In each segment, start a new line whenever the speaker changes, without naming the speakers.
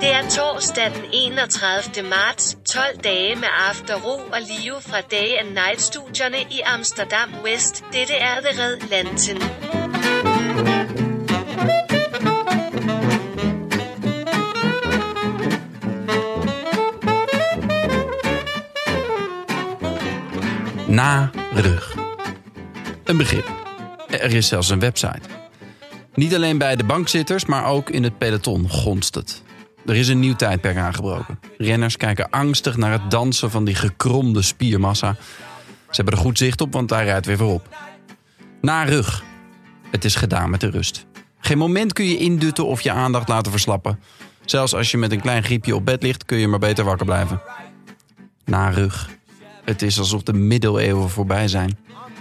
Det er torsdag den 31. marts, 12 dage med Aftero og Live fra Day and Night studierne i Amsterdam West. Dette er The Red Lantern.
Narig. Een begrip. Er is zelfs een website. Niet alleen bij de bankzitters, maar ook in het peloton gonst het. Er is een nieuw tijdperk aangebroken. Renners kijken angstig naar het dansen van die gekromde spiermassa. Ze hebben er goed zicht op, want daar rijdt weer voorop. Narig. Het is gedaan met de rust. Geen moment kun je indutten of je aandacht laten verslappen. Zelfs als je met een klein griepje op bed ligt, kun je maar beter wakker blijven. Narig. Het is alsof de middeleeuwen voorbij zijn.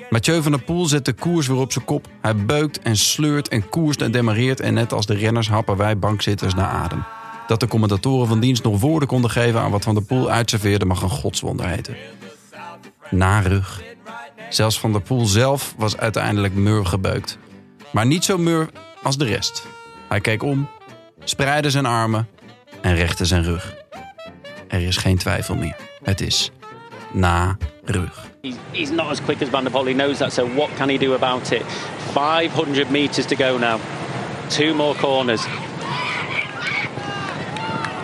Mathieu van der Poel zet de koers weer op zijn kop. Hij beukt en sleurt en koerst en demareert. En net als de renners happen wij bankzitters naar adem. Dat de commentatoren van dienst nog woorden konden geven aan wat Van der Poel uitserveerde mag een godswonder heten. Narug. Zelfs Van der Poel zelf was uiteindelijk mur gebeukt. Maar niet zo mur als de rest. Hij keek om, spreidde zijn armen en rechtte zijn rug. Er is geen twijfel meer. Het is na rug.
He's, he's not as quick as Van der Poel. He knows that. So what can he do about it? 500 meters to go now. Two more corners.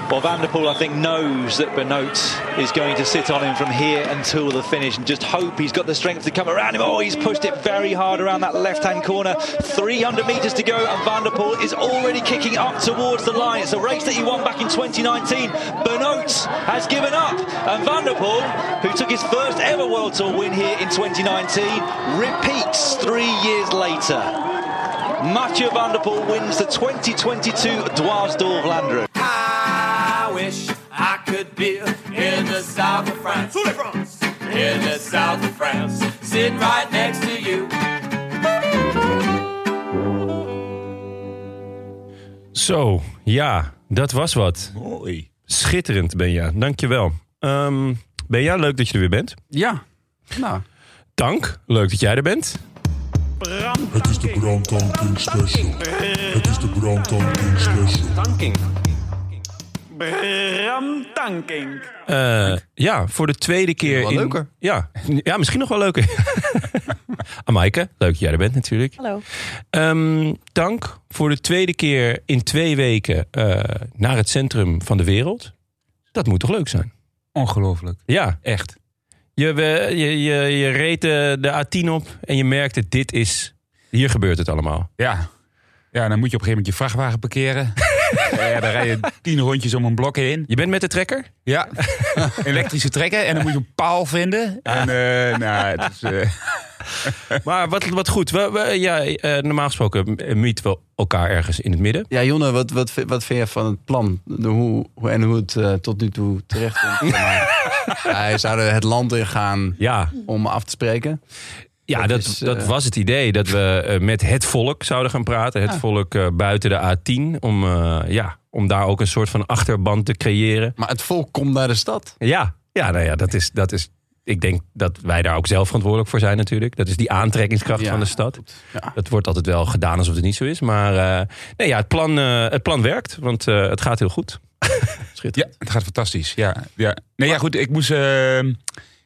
Well, Van der Poel, I think, knows that Benoit is going to sit on him from here until the finish and just hope he's got the strength to come around him. Oh, he's pushed it very hard around that left-hand corner. 300 metres to go and Van der Poel is already kicking up towards the line. It's a race that he won back in 2019. Benoit has given up and Van der Poel, who took his first ever World Tour win here in 2019, repeats three years later. Mathieu Van der Poel wins the 2022 Dwars Dorvlanderen.
I wish I could be in the south of France. In the south of France, sitting right next to you.
Zo, ja, dat was wat.
Mooi.
Schitterend, Benja. Dankjewel. Ehm Benja, leuk dat je er weer bent.
Ja, nou,
Dank, leuk dat jij er bent.
Het is de brandtanking special. Het is de brandtanking special.
Eh, ja, voor de tweede keer.
wel
in,
leuker.
Ja, ja, misschien nog wel leuker. Amaike, leuk dat jij er bent natuurlijk.
Hallo.
Ehm, dank voor de tweede keer in twee weken eh, naar het centrum van de wereld. Dat moet toch leuk zijn?
Ongelooflijk.
Ja,
Echt.
je, we- je, je, je reed eh, de, de A10 op en je merkte: dit is. Hier gebeurt het allemaal.
Ja. Ja, dan moet je op een gegeven moment je vrachtwagen parkeren. ja, dan rij je tien rondjes om een blok heen.
Je bent met de trekker?
Ja. Elektrische trekken. En dan moet je een paal vinden. En eh, nou, het is... eh,
Maar wat, wat goed. We, we- ja, eh, normaal gesproken eh, meeten we elkaar ergens in het midden.
Ja, Jonne, wat, wat, vind- wat vind je van het plan? De hoe, hoe- en hoe het eh, tot nu toe terecht komt? Hij zou er het land in gaan
Ja,
om af te spreken.
ja
Dat
dat,
is,
dat
eh,
was het idee. Dat we eh, met het volk zouden gaan praten.
Ah.
Het volk eh, buiten de A10. Om, eh, ja, om daar ook een soort van achterband te creëren.
Maar het volk komt naar de stad.
Ja, ja, nou ja dat, is, dat is... Ik denk dat wij daar ook zelf verantwoordelijk voor zijn natuurlijk. Dat is die aantrekkingskracht
Ja,
van de stad.
Ja.
Dat wordt altijd wel gedaan alsof het niet zo is. Maar eh, nee, ja, het, plan, eh, het plan werkt, want eh, het gaat heel goed.
Ja, het gaat fantastisch. Ja, ja. Nee, ja, goed. Ik moest. eh, ik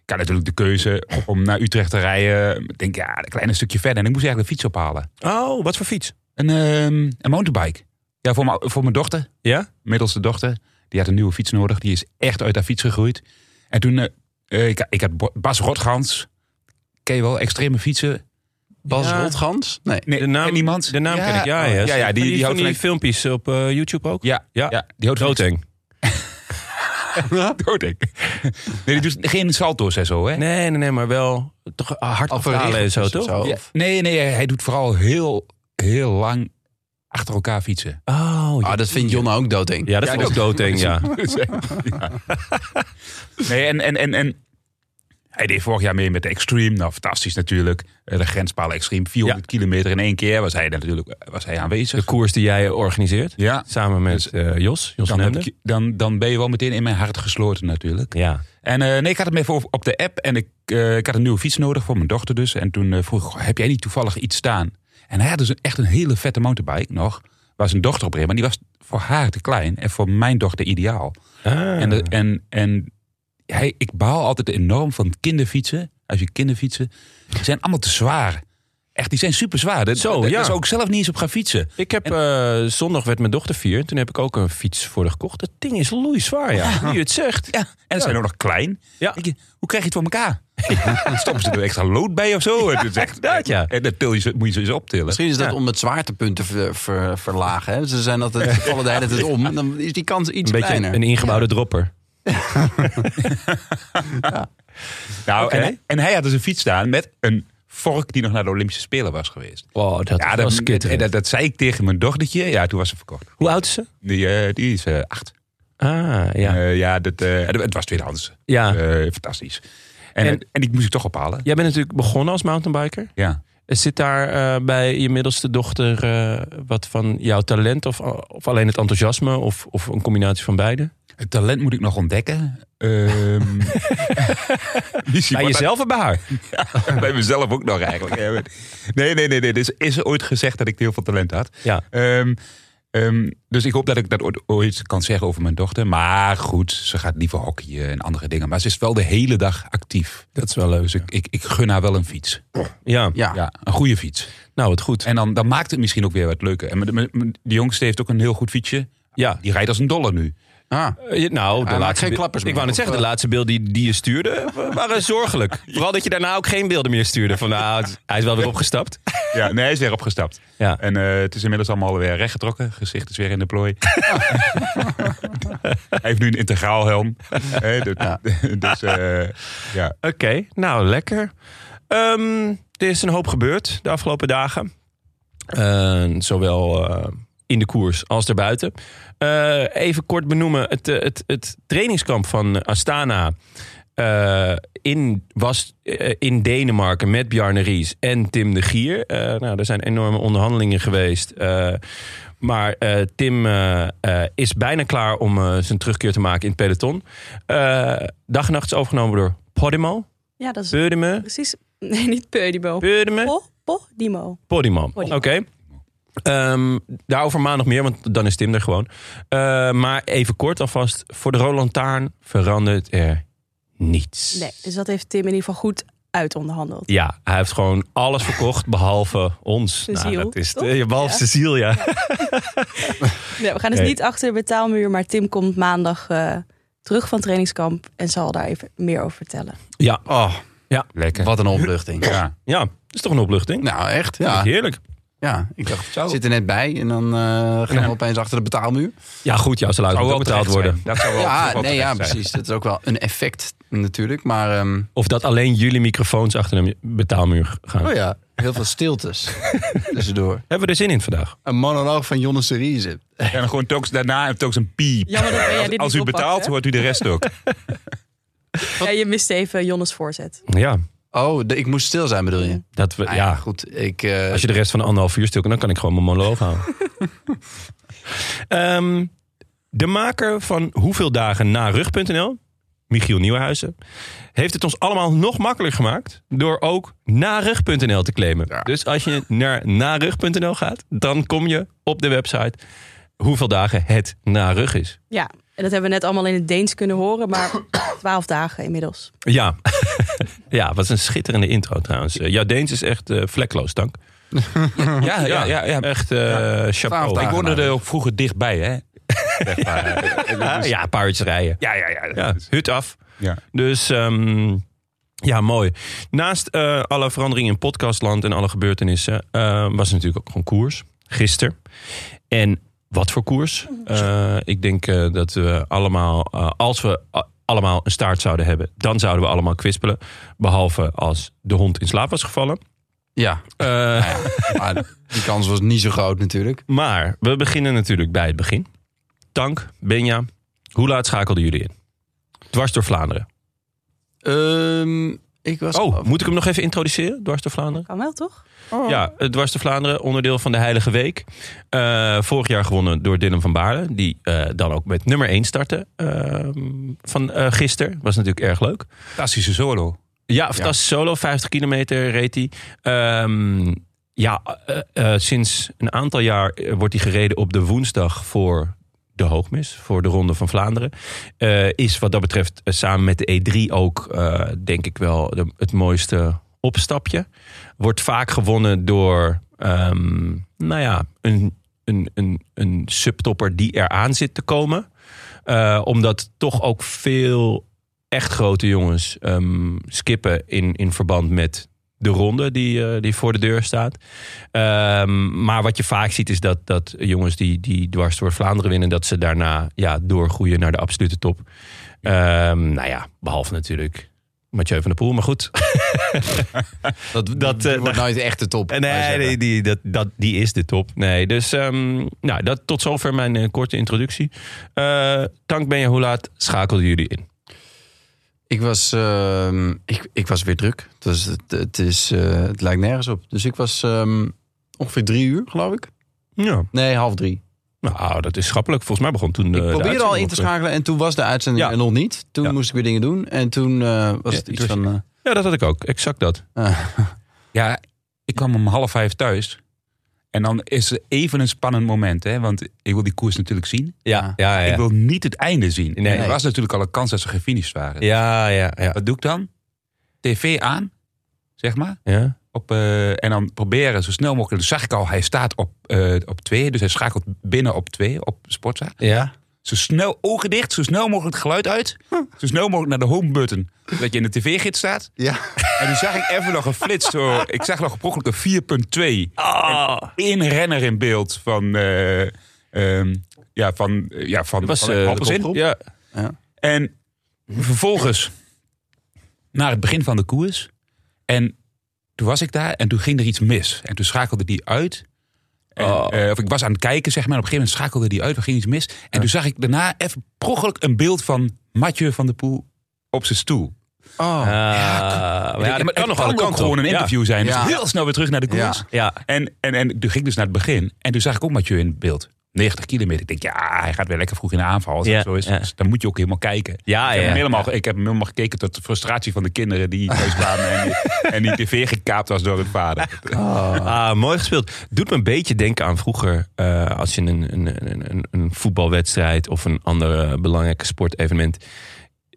had natuurlijk de keuze om naar Utrecht te rijden. Ik denk, ja, een klein stukje verder. En ik moest eigenlijk de fiets ophalen.
Oh, wat voor fiets?
Een, ehm, een mountainbike. Ja, voor, mijn- voor mijn dochter.
Ja?
Middelste dochter. Die had een nieuwe fiets nodig. Die is echt uit haar fiets gegroeid. En toen. eh, eh, ik, ik had Bo- Bas Rotgans. Ken je wel, extreme fietsen.
Bas
Ja.
Rotgans? Nee.
Nee,
De naam,
ken je iemand?
De naam ken ik, ja.
oh,
Ja,
ja, ja, die, die,
van
houdt
die
van...
filmpjes op eh, YouTube ook.
Ja,
Ja.
ja. die houdt van
Doodeng.
Doordek. Nee, die doet geen salto's en zo, hè?
Nee, nee, nee, maar wel toch hard afdalen en zo,
regels
toch?
of zo.
Ja, nee, nee, hij doet vooral heel, heel lang achter elkaar fietsen.
Oh, ja.
Ah, dat vindt Jonna ook doodeng.
ja, dat vind ik ook doodeng, ja.
Ja. Nee, en, en, en, en hij deed vorig jaar mee met de Extreme. Nou, fantastisch natuurlijk. Eh, De grenspalen Extreme, 400 kilometer in één keer was hij natuurlijk was hij
De
aanwezig.
koers die jij organiseert,
Ja,
samen met
Dus-
eh, Jos, Jos
dan,
van
heb
Hemden.
ik, dan, dan ben je wel meteen in mijn hart gesloten natuurlijk.
Ja.
En eh, nee, ik had hem even op, op de app en ik, eh, ik had een nieuwe fiets nodig voor mijn dochter dus. En toen eh, vroeg ik, "Goh, heb jij niet toevallig iets staan? En hij had dus een- echt een hele vette mountainbike nog. Waar zijn dochter op reed, maar die was voor haar te klein en voor mijn dochter ideaal.
Ah.
En, de- en, en hij, ik baal altijd enorm van kinderfietsen. Als je kinderfietsen, die zijn allemaal te zwaar. Echt, die zijn super zwaar. Daar
Zo,
daar-
ja.
daar zou ik zelf niet eens op gaan fietsen.
Ik heb eh, zondag werd mijn dochter vier. Toen heb ik ook een fiets voor haar gekocht. Dat ding is loeizwaar, ja. Nu je het zegt.
Ja, en ze zijn ook nog klein.
Ja.
Denk je, hoe krijg je het voor elkaar? Ja. Stoppen ze er extra lood bij of zo? Het is echt,
inderdaad, ja.
En dat til je, zo- moet je zo eens optillen.
Misschien is dat
Ja.
om het zwaartepunt te ver- ver- verlagen. Hè? Ze zijn altijd, ze vallen de hele tijd om. En dan is die kans iets
Een beetje een,
kleiner.
een ingebouwde dropper.
Nou,
Oké.
en, hij- en hij had dus een fiets staan met een vork die nog naar de Olympische Spelen was geweest.
Wow, Oh, dat
Ja,
was
dat,
kittig.
dat, dat zei ik tegen mijn dochtertje. Ja, toen was ze verkocht.
Hoe oud is ze?
Die, eh, die is eh, acht.
Ah, ja.
Eh, ja, dat, eh, het was tweedehands.
ja.
Eh, fantastisch. En,
En-
en, die moest ik toch ophalen.
Jij bent natuurlijk begonnen als mountainbiker.
Ja.
Zit daar eh, bij je middelste dochter eh, wat van jouw talent of, of alleen het enthousiasme of, of een combinatie van beide?
Het talent moet ik nog ontdekken. Ehm Lucie,
Bij
wat-
jezelf en bij haar?
bij mezelf ook nog eigenlijk. Nee, nee, nee. nee. Dus is er ooit gezegd dat ik heel veel talent had.
Ja.
Ehm, ehm, dus ik hoop dat ik dat ooit, ooit kan zeggen over mijn dochter. Maar goed, ze gaat liever hockeyen en andere dingen. Maar ze is wel de hele dag actief.
Dat is wel leuk.
Dus ik, ik, ik gun haar wel een fiets.
Ja.
Ja.
Ja, een goede fiets.
nou het goed.
En dan, dan maakt het misschien ook weer wat leuker. En mijn- mijn- mijn- die jongste heeft ook een heel goed fietsje.
Ja.
Die rijdt als een dolle nu.
Ah.
Eh, je- Nou, de
maakt
laatste
geen
be-
klappers
Ik
meer,
wou net
of,
zeggen, de
eh?
laatste beelden die, die je stuurde wa- waren zorgelijk. Vooral dat je daarna ook geen beelden meer stuurde. Van, nou, het- hij is wel weer opgestapt.
Ja, nee, hij is weer opgestapt.
Ja.
En eh, het is inmiddels allemaal weer rechtgetrokken. Gezicht is weer in de plooi. Hij heeft nu een integraal helm. Eh, dat- Dus eh, ja.
Oké, nou lekker. Ehm, er is een hoop gebeurd de afgelopen dagen. Eh, zowel eh, in de koers als daarbuiten. Eh, even kort benoemen: het, eh, het, het trainingskamp van Astana eh, in, was eh, in Denemarken met Bjarne Ries en Tim de Gier. Eh, nou, er zijn enorme onderhandelingen geweest. eh, maar eh, Tim eh, eh, is bijna klaar om eh, zijn terugkeer te maken in het peloton. Eh, dag en nacht is overgenomen door Podimo.
Ja, dat is
Podimo.
precies. Nee, niet Peudibo.
Podimo.
Po, po, Dimo.
Podimo. Oké.
Podimo.
Ehm, daarover maandag meer, want dan is Tim er gewoon. Eh, maar even kort alvast. Voor de Roland Taarn verandert er niets.
Nee, dus dat heeft Tim in ieder geval goed uitonderhandeld.
Ja, hij heeft gewoon alles verkocht behalve ons.
Zijn ziel,
dat is
toch?
eh, behalve
Ja.
zijn ziel, ja.
Nee, we gaan dus
Nee.
niet achter de betaalmuur, maar Tim komt maandag eh, terug van trainingskamp en zal daar even meer over vertellen.
Ja,
Oh,
Lekker.
wat een opluchting.
Ja.
ja. Dat is toch een opluchting?
Nou, echt.
Vind
Ja.
ik Heerlijk.
ja. Ik dacht, ik zit er net bij. En dan eh, gaan we opeens achter de betaalmuur.
Ja, goed, jouw salaris
Zou
moet
wel
ook betaald
terecht zijn. Dat
worden.
zou wel, zou
Ja,
wel
nee, ja,
terecht zijn.
precies. Dat is ook wel een effect natuurlijk. Maar ehm,
Of dat alleen jullie microfoons achter de betaalmuur gaan.
oh ja, heel veel stiltes tussendoor.
Hebben we er zin in vandaag?
Een monoloog van Jonne Serize.
En dan gewoon telkens daarna en telkens een piep.
Jammer dat jij dit niet
Als u
oppakt,
betaalt,
hè?
hoort u de rest ook.
Ja, je mist even Jonnes voorzet.
Ja,
Oh, de- ik moest stil zijn bedoel je?
dat we,
Ah,
ja.
goed. Ik, eh,
Als je de rest van de anderhalf uur stil kan, dan kan ik gewoon mijn monoloog houden. Ehm, de maker van Hoeveel Dagen Na Rug.nl, Michiel Nieuwenhuizen, heeft het ons allemaal nog makkelijker gemaakt door ook narug.nl te claimen. Dus als je naar narug.nl gaat, dan kom je op de website Hoeveel Dagen Het Na Rug is.
Ja, en dat hebben we net allemaal in het Deens kunnen horen, maar twaalf dagen inmiddels.
Ja, ja wat een schitterende intro trouwens. Eh, Jouw Deens is echt eh, vlekloos, dank.
Ja, ja, ja. ja.
Echt eh chapeau.
Ik
dagen
woonde
maar.
er ook vroeger dichtbij, hè?
Ah, ja, een paar uurtjes rijden.
Ja, ja, ja.
Ja, hut af.
Ja.
Dus ehm, ja, mooi. Naast eh, alle veranderingen in podcastland en alle gebeurtenissen... eh, was er natuurlijk ook gewoon koers. Gisteren. En
wat voor koers. Eh, ik denk eh, dat we allemaal, eh, als we a- allemaal een staart zouden hebben, dan zouden we allemaal kwispelen. Behalve als de hond in slaap was gevallen.
Ja,
Eh,
maar Ah, die kans was niet zo groot natuurlijk.
maar we beginnen natuurlijk bij het begin. Tank, Benja, hoe laat schakelden jullie in? Dwars door Vlaanderen.
Ehm, ik was...
Oh, moet ik hem nog even introduceren? Dwars door Vlaanderen?
Kan wel, toch?
Oh.
Ja, het Dwars door Vlaanderen, onderdeel van de Heilige Week. Eh, vorig jaar gewonnen door Dylan van Baarle. Die eh, dan ook met nummer 1 startte ehm, van eh gisteren. Was natuurlijk erg leuk.
Fantastische solo.
Ja, fantastisch solo. 50 kilometer reed hij. Ehm, ja, eh, eh, sinds een aantal jaar eh, wordt hij gereden op de woensdag voor de hoogmis. Voor de Ronde van Vlaanderen. Eh, is wat dat betreft eh, samen met de E3 ook, eh, denk ik wel, de- het mooiste opstapje. Wordt vaak gewonnen door, ehm, nou ja, een, een, een, een subtopper die eraan zit te komen. Eh, omdat toch ook veel echt grote jongens ehm, skippen in, in verband met de ronde die, eh, die voor de deur staat. Ehm, maar wat je vaak ziet is dat, dat jongens die, die dwars door Vlaanderen winnen... dat ze daarna ja, doorgroeien naar de absolute top. Ehm, nou ja, behalve natuurlijk Mathieu van der Poel. Maar goed,
Dat, dat,
dat, eh,
wordt nooit echt de top.
nee,
zou je
nee,
zeggen.
die, dat, dat, die is de top. Nee, dus ehm, nou, dat, tot zover mijn eh, korte introductie. Eh Tank Benja, hoe laat schakelden jullie in?
Ik was, ehm, ik, ik was weer druk. Het, was, het, het is, eh, het lijkt nergens op. Dus ik was ehm, ongeveer drie uur, geloof ik.
Ja.
Nee, half drie.
Nou, dat is schappelijk. Volgens mij begon toen de
ik
de
probeerde al
uitzending
in te
op, eh,
schakelen en toen was de uitzending
Ja.
er nog niet. Toen
Ja.
moest ik weer dingen doen en toen eh, was
Ja,
het iets
dus-
van... eh,
Ja, dat had ik ook. Exact dat.
ah.
Ja, ik kwam om half vijf thuis. En dan is er even een spannend moment. Hè? Want ik wil die koers natuurlijk zien.
Ja.
ja,
Ik
ja.
wil niet het einde zien.
Nee.
En er was natuurlijk al een kans dat ze gefinished waren.
Ja, ja, ja.
Wat doe ik dan? TV aan, zeg maar.
ja.
Op, eh, en dan proberen zo snel mogelijk. Dus zag ik al, hij staat op, eh, op twee. Dus hij schakelt binnen op twee, op Sportza.
Ja.
Zo snel, oh, ogen dicht, zo snel mogelijk het geluid uit. Zo snel mogelijk naar de home button. Dat je in de tv-gids staat.
Ja.
En toen zag ik even nog een flits. Zo, ik zag nog een 4.2.
Ah.
Eén renner in beeld van... eh, ehm, ja, van, ja, van,
was,
van
eh, de
Alpecin.
kopgroep.
Ja.
Ja.
En vervolgens naar het begin van de koers. En toen was ik daar en toen ging er iets mis. En toen schakelde die uit. En,
Oh.
eh, of ik was aan het kijken, zeg maar. En op een gegeven moment schakelde die uit. Er ging iets mis. En toen zag ik daarna even prochelijk een beeld van Mathieu van der Poel op zijn stoel.
Oh.
Eh, ja,
Ik denk,
dat
maar
kan nog wel.
ook
Dat kan
gewoon een
toch?
interview zijn. Dus
Ja.
heel snel weer terug naar de koers.
Ja.
Ja.
En, en, en toen ging ik dus naar het begin. En toen zag ik ook Mathieu in beeld. 90 kilometer. Ik denk, ja, hij gaat weer lekker vroeg in de aanval. Als
Ja,
dat zo is.
ja.
Dus dan moet je ook helemaal kijken.
Ja,
ik, heb
ja.
hem helemaal, ge- ik heb hem helemaal gekeken tot de frustratie van de kinderen die thuis kwamen. en, die, en die tv gekaapt was door hun vader.
Ah, mooi gespeeld. Doet me een beetje denken aan vroeger. eh, als je een, een, een, een, een voetbalwedstrijd of een ander eh, belangrijk sportevenement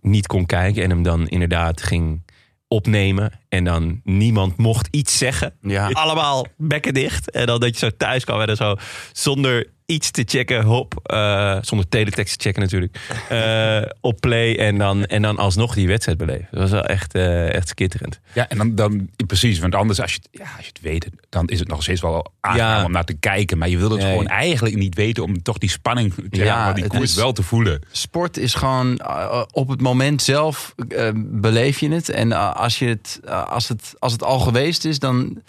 niet kon kijken. En hem dan inderdaad ging opnemen. En dan niemand mocht iets zeggen.
Ja.
Allemaal bekken dicht. En dan dat je zo thuis kwam en dan zo zonder iets te checken. Hop. eh, zonder teletext te checken natuurlijk. eh, op play en dan, en dan alsnog die wedstrijd beleven. Dat was wel echt, eh, echt skitterend.
Ja, en dan, dan precies. Want anders, als je, het- ja, als je het weet, dan is het nog steeds wel aangenaam
Ja.
om naar te kijken. Maar je wil het
Nee.
gewoon eigenlijk niet weten om toch die spanning
Ja,
ja, maar die
het
koers
is-
wel te voelen.
Sport is gewoon eh, op het moment zelf eh, beleef je het. En eh, als, je het, eh, als, het, als het al geweest is, dan...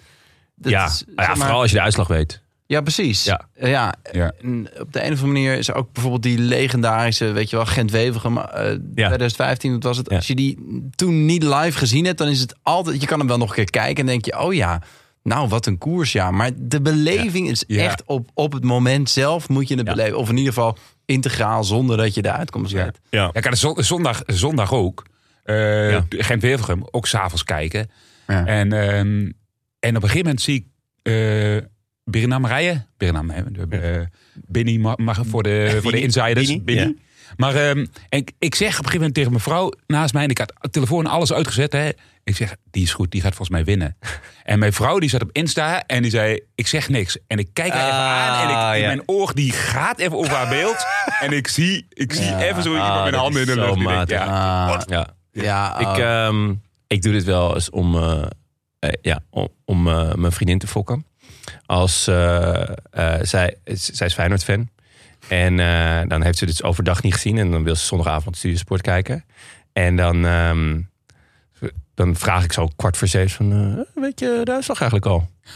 dat
ja, Ah
is,
Nou
zeg
ja
maar-
vooral als je de uitslag weet.
Ja, precies.
Ja.
Eh, ja.
Ja.
En op de een of andere manier is ook bijvoorbeeld die legendarische, weet je wel, Gent Wevergem maar, eh, 2015, dat was het.
Ja.
Als je die toen niet live gezien hebt, dan is het altijd, je kan hem wel nog een keer kijken en denk je, oh ja, nou wat een koers, ja. Maar de beleving is
Ja.
echt op, op het moment zelf moet je het beleven. Of in ieder geval integraal zonder dat je de uitkomst weet.
Ja.
Ja, ik had zon- zondag, zondag ook. eh
Ja.
gent wevergem ook s'avonds kijken.
Ja.
En, ehm, en op een gegeven moment zie ik eh Birnam rijden. Birnam, hè, de, eh, Binny mag, mag voor, de, voor de insiders.
Binny,
Binny.
ja.
Maar ehm, en ik, ik zeg op een gegeven moment tegen mijn vrouw naast mij... en ik had telefoon en alles uitgezet. Hè, ik zeg, die is goed, die gaat volgens mij winnen. en mijn vrouw die zat op Insta en die zei... ik zeg niks. En ik kijk haar even aan en ik,
Ah, ja.
mijn oor die gaat even over haar beeld.
Ah.
en ik
Nou,
zie, ik zie even zo iemand
Ah, dat
met mijn handen in
is
de
zo
lucht. die denkt,
matig.
ja.
Ah,
Ja.
ja,
Ik,
oh.
ehm, ik doe dit wel eens om, eh, eh, ja, om, om, eh, mijn vriendin te fokken. Als eh, eh, zij, zij is Feyenoord-fan. En eh, dan heeft ze dit overdag niet gezien. En dan wil ze zondagavond Studio Sport kijken. En dan, ehm, dan vraag ik zo kwart voor zeven van... eh, weet je de uitslag eigenlijk al?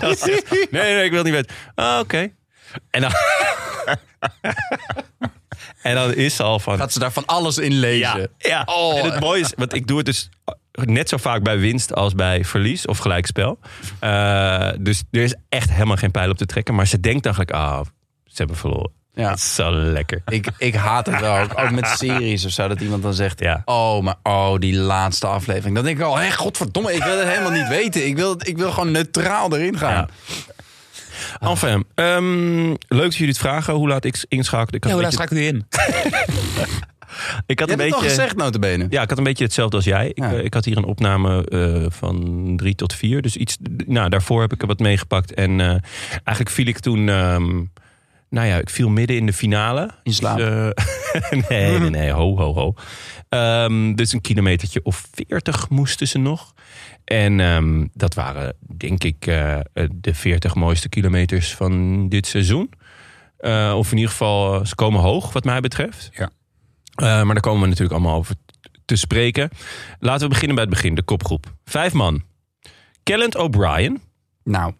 Dan zegt ze, nee, nee, ik wil het niet weten. Ah, oké. En dan... en dan is ze al van...
Gaat ze daar van alles in lezen?
Ja, ja.
Oh.
eh, en het mooie is, want ik doe het dus net zo vaak bij winst als bij verlies of gelijkspel. Eh, dus er is echt helemaal geen pijl op te trekken. Maar ze denkt eigenlijk, ah, ze hebben verloren.
Ja.
Dat is zo lekker.
Ik, ik haat het wel. Ook, ook met series of zo. Dat iemand dan zegt:
Ja.
Oh, maar oh, die laatste aflevering. Dan denk ik al: Hé, godverdomme, ik wil het helemaal niet weten. Ik wil, het- ik wil gewoon neutraal erin gaan.
Enfin, ehm, leuk dat jullie het vragen. Hoe laat ik inschakelen? Ik had
Ja,
een
hoe laat
beetje,
schakel je in?
ik had
Je
een
hebt het al
beetje-
gezegd, notabene.
Ja, ik had een beetje hetzelfde als jij. Ik,
Ja.
eh, ik had hier een opname eh, van drie tot vier. Dus iets, nou, daarvoor heb ik er wat meegepakt. En eh, eigenlijk viel ik toen, ehm, nou ja, ik viel midden in de finale.
In slaap.
Dus, eh, nee, nee, nee, ho, ho, ho. Ehm, dus een kilometertje of veertig moesten ze nog. En ehm, dat waren, denk ik, eh, de veertig mooiste kilometers van dit seizoen. Eh, of in ieder geval, eh, ze komen hoog, wat mij betreft.
Ja.
Eh, maar daar komen we natuurlijk allemaal over te spreken. Laten we beginnen bij het begin, de kopgroep. Vijf man. Kellent O'Brien
Nou,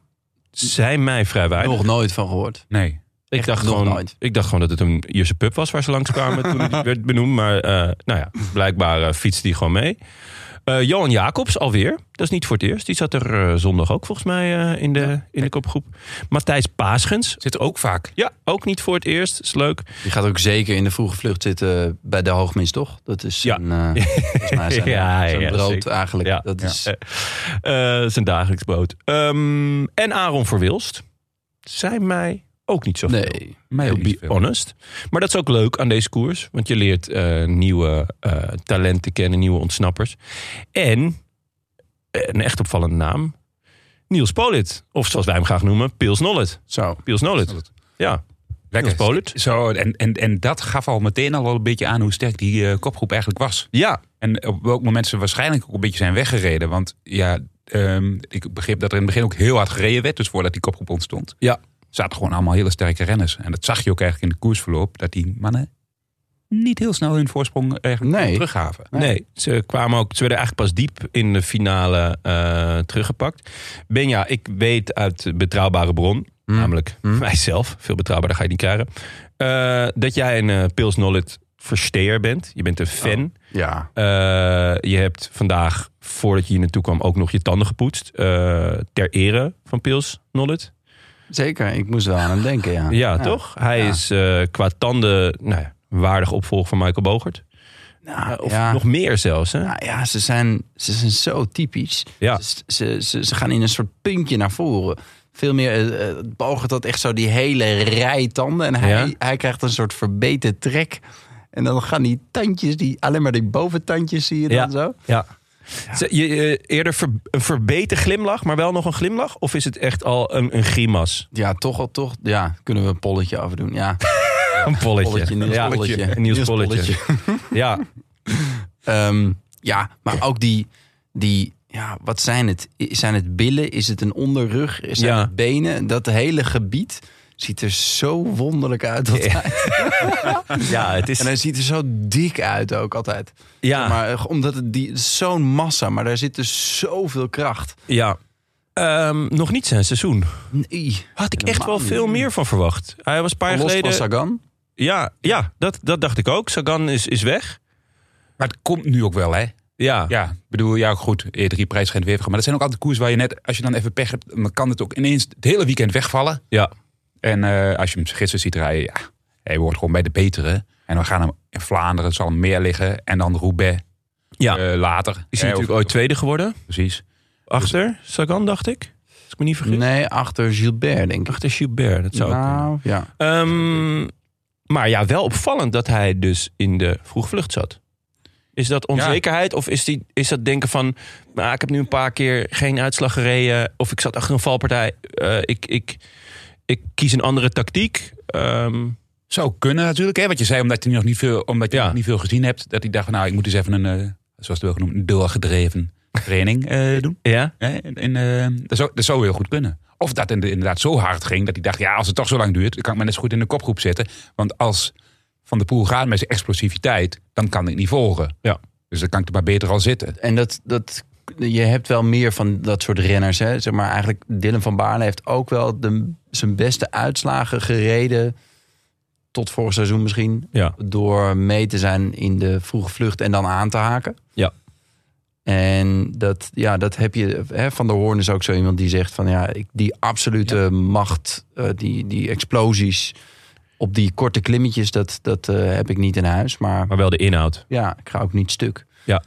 zijn mij vrij weinig.
nog nooit van gehoord.
Nee.
ik, dacht
nog
gewoon,
nooit.
ik dacht gewoon dat het een Ierse pub was waar ze langskwamen toen het werd benoemd. Maar eh, nou ja, blijkbaar eh, fietst die gewoon mee. Eh, Johan Jacobs alweer. Dat is niet voor het eerst. Die zat er eh, zondag ook volgens mij eh, in, de, in de kopgroep. Matthijs Paasgens.
Zit ook vaak.
Ja, ook niet voor het eerst. Is leuk.
Die gaat ook zeker in de vroege vlucht zitten bij de Hoogmis, toch? Dat is
Ja.
zijn, eh, volgens mij zijn,
Ja,
zijn
ja,
brood
zeker.
eigenlijk.
Ja,
dat
ja.
is,
Eh, zijn dagelijks brood. Ehm, en Aaron Verwilst. Zijn mij ook niet zo veel.
Nee.
Mij ook
To be
niet
Oh, nou,
veel.
honest. Maar dat is ook leuk aan deze koers. Want je leert eh, nieuwe eh, talenten kennen, nieuwe ontsnappers. En eh, een echt opvallende naam. Niels Polit. Of zoals wij hem graag noemen, Pils Nollet.
Zo.
Pils Nollet.
Nollet.
Ja. Niels Polit.
Zo, en, en, en dat gaf al meteen al wel een beetje aan hoe sterk die eh, kopgroep eigenlijk was.
Ja.
En op welk moment ze waarschijnlijk ook een beetje zijn weggereden. Want ja, ehm, ik begreep dat er in het begin ook heel hard gereden werd. Dus voordat die kopgroep ontstond.
Ja.
Zaten gewoon allemaal hele sterke renners. En dat zag je ook eigenlijk in de koersverloop. Dat die mannen niet heel snel hun voorsprong eh, eigenlijk
Nee.
teruggaven.
Nee, ze kwamen ook. Ze werden eigenlijk pas diep in de finale eh, teruggepakt. Benja, ik weet uit betrouwbare bron, namelijk mijzelf, veel betrouwbaarder ga je niet krijgen, eh, dat jij een eh, Pils Nollet versteer bent. Je bent een fan.
Ja.
Eh, je hebt vandaag, voordat je hier naartoe kwam, ook nog je tanden gepoetst. eh, ter ere van Pils Nollet.
Zeker, ik moest wel aan hem denken, ja.
Ja, toch? Hij
Ja.
is eh, qua tanden nou, ja, waardig opvolger van Michael Bogert.
Nou,
Of
ja.
nog meer zelfs. Hè?
Nou ja, ze zijn, ze zijn zo typisch.
Ja.
Ze, ze, ze, ze gaan in een soort puntje naar voren. Veel meer eh, eh, Bogert had echt zo die hele rij tanden. En hij,
Ja.
hij krijgt een soort verbeterd trek. En dan gaan die tandjes, die, alleen maar die boventandjes zie je dan
Ja.
zo.
Ja. Ze- je, je- eerder ver- een verbeter glimlach, maar wel nog een glimlach? Of is het echt al een, een grimas?
Ja, toch al toch. Ja, kunnen we een polletje afdoen. Ja,
Een polletje.
polletje, Niels
ja,
polletje.
Een Niels
Niels
polletje. Ja,
Ehm, ja, maar ook die, die ja, wat zijn het? I- Zijn het billen? Is het een onderrug? Zijn
Ja.
het benen? Dat hele gebied ziet er zo wonderlijk uit altijd.
ja, het
En
is...
hij ziet er zo dik uit ook altijd.
Ja,
Maar eh, omdat het die het is zo'n massa, maar daar zit dus zoveel kracht.
ja. Ehm, nog niet zijn seizoen.
Nee.
Had ik echt
Helemaal
wel
niet.
veel meer van verwacht. Hij was een paar jaar
Los van
geleden...
Sagan.
Ja, ja dat, dat dacht ik ook. Sagan is, is weg.
Maar het komt nu ook wel, hè?
Ja, ja.
Ja, ik bedoel, ja goed, E3 prijs schijnt weer te gaan. Maar dat zijn ook altijd koers waar je net, als je dan even pech hebt, dan kan het ook ineens het hele weekend wegvallen. En eh, als je hem gisteren ziet rijden, ja, hij wordt gewoon bij de betere. En dan gaan hem in Vlaanderen, zal hem meer liggen. En dan Roubaix
Ja.
eh, later.
Is
Hè,
hij natuurlijk
of-
ooit tweede geworden?
Precies.
Achter Sagan, dacht ik. Als ik me niet vergis.
Nee, achter Gilbert, denk ik.
Achter Gilbert, dat zou ook kunnen.
nou, ja.
Ehm, maar ja, wel opvallend dat hij dus in de vroegvlucht zat. Is dat onzekerheid of is, die, is dat denken van... Nou, ik heb nu een paar keer geen uitslag gereden... of ik zat achter een valpartij, eh, ik, ik, ik kies een andere tactiek. Ehm,
Zou kunnen natuurlijk, hè? Wat je zei, omdat je nog niet veel, omdat je
Ja.
nog niet veel gezien hebt. Dat hij dacht, van, nou, ik moet eens even een, eh, zoals het wel genoemd, een doorgedreven training eh, doen.
Ja?
Hè? En, en, eh, dat, zou, dat zou heel goed kunnen. Of dat het inderdaad zo hard ging dat hij dacht: ja, als het toch zo lang duurt, dan kan ik me net zo goed in de kopgroep zetten. Want als Van de Poel gaat met zijn explosiviteit, dan kan ik niet volgen.
Ja.
Dus dan kan ik er maar beter al zitten.
En dat, dat, je hebt wel meer van dat soort renners. Hè? Zeg maar eigenlijk, Dylan van Baarle heeft ook wel de, zijn beste uitslagen gereden. Tot vorig seizoen misschien.
Ja.
Door mee te zijn in de vroege vlucht en dan aan te haken.
Ja.
En dat, ja, dat heb je. Hè, van der Hoorn is ook zo iemand die zegt van ja, ik, die absolute macht, eh, die, die explosies op die korte klimmetjes, dat, dat eh, heb ik niet in huis. Maar
Maar wel de inhoud.
ja, ik ga ook niet stuk.
Ja.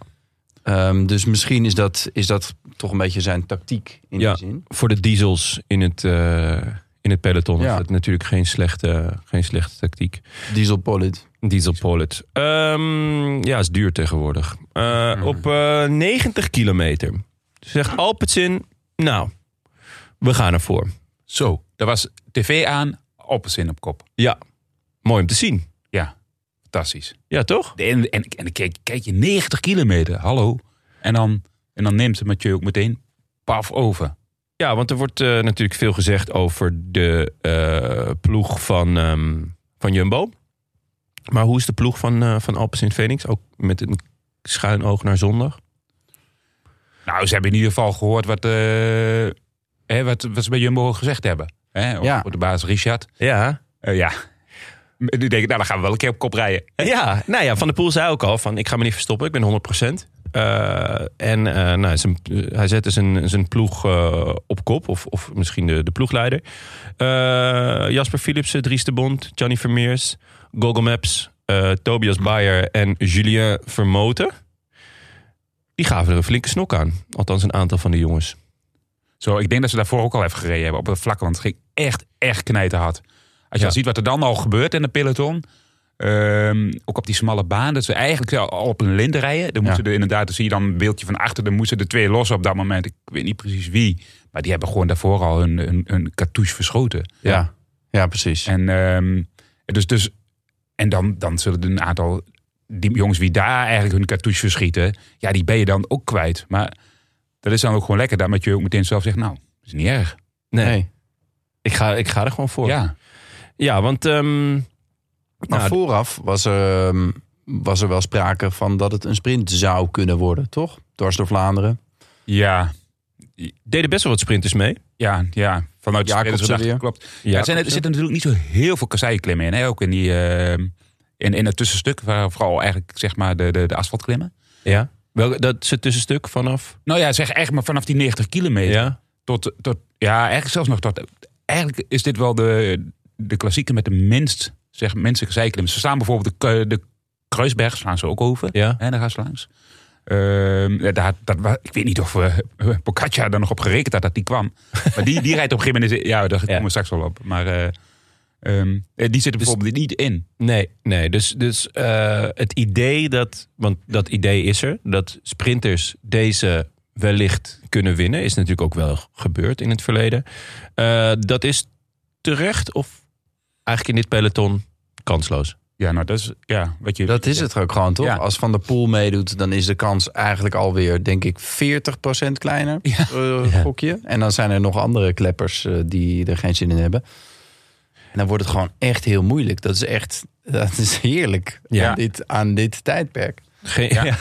Ehm, dus misschien is dat, is dat toch een beetje zijn tactiek in
Ja.
die zin.
Voor de diesels in het, eh, in het peloton
Ja.
is dat natuurlijk geen slechte, geen slechte tactiek.
Dieselpolit.
Diesel Pollet. Ehm, ja, is duur tegenwoordig. Eh, Op eh, 90 kilometer zegt Alpecin, nou, we gaan ervoor.
Zo, daar was tv aan, Alpecin op kop.
Ja, mooi om te zien.
Ja, fantastisch.
Ja, toch?
En, en, en dan kijk, kijk je 90 kilometer, hallo. En dan, en dan neemt de Mathieu ook meteen paf over.
Ja, want er wordt eh, natuurlijk veel gezegd over de eh, ploeg van, ehm, van Jumbo. Maar hoe is de ploeg van, eh van Alpes in Phoenix? Ook met een schuin oog naar zondag.
Nou, ze hebben in ieder geval gehoord wat, eh, hè, wat, wat ze bij Jumbo gezegd hebben. Hè, op,
Ja.
op de baas Richard.
Ja.
Eh, ja. Nu denk ik, nou, dan gaan we wel een keer op kop rijden.
Ja, nou ja, Van der Poel zei ook al van ik ga me niet verstoppen, ik ben 100 Eh, en eh, nou, zijn, hij zette zijn, zijn ploeg eh, op kop, of, of misschien de, de ploegleider. Eh, Jasper Philipsen, Dries de Bond, Johnny Vermeers, Google Maps, eh, Tobias Bayer en Julien Vermoten. Die gaven er een flinke snok aan. Althans een aantal van de jongens.
Zo, ik denk dat ze daarvoor ook al even gereden hebben op het vlak. Want het ging echt, echt knijten hard. Als je
Ja.
al ziet wat er dan al gebeurt in de peloton. ehm, ook op die smalle baan. Dat ze eigenlijk al al op een lint rijden. Dan moeten er inderdaad, dan zie je dan een beeldje van achter. Dan moesten er twee los op dat moment. Ik weet niet precies wie. Maar die hebben gewoon daarvoor al hun, hun, hun cartouche verschoten.
Ja. ja, precies.
En, ehm, dus, dus, en dan, dan zullen er een aantal die jongens die daar eigenlijk hun cartouche verschieten, ja, die ben je dan ook kwijt. Maar dat is dan ook gewoon lekker, dat met je ook meteen zelf zegt, nou, dat is niet erg.
Nee, Ik, ga, ik ga er gewoon voor. Ja,
Ja,
want ehm,
Maar
Nou,
vooraf was er, ehm, was er wel sprake van dat het een sprint zou kunnen worden, toch? Dwars door Vlaanderen.
ja,
deden best wel wat sprinters mee.
ja, ja. Vanuit
Jacobsen
spelers gedacht,
weer.
klopt. Ja, er, zijn, er zitten natuurlijk niet zo heel veel kasseiklimmen in, hè? ook in, die, ehm, in, in het tussenstuk, waar vooral eigenlijk zeg maar de, de, de asfaltklimmen.
Ja. Wel, dat is het tussenstuk vanaf.
Nou ja, zeg echt maar vanaf die 90 kilometer.
Ja.
Tot, tot, ja, eigenlijk zelfs nog tot. Eigenlijk is dit wel de, de klassieke met de minst zeg, menselijke zijklim. Ze staan bijvoorbeeld de, Keu- de Kruisberg, slaan ze ook over.
Ja.
En daar gaan ze langs. Ehm, ja, daar, dat, wa- ik weet niet of eh Pocaccia daar nog op gerekend had dat die kwam. Maar die, die rijdt op een gegeven moment. is- Ja, daar komen we straks wel op. Maar eh, ehm, eh,
Dus-
die zit er bijvoorbeeld niet in.
Nee, nee. Dus, dus eh, het idee dat, want dat idee is er, dat sprinters deze wellicht kunnen winnen, is natuurlijk ook wel gebeurd in het verleden. Eh, dat is terecht of eigenlijk in dit peloton kansloos.
Ja, nou, dat is ja, wat je.
Dat is het ook gewoon, toch?
Ja.
Als Van der Poel meedoet, dan is de kans eigenlijk alweer, denk ik, 40% kleiner.
Ja.
eh, gokje. En dan zijn er nog andere kleppers eh, die er geen zin in hebben. En dan wordt het gewoon echt heel moeilijk. Dat is echt, dat is heerlijk
Ja.
aan, dit, aan dit tijdperk.
Geen,
Ja.
ja.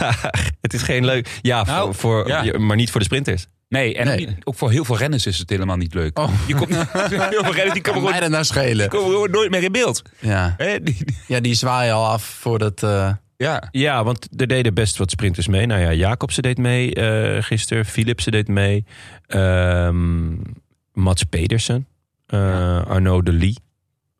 het is geen leuk. Ja,
Nou,
voor, voor-
ja.
ja, maar niet voor de sprinters.
Nee, en
Nee.
ook voor heel veel renners is het helemaal niet leuk.
Oh.
Je komt, heel veel renners die komen
Kan mij
gewoon
dat nou schelen?
komen gewoon nooit meer in beeld.
Ja,
Hè? Die- die-
ja die zwaaien al af voordat... eh
Ja.
Ja, want er deden best wat sprinters mee. Nou ja, Jacobsen deed mee eh gisteren. Philipsen deed mee. Ehm, Mats Pedersen. eh, Arnaud de Lee.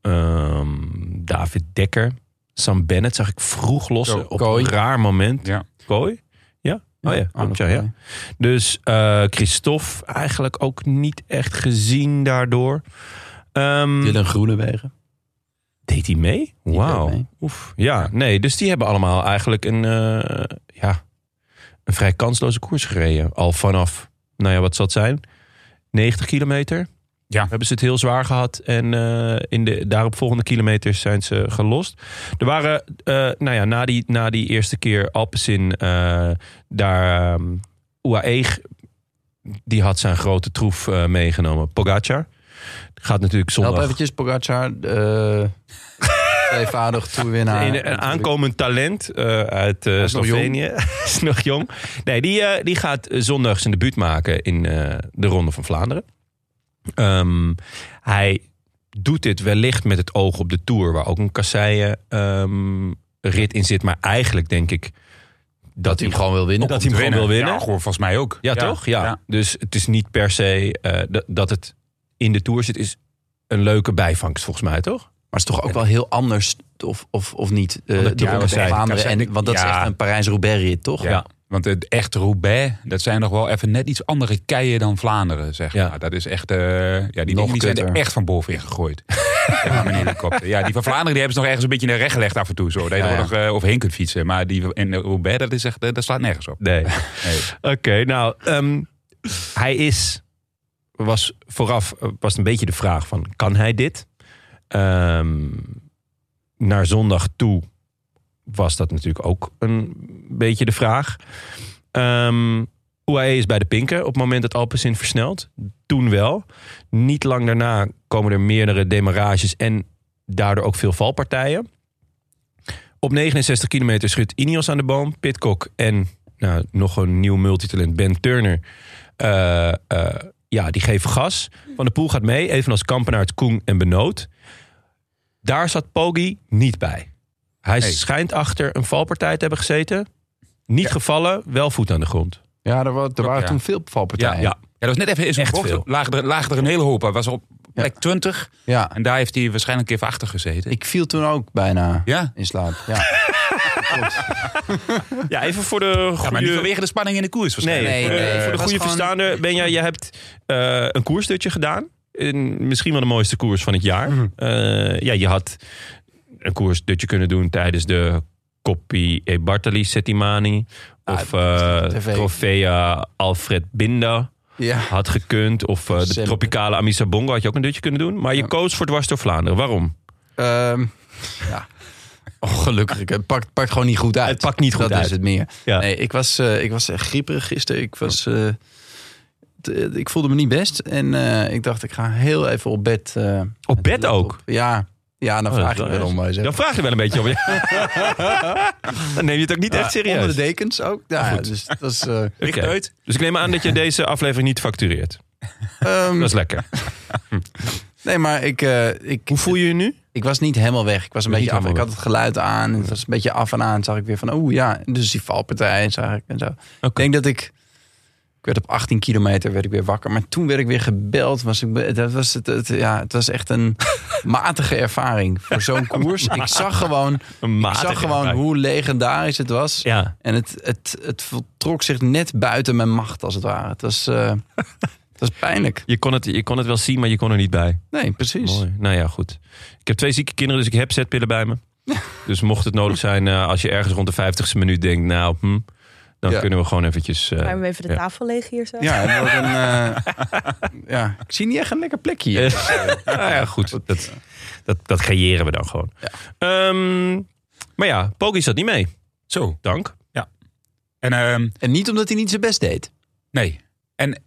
ehm, David Dekker. Sam Bennett zag ik vroeg lossen.
Ko-
op
Kooi.
een raar moment.
Ja.
Kooi? Ja? Oh ja, klopt, ja, ja. Dus eh Christophe eigenlijk ook niet echt gezien daardoor. Ehm,
Dylan Groenewegen.
Deed hij mee?
Die
Wauw.
deed mee.
Oef. Ja, nee. Dus die hebben allemaal eigenlijk een, eh, ja, een vrij kansloze koers gereden. Al vanaf, nou ja, wat zal het zijn? 90 kilometer.
Ja.
Hebben ze het heel zwaar gehad. En eh, in de daaropvolgende kilometers zijn ze gelost. Er waren, eh, nou ja, na die, na die eerste keer Alpecin, eh, daar ehm, UAE, die had zijn grote troef eh, meegenomen. Pogacar. Gaat natuurlijk
Help
zondag...
eventjes, Pogacar. eh tweevoudig toewinnaar.
Een, een aankomend talent eh, uit eh,
is nog jong.
Slovenië. is nog jong. Nee, die, eh, die gaat zondag zijn debuut maken in eh, de Ronde van Vlaanderen. Ehm, hij doet dit wellicht met het oog op de Tour, waar ook een kasseien ehm, rit in zit. Maar eigenlijk denk ik dat hij gewoon wil winnen. Dat hij hem gewoon wil winnen.
Ja, gewoon volgens mij ook.
Ja, toch? Ja. Dus het is niet per se eh, dat- dat het in de Tour zit, is een leuke bijvangst volgens mij, toch?
Maar het is toch ook wel heel anders, of, of, of niet? eh,
Omdat
de
die
Ronde van
kasseien-
Vlaanderen.
kasseien-
En, want dat is
ja.
echt een Parijs-Roubaix-rit, toch?
Ja. Want het echt Roubaix, dat zijn nog wel even net iets andere keien dan Vlaanderen, zeg
Ja.
maar. Dat is echt, eh, ja, die
Nog
dingen die zijn er
kutter.
echt van bovenin gegooid. ja, met een helikopter. Ja, die van Vlaanderen die hebben ze nog ergens een beetje naar recht gelegd af en toe. Zo. Dat je
Ja,
er
ja.
nog eh, overheen kunt fietsen. Maar die in de Roubaix, dat, is echt, eh, dat slaat nergens op.
Nee.
Nee.
Oké, nou, ehm, hij is, was vooraf eh, was het een beetje de vraag van, kan hij dit? Ehm, naar zondag toe was dat natuurlijk ook een beetje de vraag. Ehm UAE is bij de pinken op het moment dat Alpecin versnelt. Toen wel. Niet lang daarna komen er meerdere demarages en daardoor ook veel valpartijen. Op 69 kilometer schudt Ineos aan de boom. Pitcock en nou, nog een nieuw multitalent, Ben Turner. Eh, eh, ja, die geven gas. Van de Poel gaat mee, evenals Kampenaert, Koen en Benoot. Daar zat Poggi niet bij. Hij
Nee.
schijnt achter een valpartij te hebben gezeten. Niet gevallen, wel voet aan de grond.
Ja, er, wa- er waren
ja.
toen veel valpartijen.
Ja.
Ja, dat was net even in zijn
Echt
bocht.
veel.
Lagen er, lagen er een hele hoop. Hij was op plek 20.
Ja.
En daar heeft hij waarschijnlijk even achter gezeten.
Ik viel toen ook bijna
Ja.
in slaap. Ja.
Ja, even voor de
ja, maar
goede...
niet vanwege de spanning in de koers
nee,
waarschijnlijk. Eh,
Nee,
voor, de-
nee,
voor
het
de
was
goede
gewoon-
verstaander. Benja, je hebt eh, een koersdutje gedaan. In, misschien wel de mooiste koers van het jaar.
Mhm.
Eh, ja, je had een koersdutje kunnen doen tijdens de Coppi e Bartali Settimani. Of eh,
op Ah, tv.
Trofea Alfred Binda
ja.
had gekund. Of eh, de
Zeker.
Tropicale Amisa Bongo had je ook een dutje kunnen doen. Maar je
Ja.
koos voor dwars door Vlaanderen. Waarom?
Ehm, ja. Oh, gelukkig. Het pakt, pakt gewoon niet goed uit.
Het pakt niet goed
dat
uit.
is het meer.
Ja.
Nee, ik was, eh, ik was echt grieperig gisteren. Ik, was, eh, t- eh, ik voelde me niet best. En eh, ik dacht, ik ga heel even op bed. eh,
Op
met de
bed
laptop.
ook?
Ja. Ja, dan
Oh, dat
vraag
is
je
wel
wel
erg.
om. eh, maar je zegt-
Dan vraag je wel een beetje om. Dan neem je het ook niet echt
Ja,
serieus.
Onder de dekens ook. Ja,
goed.
dus dat is... eh,
Oké.
uit.
Dus ik neem aan dat je deze aflevering niet factureert.
ehm,
Dat is lekker.
nee, maar ik, eh, ik,
Hoe voel je je nu?
ik was niet helemaal weg. Ik was een beetje
niet
af. Ik
helemaal
had het geluid aan. en Het was een beetje af en aan. Zag ik weer van, oeh ja. Dus die valpartij zag ik en zo. Ik denk dat ik... Ik werd op 18 kilometer werd ik weer wakker. Maar toen werd ik weer gebeld. Was ik, be- dat was het, het- ja, het was echt een matige ervaring voor zo'n koers. Ik zag gewoon,
Een
ik
matige
zag gewoon
ervaring.
hoe legendarisch het was.
Ja.
En het, het, het voltrok zich net buiten mijn macht, als het ware. Het was, eh, het was pijnlijk.
Je kon, het, je kon het wel zien, maar je kon er niet bij.
Nee, precies.
Mooi. Nou ja, goed. Ik heb twee zieke kinderen, dus ik heb zetpillen bij me. Dus mocht het nodig zijn, eh, als je ergens rond de 50ste minuut denkt... nou, hm, dan
Ja.
kunnen we gewoon eventjes... eh,
Gaan we even de
ja.
tafel leeg hier zo?
Ja, en ook een, eh, ja, ik zie niet echt een lekker plekje hier.
Eh, nou ja, goed. Dat, dat, dat creëren we dan gewoon. Ehm, maar ja, Poggi zat niet mee.
Zo.
Dank.
En ehm,
En niet omdat hij niet zijn best deed.
Nee. En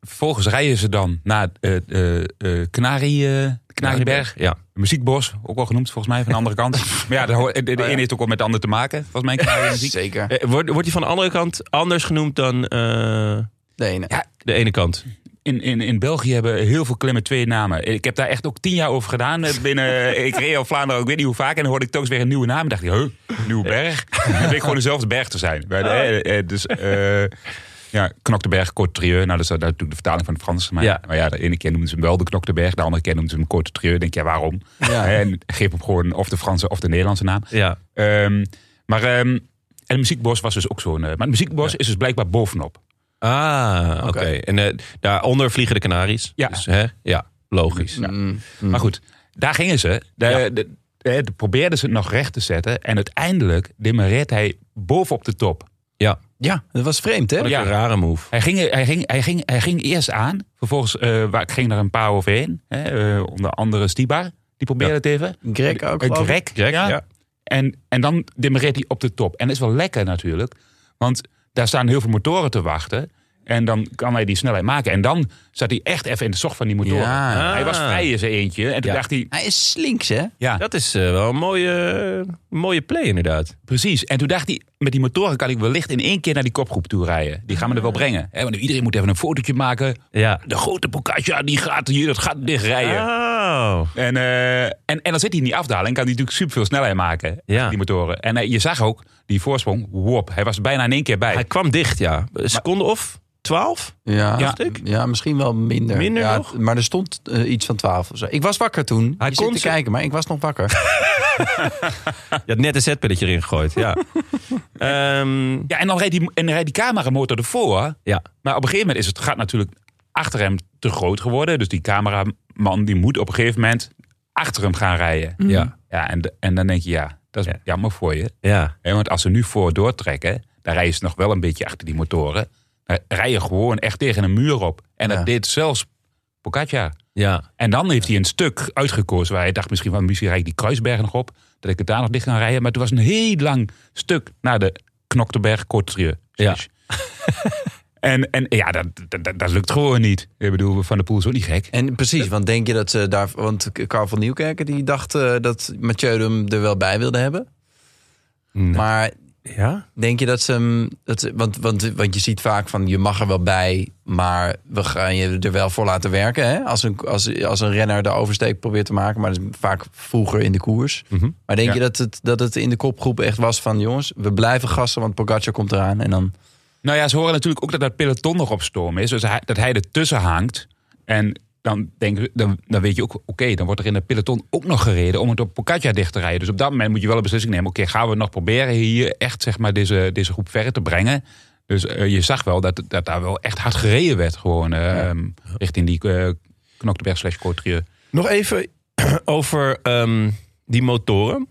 vervolgens rijden ze dan naar eh eh eh Canari, eh, Canarieberg.
Ja.
Muziekbos, ook al genoemd volgens mij van de andere kant. maar Oh ja, de, ho- de, de ene heeft ook wel met de ander te maken. Volgens mij Canariemuziek.
Zeker.
Eh, Wordt, wordt hij van de andere kant anders genoemd dan eh,
Nee, nee.
de ene kant?
In, in, in België hebben heel veel klimmen twee namen. Ik heb daar echt ook tien jaar over gedaan. eh, Binnen, ik reed al Vlaanderen, ook, ik weet niet hoe vaak. En dan hoorde ik telkens weer een nieuwe naam. En dacht ik, huh, nieuwe berg? Dan bleek gewoon dezelfde berg te zijn. Maar,
Oh.
eh, eh, dus... eh ja, Knokteberg, Côte Trieux. Nou, dat is dat is natuurlijk de vertaling van het Frans. Maar
Ja.
ja. maar ja, de ene keer noemen ze hem wel de Knokteberg. De andere keer noemen ze hem Côte Trieux. Denk je, ja, waarom? En geef hem gewoon of de Franse of de Nederlandse naam.
Ja.
Ehm, maar ehm, en het muziekbos was dus ook zo'n... eh, maar het muziekbos is dus blijkbaar bovenop.
Ah, oké. En eh, daaronder vliegen de Canaries.
Ja.
Dus, hè? ja logisch.
Mm.
Maar goed, daar gingen ze. Daar,
Ja.
de- eh, de- probeerden ze het nog recht te zetten. En uiteindelijk demareert hij bovenop de top.
Ja,
Ja, dat was vreemd, hè?
wat
Ja.
een rare move.
Hij ging, hij ging, hij ging, hij ging eerst aan. Vervolgens eh, waar, ging er een paar overheen. Hè, eh, onder andere Stibar. Die probeerde
Ja.
het even.
Greg ook,
Eh,
geloof ik.
Greg, ja.
ja.
En, en dan demareert hij op de top. En dat is wel lekker natuurlijk. Want daar staan heel veel motoren te wachten. En dan kan hij die snelheid maken. En dan zat hij echt even in de zocht van die motoren.
Ja.
Hij was vrij in zijn eentje. En toen
Ja.
dacht hij,
Hij is slinks, hè?
ja,
Dat is eh, wel een mooie, mooie play inderdaad.
precies. En toen dacht hij, met die motoren kan ik wellicht in één keer naar die kopgroep toe rijden. Die gaan me er wel brengen. Hè, want iedereen moet even een fotootje maken.
Ja.
De grote Pocaccia, die gaat hier dat gat dichtrijden.
Oh.
En, eh, en, en dan zit hij in die afdaling, kan hij natuurlijk super veel snelheid maken.
Ja.
Die motoren. En eh, je zag ook die voorsprong, wop, hij was bijna in één keer bij.
Hij kwam dicht, ja. Een seconde of twaalf?
Ja,
Dacht ik.
ja misschien wel minder.
Minder
ja,
nog?
Maar er stond eh, iets van 12 of zo. Ik was wakker toen. Hij
Hij
kon
kon
te
ze-
kijken, maar ik was nog wakker.
Je had net een zetpilletje erin gegooid, ja. Ehm,
Ja, en dan rijdt die, en dan rijdt die cameramotor ervoor.
ja.
Maar op een gegeven moment is het gat natuurlijk achter hem te groot geworden. Dus die cameraman die moet op een gegeven moment achter hem gaan rijden.
Ja.
Ja, en, de- en dan denk je, ja, dat is
Ja.
jammer voor je.
Ja.
Hè, want als ze nu voor doortrekken, dan rijden ze nog wel een beetje achter die motoren. Dan rij je gewoon echt tegen een muur op. En dat
Ja.
deed zelfs Pocaccia.
Ja.
En dan heeft hij een stuk uitgekozen waar hij dacht misschien van misschien rijd ik die Kruisberg nog op. Dat ik het daar nog dicht kan rijden. Maar het was een heel lang stuk naar de Knoktenberg Kortrieu.
Ja.
en, en ja, dat, dat, dat, dat lukt gewoon niet. Ik bedoel, Van de Poel is ook niet gek.
En precies, want denk je dat ze daar... Want Carl van Nieuwkerken die dacht eh, dat Mathieu hem er wel bij wilde hebben. Maar
Ja?
denk je dat ze hem... Dat ze- want, want, want je ziet vaak van, je mag er wel bij... maar we gaan je er wel voor laten werken. Hè? Als, een, als, als een renner de oversteek probeert te maken... maar dat is vaak vroeger in de koers. Maar denk
Ja.
je dat het, dat het in de kopgroep echt was van... jongens, we blijven gassen, want Pogacar komt eraan. En dan...
Nou ja, ze horen natuurlijk ook dat dat peloton nog op storm is. Dus hij, dat hij ertussen hangt. En dan, denk, dan, dan weet je ook, oké, dan wordt er in het peloton ook nog gereden om het op Pocaccia dicht te rijden. Dus op dat moment moet je wel een beslissing nemen. Oké, gaan we het nog proberen hier echt zeg maar, deze, deze groep verder te brengen? Dus eh, je zag wel dat, dat daar wel echt hard gereden werd. Gewoon eh, ehm, richting die eh Knokteberg slash Cotrieu.
Nog even over ehm, die motoren.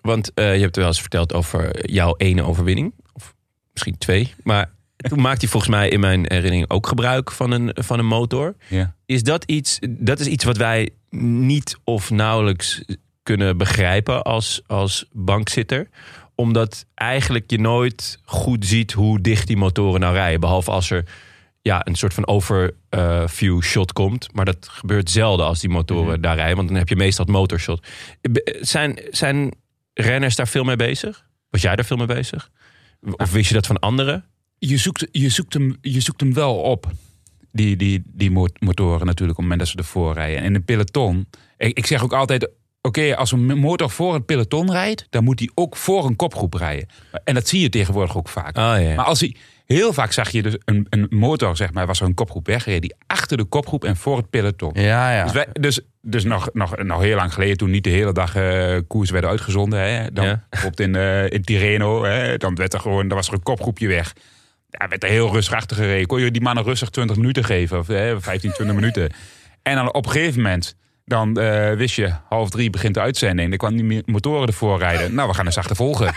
Want eh, je hebt er wel eens verteld over jouw ene overwinning. Of misschien twee. Maar toen maakte hij volgens mij in mijn herinnering ook gebruik van een, van een motor.
Ja.
Is dat iets, dat is iets wat wij niet of nauwelijks kunnen begrijpen als, als bankzitter? Omdat eigenlijk je nooit goed ziet hoe dicht die motoren nou rijden. Behalve als er ja, een soort van overview eh, shot komt. Maar dat gebeurt zelden als die motoren
Mhm.
daar rijden. Want dan heb je meestal het motorshot. Be- Zijn, zijn renners daar veel mee bezig? Was jij daar veel mee bezig? Of wist je dat van anderen?
Je, zoekt, je, zoekt hem, je zoekt hem wel op. die, die, die mo- motoren natuurlijk op het moment dat ze ervoor rijden. En een peloton. Ik, ik zeg ook altijd, oké, als een motor voor een peloton rijdt, dan moet hij ook voor een kopgroep rijden. En dat zie je tegenwoordig ook vaak.
Ah, ja.
Maar als hij, heel vaak zag je dus een, een motor, zeg maar, was er een kopgroep weggereden, die achter de kopgroep en voor het peloton.
Ja, ja.
Dus, wij- dus, dus nog, nog, nog heel lang geleden, toen niet de hele dag eh koers werden uitgezonden. Hè, dan,
Ja.
Bijvoorbeeld in, eh, in Tireno, hè, dan, werd er gewoon, dan was er een kopgroepje weg. Ja, werd er heel rustig achter gereden. Kon je die mannen rustig 20 minuten geven, of hè, 15, 20 minuten. En dan op een gegeven moment, dan eh, wist je, half drie begint de uitzending. Dan kwamen die motoren ervoor rijden. Nou, we gaan eens achtervolgen.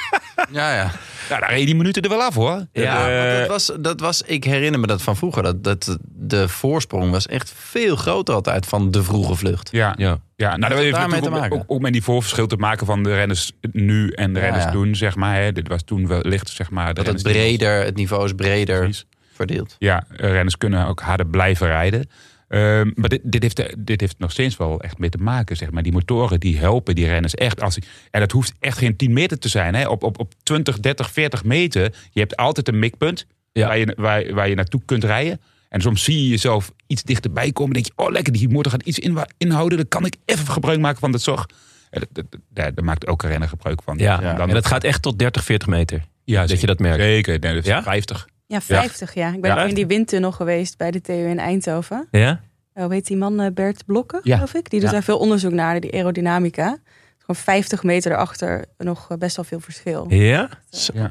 Ja, ja.
nou, daar reed die minuten er wel af hoor.
Ja,
Eh,
want dat was, dat was, ik herinner me dat van vroeger. Dat, dat de voorsprong was echt veel groter altijd van de vroege vlucht.
Ja, ja.
Ja.
nou, dat
Wat
heeft
heeft daarmee
natuurlijk
te
ook,
maken?
Ook, ook met die voorverschil te maken van de renners nu en de
Ja,
renners
ja.
doen, zeg maar. Hè. Dit was toen wellicht, zeg maar. de
Dat het
renners die-
breder, het niveau is breder
Precies.
verdeeld.
Ja, eh, renners kunnen ook harder blijven rijden. Ehm, maar dit, dit, heeft, dit heeft nog steeds wel echt mee te maken, zeg maar. Die motoren die helpen die renners echt. Als, en dat hoeft echt geen 10 meter te zijn. Hè. Op, op, op 20, 30, 40 meter, je hebt altijd een mikpunt
Ja.
waar, je, waar, waar je naartoe kunt rijden. En soms zie je jezelf iets dichterbij komen. denk je, oh lekker, die motor gaat iets inwa- inhouden. Dan kan ik even gebruik maken van dat zorg. En dat- dat- dat- Daar daar maakt elke renner gebruik van.
Ja,
Dan-
en dat gaat echt tot 30, 40 meter.
ja,
dat je dat merkt.
Zeker, nee, dat is
Ja?
50.
Ja, 50 ja. Ik ben
Ja.
ook in die windtunnel geweest bij de TU in Eindhoven.
Ja?
Eh, Hoe heet die man? eh, Bert Blokken,
Ja.
geloof ik. Die doet
Ja.
daar veel onderzoek naar, die aerodynamica. Gewoon 50 meter erachter nog eh, best wel veel verschil.
Ja?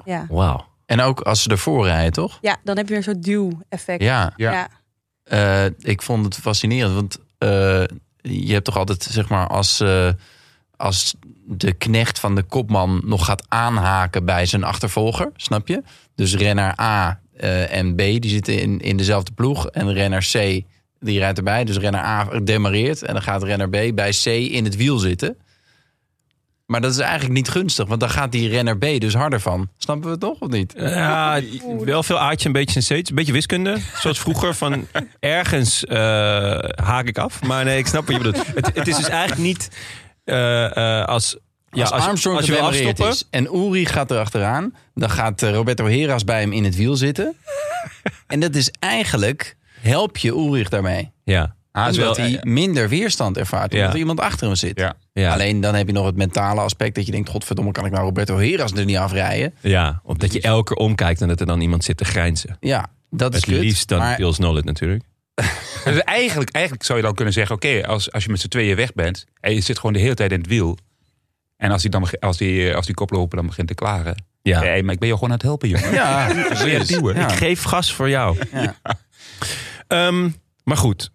Ja,
Wauw.
En ook als ze ervoor rijden, toch?
ja dan heb je weer zo'n duw-effect.
Ja,
Ja.
eh, ik vond het fascinerend. Want eh, je hebt toch altijd, zeg maar, als, eh, als de knecht van de kopman nog gaat aanhaken bij zijn achtervolger, snap je? Dus renner A eh, en B, die zitten in, in dezelfde ploeg. En renner C, die rijdt erbij. Dus renner A demareert en dan gaat renner B bij C in het wiel zitten. Maar dat is eigenlijk niet gunstig, want dan gaat die renner B dus harder van. Snappen we het toch of niet?
Ja, wel veel aardje, een beetje steeds. Een beetje wiskunde. Zoals vroeger van ergens eh, haak ik af. Maar nee, ik snap wat je bedoelt. Het, het is dus eigenlijk niet eh, eh, als... Ja,
als, Armstrong
als je wil
gedemoreerd
afstoppen,
is en Uri gaat erachteraan, dan gaat eh, Roberto Heras bij hem in het wiel zitten. en dat is eigenlijk, help je Ulrich daarmee.
eh, Ja.
Ah, is wel-
Zodat hij minder weerstand ervaart, omdat
Ja.
er iemand achter hem zit.
Ja.
Ja.
Alleen dan heb je nog het mentale aspect dat je denkt... godverdomme, kan ik nou Roberto Heras er niet afrijden?
eh, Ja, omdat je elke keer omkijkt en dat er dan iemand zit te grijnzen.
Ja, dat is
Het
kut.
liefst dan
maar
Pils Nollet natuurlijk.
Dus eigenlijk, eigenlijk zou je dan kunnen zeggen: oké, als, als je met z'n tweeën weg bent en je zit gewoon de hele tijd in het wiel. En als die, dan, beg- als die, eh, als die koploper dan begint te klagen.
Ja.
Hé, maar ik ben jou gewoon aan het helpen, jongen.
ja,
Ja,
precies.
duwen.
Ja.
Ik geef gas voor jou.
Ja.
Ehm, maar goed,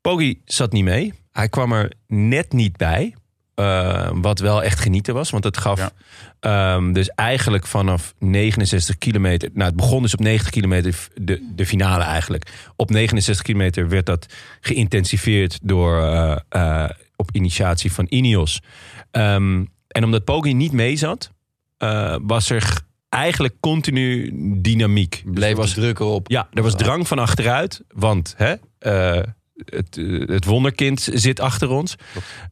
Poggi zat niet mee. Hij kwam er net niet bij. Eh, wat wel echt genieten was. Want het gaf ehm, dus eigenlijk vanaf 69 kilometer... Nou, het begon dus op 90 kilometer, de, de finale eigenlijk. Op 69 kilometer werd dat geïntensiveerd door... eh, eh, op initiatie van Ineos. Ehm, en omdat Poggi niet mee zat... eh, was er g- eigenlijk continu dynamiek. Dus
Bleef
er was
was drukken op.
ja, er was drang van achteruit. Want hè, eh, het, eh, het wonderkind zit achter ons.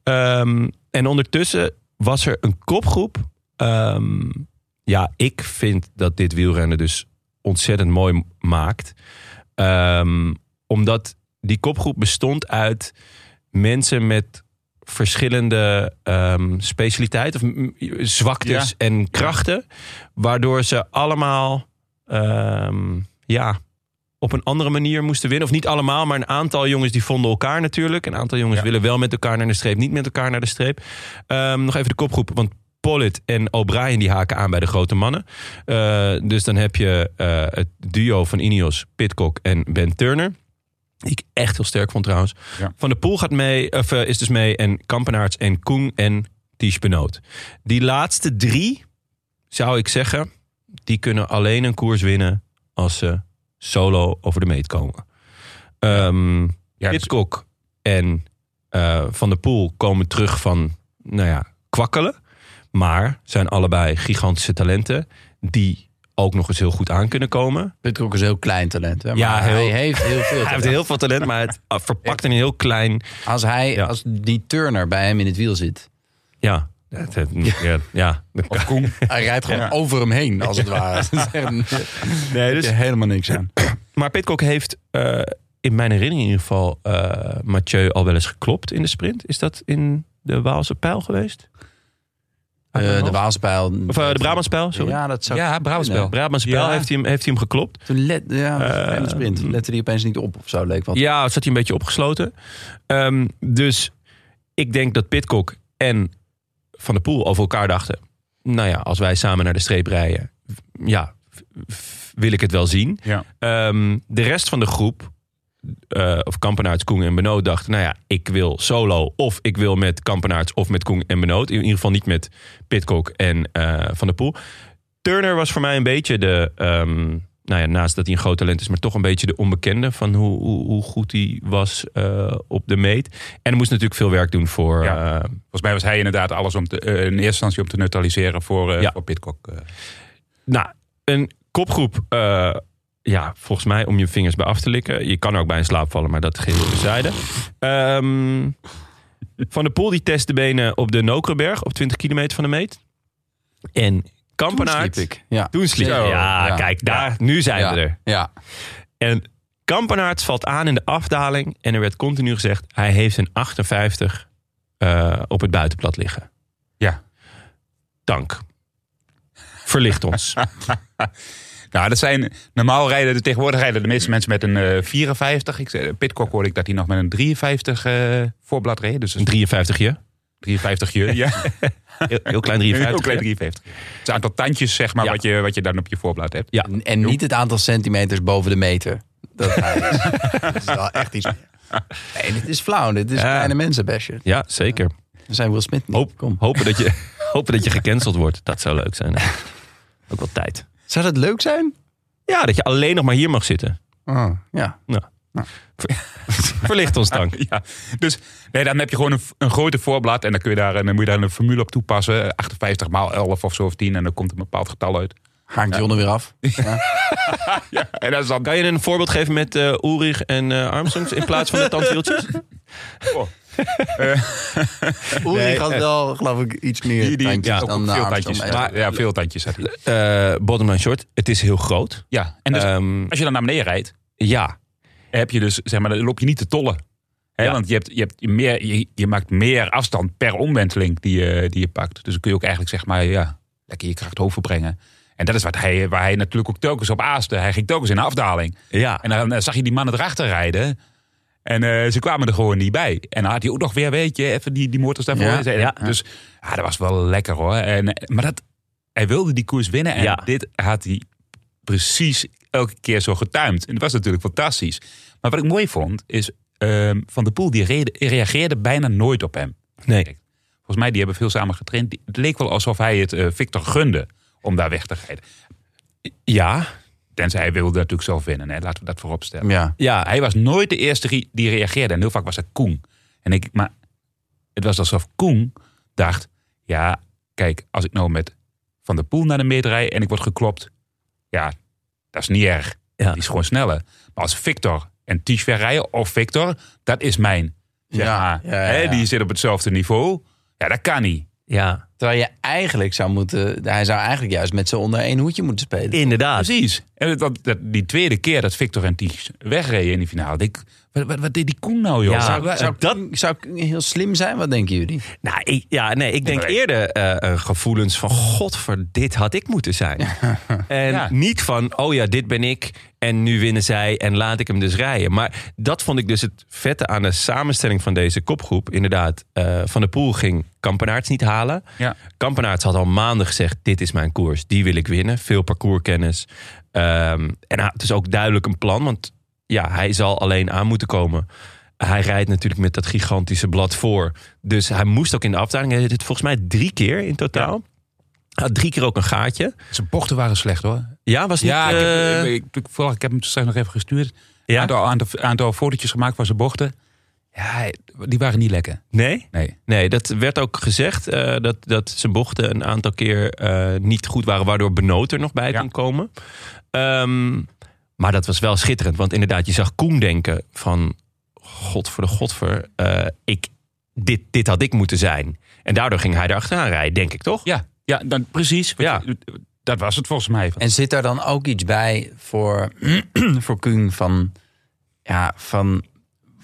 Ehm, en ondertussen was er een kopgroep. Ehm, ja, ik vind dat dit wielrennen dus ontzettend mooi m- maakt. Ehm, omdat die kopgroep bestond uit mensen met verschillende ehm, specialiteiten, of mm, zwaktes
Ja.
en krachten. Waardoor ze allemaal ehm, ja, op een andere manier moesten winnen. Of niet allemaal, maar een aantal jongens die vonden elkaar natuurlijk. Een aantal jongens willen wel met elkaar naar de streep, niet met elkaar naar de streep. Ehm, nog even de kopgroep, want Pollitt en O'Brien die haken aan bij de grote mannen. Eh, dus dan heb je eh, het duo van Ineos, Pitcock en Ben Turner. Die ik echt heel sterk vond trouwens.
Ja.
Van der Poel gaat mee, of, eh, is dus mee. En Kampenaerts en Koen en Ties Benoot. Die laatste drie, zou ik zeggen... die kunnen alleen een koers winnen... als ze solo over de meet komen. Ehm
Ja, dus-
Pitcock en eh, Van der Poel komen terug van... nou ja, kwakkelen. Maar zijn allebei gigantische talenten... die ook nog eens heel goed aan kunnen komen.
Pitcock is een heel klein talent. Hè? Maar
Ja, heel-
hij heeft heel veel
Hij heeft
talent.
heel veel talent, maar het ah, verpakt in een heel klein.
Als, hij,
Ja.
als die Turner bij hem in het wiel zit...
Ja. Het- het- Ja. ja.
Of Koen.
Hij rijdt gewoon over hem heen, als het ware. Dat is echt een-
Nee,
heb je helemaal niks aan.
Maar Pitcock heeft, eh, in mijn herinnering in ieder geval, eh, Mathieu al wel eens geklopt in de sprint. Is dat in de Waalse pijl geweest? Uit mijn
Eh, de
hoofd?
Waalspijl.
Ah, of eh, de Brabantspijl, sorry.
Ja, dat zou...
Ja, Brabantspel.
Brabantspijl
Ja.
heeft, hij hem, heeft hij hem geklopt.
Toen let, ja, dat was een
Eh,
vreemde sprint. Toen lette die opeens niet op of zo, leek wat.
Ja, zat hij een beetje opgesloten. Ehm, dus ik denk dat Pitcock en Van der Poel over elkaar dachten... nou ja, als wij samen naar de streep rijden... ja, v- v- wil ik het wel zien.
Ja.
Ehm, de rest van de groep, eh, of Kampenaerts, Koen en Benoot, dacht... nou ja, ik wil solo of ik wil met Kampenaerts of met Koen en Benoot. In ieder geval niet met Pitcock en eh, Van der Poel. Turner was voor mij een beetje de... ehm, nou ja, naast dat hij een groot talent is, maar toch een beetje de onbekende... van hoe, hoe, hoe goed hij was eh, op de meet. En er moest natuurlijk veel werk doen voor...
Ja.
eh,
Volgens mij was hij inderdaad alles om te, eh, in eerste instantie om te neutraliseren voor, eh,
Ja.
voor Pitcock. eh.
Nou, een kopgroep. eh, ja, volgens mij om je vingers bij af te likken. Je kan ook bij een slaap vallen, maar dat geheel terzijde. Ehm van der Poel die test de benen op de Nokerenberg. Op 20 kilometer van de meet. En Kampenaert.
Toen sliep ik. Ja.
Toen sliep
Zo,
Ja,
ja.
kijk, daar, nu zijn
ja.
we er.
Ja.
En Kampenaerts valt aan in de afdaling. En er werd continu gezegd, hij heeft een 58 eh, op het buitenplat liggen.
Ja.
Dank. Verlicht ons.
Nou, dat zijn, normaal rijden de, tegenwoordig rijden de meeste mensen met een eh, 54. Ik, zei- Pitcock hoorde ik dat hij nog met een 53 eh, voorblad reed. Dus
Een
een
53-je.
53 je. Ja.
Heel, heel klein 53.
Heel klein 53. Het aantal tandjes, zeg maar,
Ja.
wat, je, wat je dan op je voorblad hebt.
Ja.
En- En niet het aantal centimeters boven de meter. Dat, hij is. dat is wel echt iets meer. Nee, dit is flauw. Dit is
Ja.
kleine mensen, Basje.
Ja, zeker.
We zijn Will Smith niet.
Hoop,
Kom.
Hopen, dat je, hopen dat je gecanceld wordt. Dat zou leuk zijn. Ook wel tijd.
Zou dat leuk zijn?
Ah.
Ja, dat je alleen nog maar hier mag zitten.
Oh, ja.
Ja. Verlicht ons dank.
Ja, dus nee, dan heb je gewoon een, een grote voorblad en dan, kun je daar, en dan moet je daar een formule op toepassen. eh, 58 maal 11 of zo of 10 en dan komt een bepaald getal uit.
Haakt John er weer af.
Ja, en dat is dan...
Kan je een voorbeeld geven met eh Ulrich en eh, Armstrong in plaats van de tandwieltjes?
Oerie
Nee,
gaat
eh,
wel, geloof ik, iets meer
Die, die,
tandjes
ja,
dan
ook
de
eh,
veel
Armstrong.
tandjes.
Maar-
Maar, ja, veel tandjes had hij.
Eh bottom line short, het is heel groot.
Ja, en dus
Ehm,
als je dan naar beneden rijdt,
ja,
heb je dus, zeg maar, dan loop je niet te tollen. Hè,
Ja.
Want je, hebt, je, hebt meer, je, je maakt meer afstand per omwenteling die je, die je pakt. Dus dan kun je ook eigenlijk zeg maar, ja, lekker je kracht overbrengen. En dat is wat hij, waar hij natuurlijk ook telkens op aaste. Hij ging telkens in een afdaling.
ja.
En dan eh, zag je die mannen erachter rijden. En eh, ze kwamen er gewoon niet bij. En dan had hij ook nog weer, weet je, even die, die motors daarvoor.
Ja,
En-
ja.
Dus ja, dat was wel lekker hoor. En, eh, maar dat, hij wilde die koers winnen. En
Ja.
dit had hij precies elke keer zo getuimd. En dat was natuurlijk fantastisch. Maar wat ik mooi vond, is ehm, Van der Poel die rede- reageerde bijna nooit op hem.
Nee.
Volgens mij, die hebben veel samen getraind. Die- Het leek wel alsof hij het eh, Victor gunde om daar weg te rijden.
Ja,
Tenzij hij wilde natuurlijk zelf winnen. Hè. Laten we dat voorop stellen.
Ja.
Ja,
ja.
hij was nooit de eerste die- die reageerde. En heel vaak was dat Koen. En ik, maar het was alsof Koen dacht... Ja, kijk, als ik nou met Van der Poel naar de meet rijd en ik word geklopt... Ja, dat is niet erg.
Ja.
Die is gewoon sneller. Maar als Victor en Tichver rijden, of Victor, dat is mijn. Zeg
Ja,
maar.
ja, ja,
Hè,
ja.
die zit op hetzelfde niveau. Ja, dat kan niet.
ja.
Terwijl je eigenlijk zou moeten... Hij zou eigenlijk juist met z'n onder één hoedje moeten spelen.
inderdaad.
Precies. En dat, dat, dat- die tweede keer dat Victor en Ties wegreden in die finale. denk Ik, wat, wat, wat deed die Koen nou, joh?
Ja.
Zou-
Zou, zou,
dat-
zou ik heel slim zijn? Wat denken jullie?
Nou, ik, ja, nee, ik denk
maar ik-
eerder eh, eh, gevoelens van... Godver, dit had ik moeten zijn. en
Ja.
niet van, oh ja, dit ben ik en nu winnen zij en laat ik hem dus rijden. Maar dat vond ik dus het vette aan de samenstelling van deze kopgroep. Inderdaad, eh, Van der Poel ging Kampenaerts niet halen.
Ja.
Kampenaerts had al maanden gezegd, dit is mijn koers, die wil ik winnen. Veel parcourskennis. Ehm, en hij- het is ook duidelijk een plan, want ja, hij zal alleen aan moeten komen. Hij rijdt natuurlijk met dat gigantische blad voor. Dus hij moest ook in de afdaling. Hij deed het volgens mij drie keer in totaal. Hij had drie keer ook een gaatje.
Zijn bochten waren slecht hoor.
Ja, was niet...
Ja, ik,
eh,
heb, ik, ik, vooral, ik heb hem straks nog even gestuurd. Een
Ja?
aantal, aantal, aantal fotootjes gemaakt van zijn bochten. Ja, die waren niet lekker.
Nee?
Nee.
Nee, dat werd ook gezegd. eh, dat, dat zijn bochten een aantal keer eh, niet goed waren. Waardoor Benoot er nog bij
Ja.
kon komen. Ehm, maar dat was wel schitterend. Want inderdaad, je zag Koen denken van... God voor de godver. eh, ik, dit, dit had ik moeten zijn. En daardoor ging hij erachteraan rijden, denk ik toch?
Ja, ja dan, precies.
Ja.
Want je- Dat was het volgens mij.
En zit daar dan ook iets bij voor, voor Kung van, ja, van,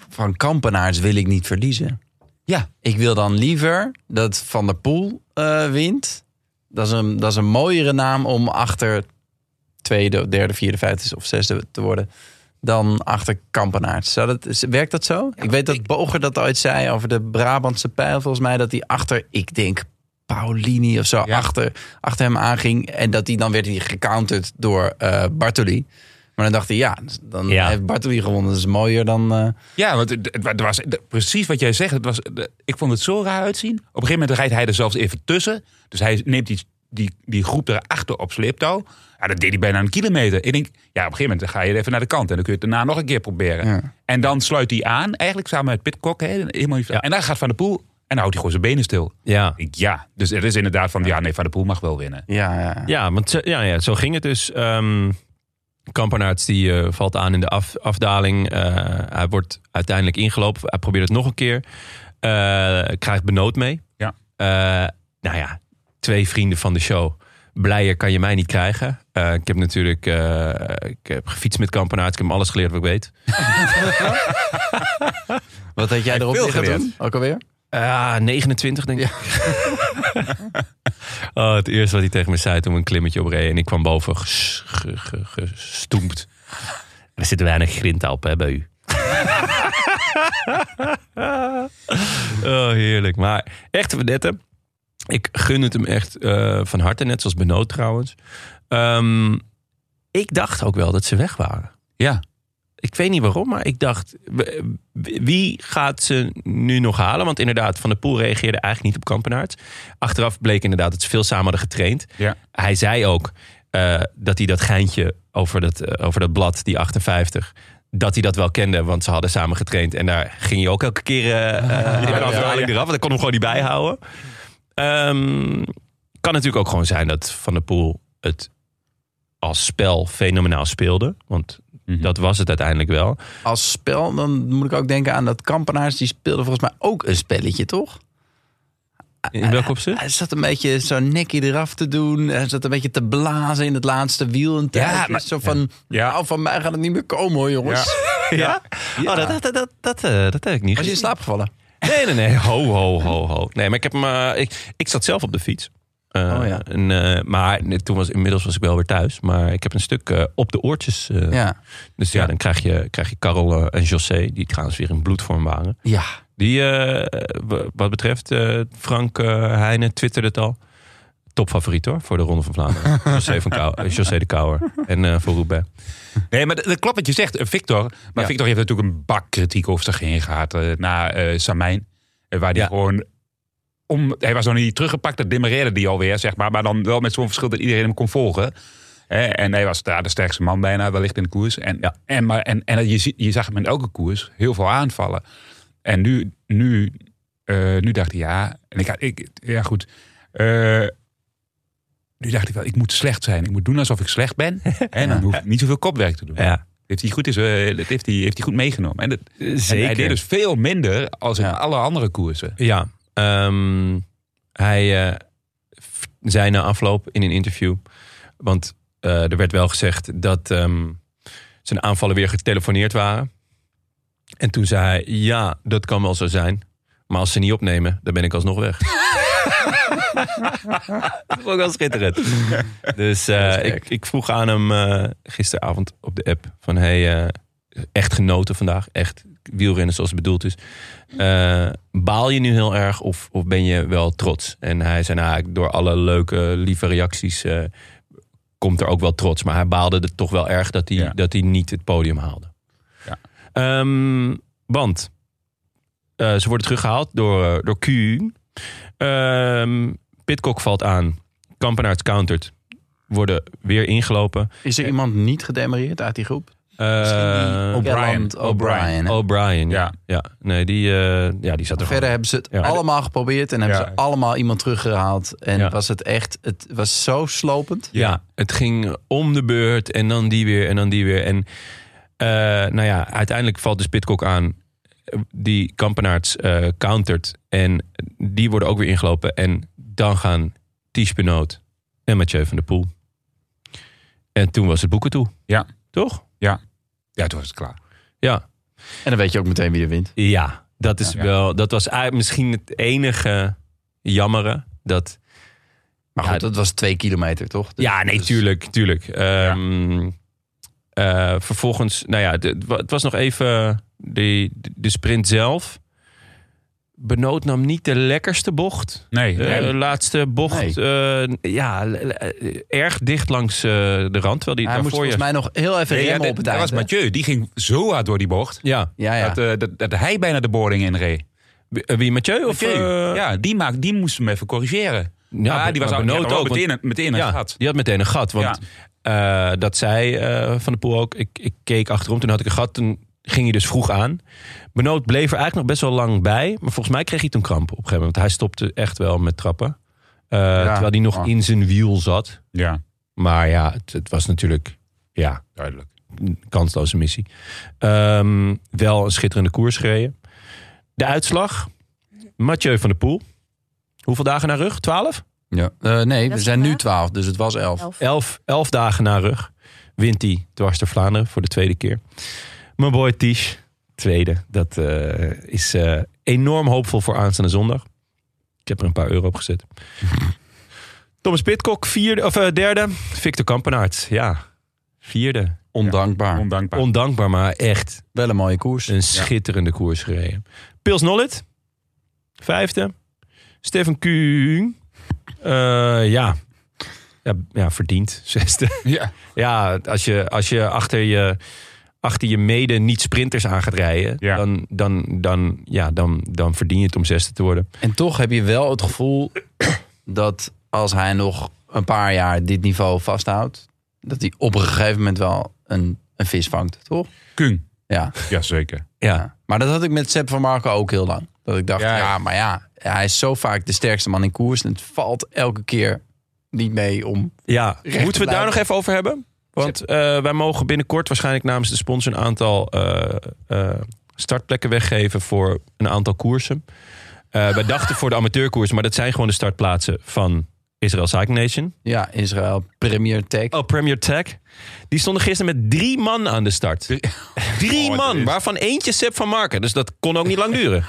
van kampenaars wil ik niet verliezen?
Ja.
Ik wil dan liever dat Van der Poel eh, wint. Dat is, een, dat is een mooiere naam om achter tweede, derde, vierde, vijfde of zesde te worden. Dan achter Kampenaerts. Zou dat, is- werkt dat zo? ik weet dat Boger dat ooit zei over de Brabantse pijl. Volgens mij dat hij achter, ik denk, Paulini of zo,
Ja.
achter, achter hem aanging. En dat hij dan werd hij gecounterd door eh, Bartoli. Maar dan dacht hij, ja, dan
Ja.
heeft Bartoli gewonnen. Dat is mooier dan... eh,
Ja, want het, het wa- het was het- precies wat jij zegt. Het was, de- ik vond het zo raar uitzien. Op een gegeven moment rijdt hij er zelfs even tussen. Dus hij neemt die, die, die groep erachter op sleeptouw. Ja, dat deed hij bijna een kilometer. Ik denk, ja, op een gegeven moment dan ga je even naar de kant. En dan kun je het daarna nog een keer proberen.
Ja.
En dan sluit hij aan, eigenlijk samen met Pitcock. Hè, helemaal niet- En dan gaat Van der Poel en dan houdt hij gewoon zijn benen stil.
Ja.
Ik, ja, dus er is inderdaad van, ja nee, Van der Poel mag wel winnen.
ja, ja.
Ja, want zo, ja, ja, zo ging het dus. Ehm Kampenaerts die eh, valt aan in de af, afdaling. Eh, hij wordt uiteindelijk ingelopen. Hij probeert het nog een keer. Eh, krijgt benood mee.
Ja.
Eh, nou ja, twee vrienden van de show. Blijer kan je mij niet krijgen. Eh, ik heb natuurlijk eh, ik heb gefietst met Kampenaerts. Ik heb hem alles geleerd wat ik weet.
Wat had jij erop
veel
liggen
geleerd.
toen? Ook alweer?
Ah, 29 denk ik. oh, het eerste wat hij tegen me zei toen we een klimmetje opreden. En ik kwam boven ges- ge- ge- gestoemd. Er zit weinig grinta op hè, bij u. oh, heerlijk. Maar echt verdetten. Ik gun het hem echt eh, van harte. Net zoals Benoot trouwens. Ehm, ik dacht ook wel dat ze weg waren.
Ja.
Ik weet niet waarom, maar ik dacht... w- wie gaat ze nu nog halen? Want inderdaad, Van der Poel reageerde eigenlijk niet op Kampenaerts. Achteraf bleek inderdaad dat ze veel samen hadden getraind.
Ja.
Hij zei ook eh, dat hij dat geintje over dat, eh, over dat blad, die 58... dat hij dat wel kende, want ze hadden samen getraind. En daar ging hij ook elke keer eh, eh, in een afdaling eraf, want ik kon hem gewoon niet bijhouden. Ehm, kan natuurlijk ook gewoon zijn dat Van der Poel het als spel fenomenaal speelde. Want
Mhm.
dat was het uiteindelijk wel.
Als spel, dan moet ik ook denken aan dat Kampenaars. Die speelde volgens mij ook een spelletje, toch? Eh,
In welk opzicht?
Hij zat een beetje zo'n nekje eraf te doen. Hij zat een beetje te blazen in het laatste wiel. En ja,
maar-
zo van, nou, van mij gaat het niet meer komen hoor, jongens.
Ja?
eh, Ja.
Oh, dat, dat, dat, dat, dat, eh, dat heb ik niet
Was je in
gezien.
slaap gevallen?
Nee, nee, nee. Ho, ho, ho, ho. Nee, maar ik, heb hem, eh, ik, ik zat zelf op de fiets. Eh,
Oh, ja.
en, eh, maar nee, toen was, inmiddels was ik wel weer thuis. Maar ik heb een stuk eh, op de oortjes. eh,
Ja.
Dus ja, dan krijg je, krijg je Karel eh, en José, die trouwens weer in bloedvorm waren.
Ja.
Die, eh, w- wat betreft eh, Frank eh Heijnen, twitterde het al. Topfavoriet hoor, voor de Ronde van Vlaanderen. José, van Kou- eh, José de Kouwer en eh voor Roubaix.
Nee, maar dat, dat klopt wat je zegt, eh, Victor. Maar
Ja.
Victor heeft natuurlijk een bak kritiek over zich heen gehad eh, na eh Samijn. eh, waar die gewoon... Om, hij was nog niet teruggepakt, dat demereerde die alweer, zeg maar. Maar dan wel met zo'n verschil dat iedereen hem kon volgen. Eh, en hij was daar de sterkste man bijna, wellicht in de koers. En, en, maar, en, en je, zie- je zag hem in elke koers heel veel aanvallen. En nu, nu, eh, nu dacht hij, ja... En ik, had- ik, ja, goed. Eh, nu dacht ik wel, ik moet slecht zijn. Ik moet doen alsof ik slecht ben. En dan hoef ik niet zoveel kopwerk te doen.
Ja.
Heeft hij goed, is, eh, dat heeft hij, heeft hij goed meegenomen. En, dat, en hij
zeker.
deed dus veel minder als in alle andere koersen.
Ja, ehm, hij eh, v- zei na afloop in een interview, want eh, er werd wel gezegd dat ehm, zijn aanvallen weer getelefoneerd waren. En toen zei hij, ja, dat kan wel zo zijn. Maar als ze niet opnemen, dan ben ik alsnog weg. Dat vond ik wel schitterend. Dus eh, ik, ik vroeg aan hem eh, gisteravond op de app van hey, eh, echt genoten vandaag, echt wielrennen zoals het bedoeld is. Eh, baal je nu heel erg of, of ben je wel trots? En hij zei nou, ik- door alle leuke, lieve reacties eh, komt er ook wel trots. Maar hij baalde er toch wel erg dat hij,
Ja.
dat hij niet het podium haalde.
Ja.
Ehm, want eh, ze worden teruggehaald door, eh, door Q. Ehm Pitcock valt aan. Kampenaerts countert. Worden weer ingelopen.
Is er iemand niet gedemareerd uit die groep?
Eh,
Misschien die
O'Brien.
Gallant O'Brien, hè?
O'Brien, ja. ja. Nee, die, eh, ja, die zat
Verder
er gewoon.
hebben ze het
Ja.
allemaal geprobeerd en hebben
Ja.
ze allemaal iemand teruggehaald. En
Ja.
was het echt, het was zo slopend.
Ja, het ging om de beurt en dan die weer en dan die weer. En eh, nou ja, uiteindelijk valt dus Pitcock aan. Die Kampenaerts eh countert. En die worden ook weer ingelopen. En dan gaan Ties Benoot en Mathieu van der Poel. En toen was het boeken toe.
Ja.
Toch?
Ja, toen was het klaar.
Ja.
En dan weet je ook meteen wie er wint.
Ja, dat is
Ja.
wel. Dat was eigenlijk misschien het enige jammere. Dat,
Maar
Ja,
goed, dat was twee kilometer, toch? Dus-
ja, nee,
dus-
tuurlijk, tuurlijk. Ehm, eh, vervolgens, nou ja, de- het wa- het was nog even die, de sprint zelf. Benoot nam niet de lekkerste bocht. Eh,
Nee,
De
nee.
laatste bocht, eh, ja, l- l- eh, erg dicht langs eh, de rand. Terwijl die
Hij moest
daarvoor je...
volgens mij nog heel even
Nee, ja,
remmen
dat,
op het
dat
eind.
was
hè?
Mathieu. Die ging zo hard door die bocht.
Ja,
Ja, ja.
Dat, eh, dat, dat hij bijna de boarding in reed.
Wie- wie, Mathieu? Of,
Mathieu.
eh,
ja, die, maakt, die moest hem even corrigeren.
Ja,
Ja,
maar-
die was
maar
ook
Benoot
die had wel
ook,
meteen, een- meteen een
ja,
gat.
Die had meteen een gat. Want eh, dat zei eh, Van der Poel ook. Ik, ik keek achterom, toen had ik een gat. Toen ging hij dus vroeg aan. Benoot bleef er eigenlijk nog best wel lang bij. Maar volgens mij kreeg hij toen kramp op een gegeven moment. Want hij stopte echt wel met trappen. Eh, Terwijl hij nog
Oh.
in zijn wiel zat.
Ja,
Maar ja, het, het was natuurlijk ja,
duidelijk.
een kansloze missie. Ehm, wel een schitterende koers gereden. De uitslag. Mathieu van der Poel. Hoeveel dagen naar rug? Twaalf?
Ja. Eh, nee,
Dat
we
is
zijn nu
vandaag?
12, dus het was 11.
Elf.
Elf, elf dagen na rug wint hij dwars door Vlaanderen voor de tweede keer. Mijn boy Tisch, tweede. Dat eh, is eh, enorm hoopvol voor aanstaande zondag. Ik heb er een paar euro op gezet. Thomas Pitcock, vierde, of, eh, derde. Victor Kampenaerts, ja. Vierde.
Ondankbaar.
Ondankbaar.
Ondankbaar, maar echt
Wel een mooie koers.
een schitterende koers gereden. Pils Nollet, vijfde. Stefan Kuhn, eh, ja. ja. Ja, verdiend, zesde.
ja.
Ja, als je, als je achter je achter je mede niet sprinters aan gaat rijden,
Ja.
dan, dan, dan, ja, dan, dan verdien je het om zesde te worden.
En toch heb je wel het gevoel dat als hij nog een paar jaar dit niveau vasthoudt, dat hij op een gegeven moment wel een, een vis vangt, toch?
Kung.
Ja.
ja, zeker.
Ja. Maar dat had ik met Sepp van Marco ook heel lang. Dat ik dacht, ja,
Ja.
maar ja, hij is zo vaak de sterkste man in koers. En het valt elke keer niet mee om...
Ja,
Recht
moeten we het daar
blijven.
nog even over hebben? Want eh, wij mogen binnenkort waarschijnlijk namens de sponsor een aantal eh, eh, startplekken weggeven voor een aantal koersen. Eh wij dachten voor de amateurkoersen, maar dat zijn gewoon de startplaatsen van Israël Cycling Nation.
Ja, Israël Premier Tech.
Oh, Premier Tech. Die stonden gisteren met drie man aan de start. Drie
Oh, dat
man,
is-
waarvan eentje Sepp van Marken. Dus dat kon ook niet lang duren.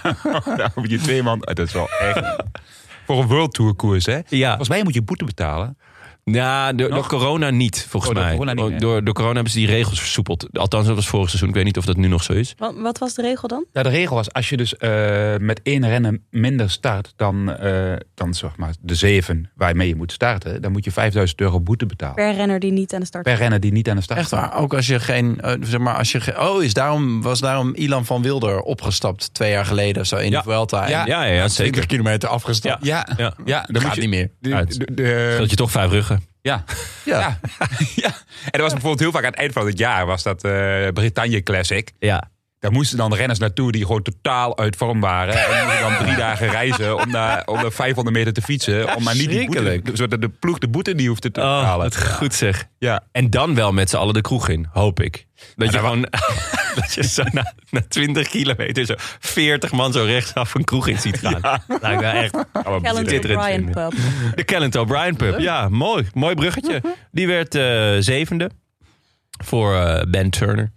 nou, moet je twee man... Dat is wel echt... Voor een World Tour koers, hè?
Ja.
Volgens mij moet je boete betalen.
Ja, door,
Nog?
door corona niet, volgens
Oh, door
mij.
corona niet,
Oh,
hè?
door, door corona hebben ze die regels versoepeld. Althans, dat was vorig seizoen. Ik weet niet of dat nu nog zo is.
Wat, wat was de regel dan?
Ja, de regel was, als je dus eh, met één rennen minder start dan, eh, dan zeg maar de zeven waarmee je moet starten, dan moet je 5000 euro boete betalen.
Per renner die niet aan de start
Per renner die niet aan de start
Echt
staat.
waar. Ook als je geen... eh, zeg maar, als je ge- oh, is daarom, was daarom Ilan van Wilder opgestapt twee jaar geleden. Zo in
Ja.
de Vuelta. En
Ja.
Ja, ja, ja
20
zeker.
kilometer afgestapt.
Ja,
Ja.
ja.
Dat
dan
gaat
moet je,
niet meer.
de-
Uit.
de- de-
Scheelt je toch vijf ruggen.
ja.
Ja.
Ja. ja. En dat was bijvoorbeeld heel vaak aan het eind van het jaar, was dat eh Bretagne Classic.
Ja.
Daar moesten dan renners naartoe die gewoon totaal uit vorm waren. En die moesten dan drie dagen reizen om naar, om naar 500 meter te fietsen. om maar niet die boete,
schrikkelijk.
zodat de ploeg de boete niet hoefde te
Oh,
betalen.
wat goed zeg.
Ja.
En dan wel met z'n allen de kroeg in, hoop ik. Dat je
dat wa-
gewoon dat je zo na, na 20 kilometer zo 40 man zo rechtsaf een kroeg in ziet gaan. Lijkt me echt eh,
Allemaal
Callum
boete.
Schitterend
O'Brien
vinden.
pub.
De Callent O'Brien pub. Ja, mooi. Mooi bruggetje. Die werd eh, zevende voor eh, Ben Turner.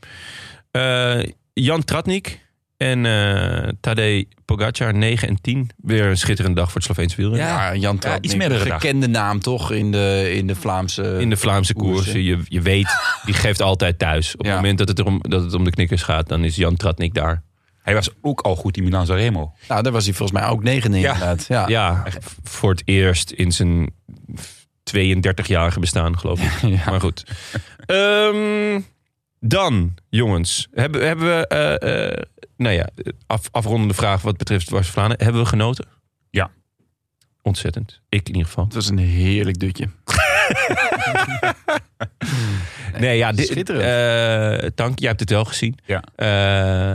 Eh, Jan Tratnik en eh Tadej Pogacar 9 en 10. Weer een schitterende dag voor het Sloveense wielrennen.
Ja, Jan Trapp,
iets meerdere dagen.
Gekende naam toch in de, in de Vlaamse...
In de Vlaamse koersen. Je, je weet, die geeft altijd thuis. Op
Ja.
het moment dat het, erom, dat het om de knikkers gaat, dan is Jan Tratnik daar.
Hij was ook al goed in Milan Remo.
Nou, daar was hij volgens mij ook negende
Ja.
inderdaad. Ja.
Ja, voor het eerst in zijn 32-jarige bestaan, geloof ik. Maar goed. Ehm, dan, jongens. Hebben, hebben we, eh, eh, nou ja, af, afrondende vraag wat betreft Dwars Vlaanderen. Hebben we genoten?
Ja.
Ontzettend. Ik in ieder geval.
Het was een heerlijk dutje.
Nee, ja, dit,
schitterend.
eh, Tank, jij hebt het wel gezien.
Ja.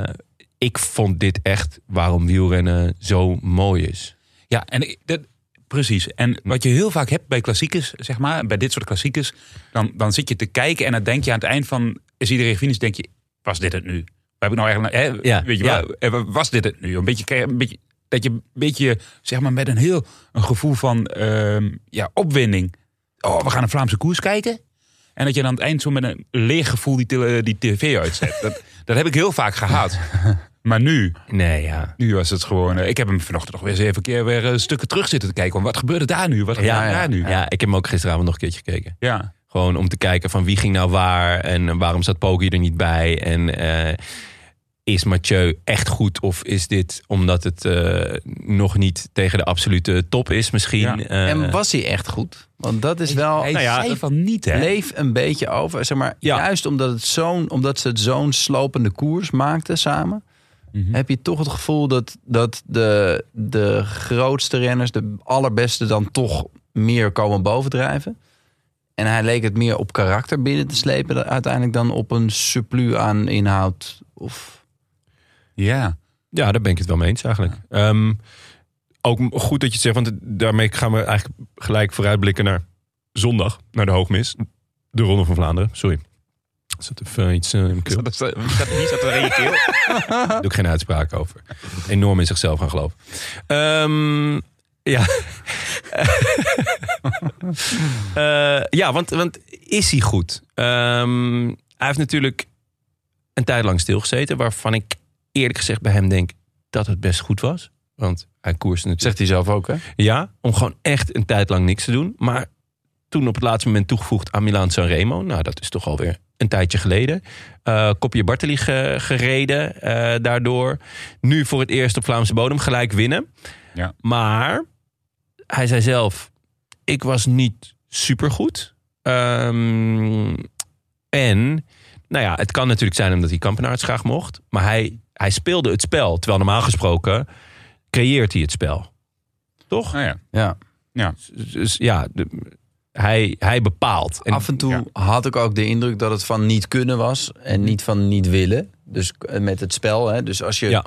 Eh, ik vond dit echt waarom wielrennen zo mooi is.
Ja, en ik- dat, precies. En
Hm.
wat je heel vaak hebt bij klassiekers, zeg maar, bij dit soort klassiekers, dan, dan zit je te kijken en dan denk je aan het eind van, is iedereen gefinished, denk je, was dit het nu? Waar heb ik nou eigenlijk, hè,
Ja,
weet je
ja.
wel, eh, was dit het nu? Een beetje, een beetje, dat je een beetje, zeg maar, met een heel een gevoel van ehm, ja, opwinding, oh, we gaan een Vlaamse koers kijken. En dat je dan aan het eind zo met een leeg gevoel die, tele- die tv uitzet. Dat, dat heb ik heel vaak gehad. Maar nu,
Nee, ja.
nu was het gewoon. eh, ik heb hem vanochtend nog weer eens even een keer weer eh, stukken terug zitten te kijken. Want wat gebeurde daar nu? Wat gebeurde
Ja, ja,
daar nu?
ja, ik heb hem ook gisteravond nog een keertje gekeken.
ja.
Gewoon om te kijken van wie ging nou waar en waarom zat Poggi er niet bij. En eh, is Mathieu echt goed of is dit omdat het eh, nog niet tegen de absolute top is misschien?
Ja.
Eh,
en was hij echt goed? Want dat is wel...
Hij
Nou ja,
zei van niet, hè?
Leef een beetje over. Zeg maar,
Ja.
Juist omdat, het zo'n, omdat ze het zo'n slopende koers maakten samen...
Mhm.
heb je toch het gevoel dat, dat de, de grootste renners... de allerbeste dan toch meer komen bovendrijven. En hij leek het meer op karakter binnen te slepen... dan- uiteindelijk dan op een surplus aan inhoud. Of,
Ja.
Ja, daar ben ik het wel mee eens eigenlijk. Ehm, ook m- goed dat je het zegt, want het- daarmee gaan we eigenlijk gelijk vooruitblikken naar zondag, naar de hoogmis. De Ronde van Vlaanderen, sorry. Er Zat even iets eh, in mijn keel.
Zat- zat- zat- Wie zat er in je keel?
Daar doe ik geen uitspraak over. Enorm in zichzelf gaan geloven. Ehm, ja. Eh, ja, want, want is hij goed? Ehm, hij heeft natuurlijk een tijd lang stilgezeten. Waarvan ik eerlijk gezegd bij hem denk dat het best goed was. Want hij koerste
zegt
natuurlijk.
hij zelf ook, hè?
Ja, om gewoon echt een tijd lang niks te doen. Maar toen op het laatste moment toegevoegd aan Milaan Sanremo. Nou, dat is toch alweer een tijdje geleden. Eh kopje Bartoli ge- gereden eh, daardoor. Nu voor het eerst op Vlaamse bodem gelijk winnen.
Ja.
Maar hij zei zelf, ik was niet supergoed. Ehm, en, nou ja, het kan natuurlijk zijn omdat hij Kampenaerts graag mocht. Maar hij, hij speelde het spel. Terwijl normaal gesproken creëert hij het spel. Toch?
Nou ja.
Ja.
Dus ja, de- hij, hij bepaalt. En
Af en toe
ja.
had ik ook de indruk dat het van niet kunnen was en niet van niet willen. Dus eh, met het spel. Hè? Dus als je.
Ja.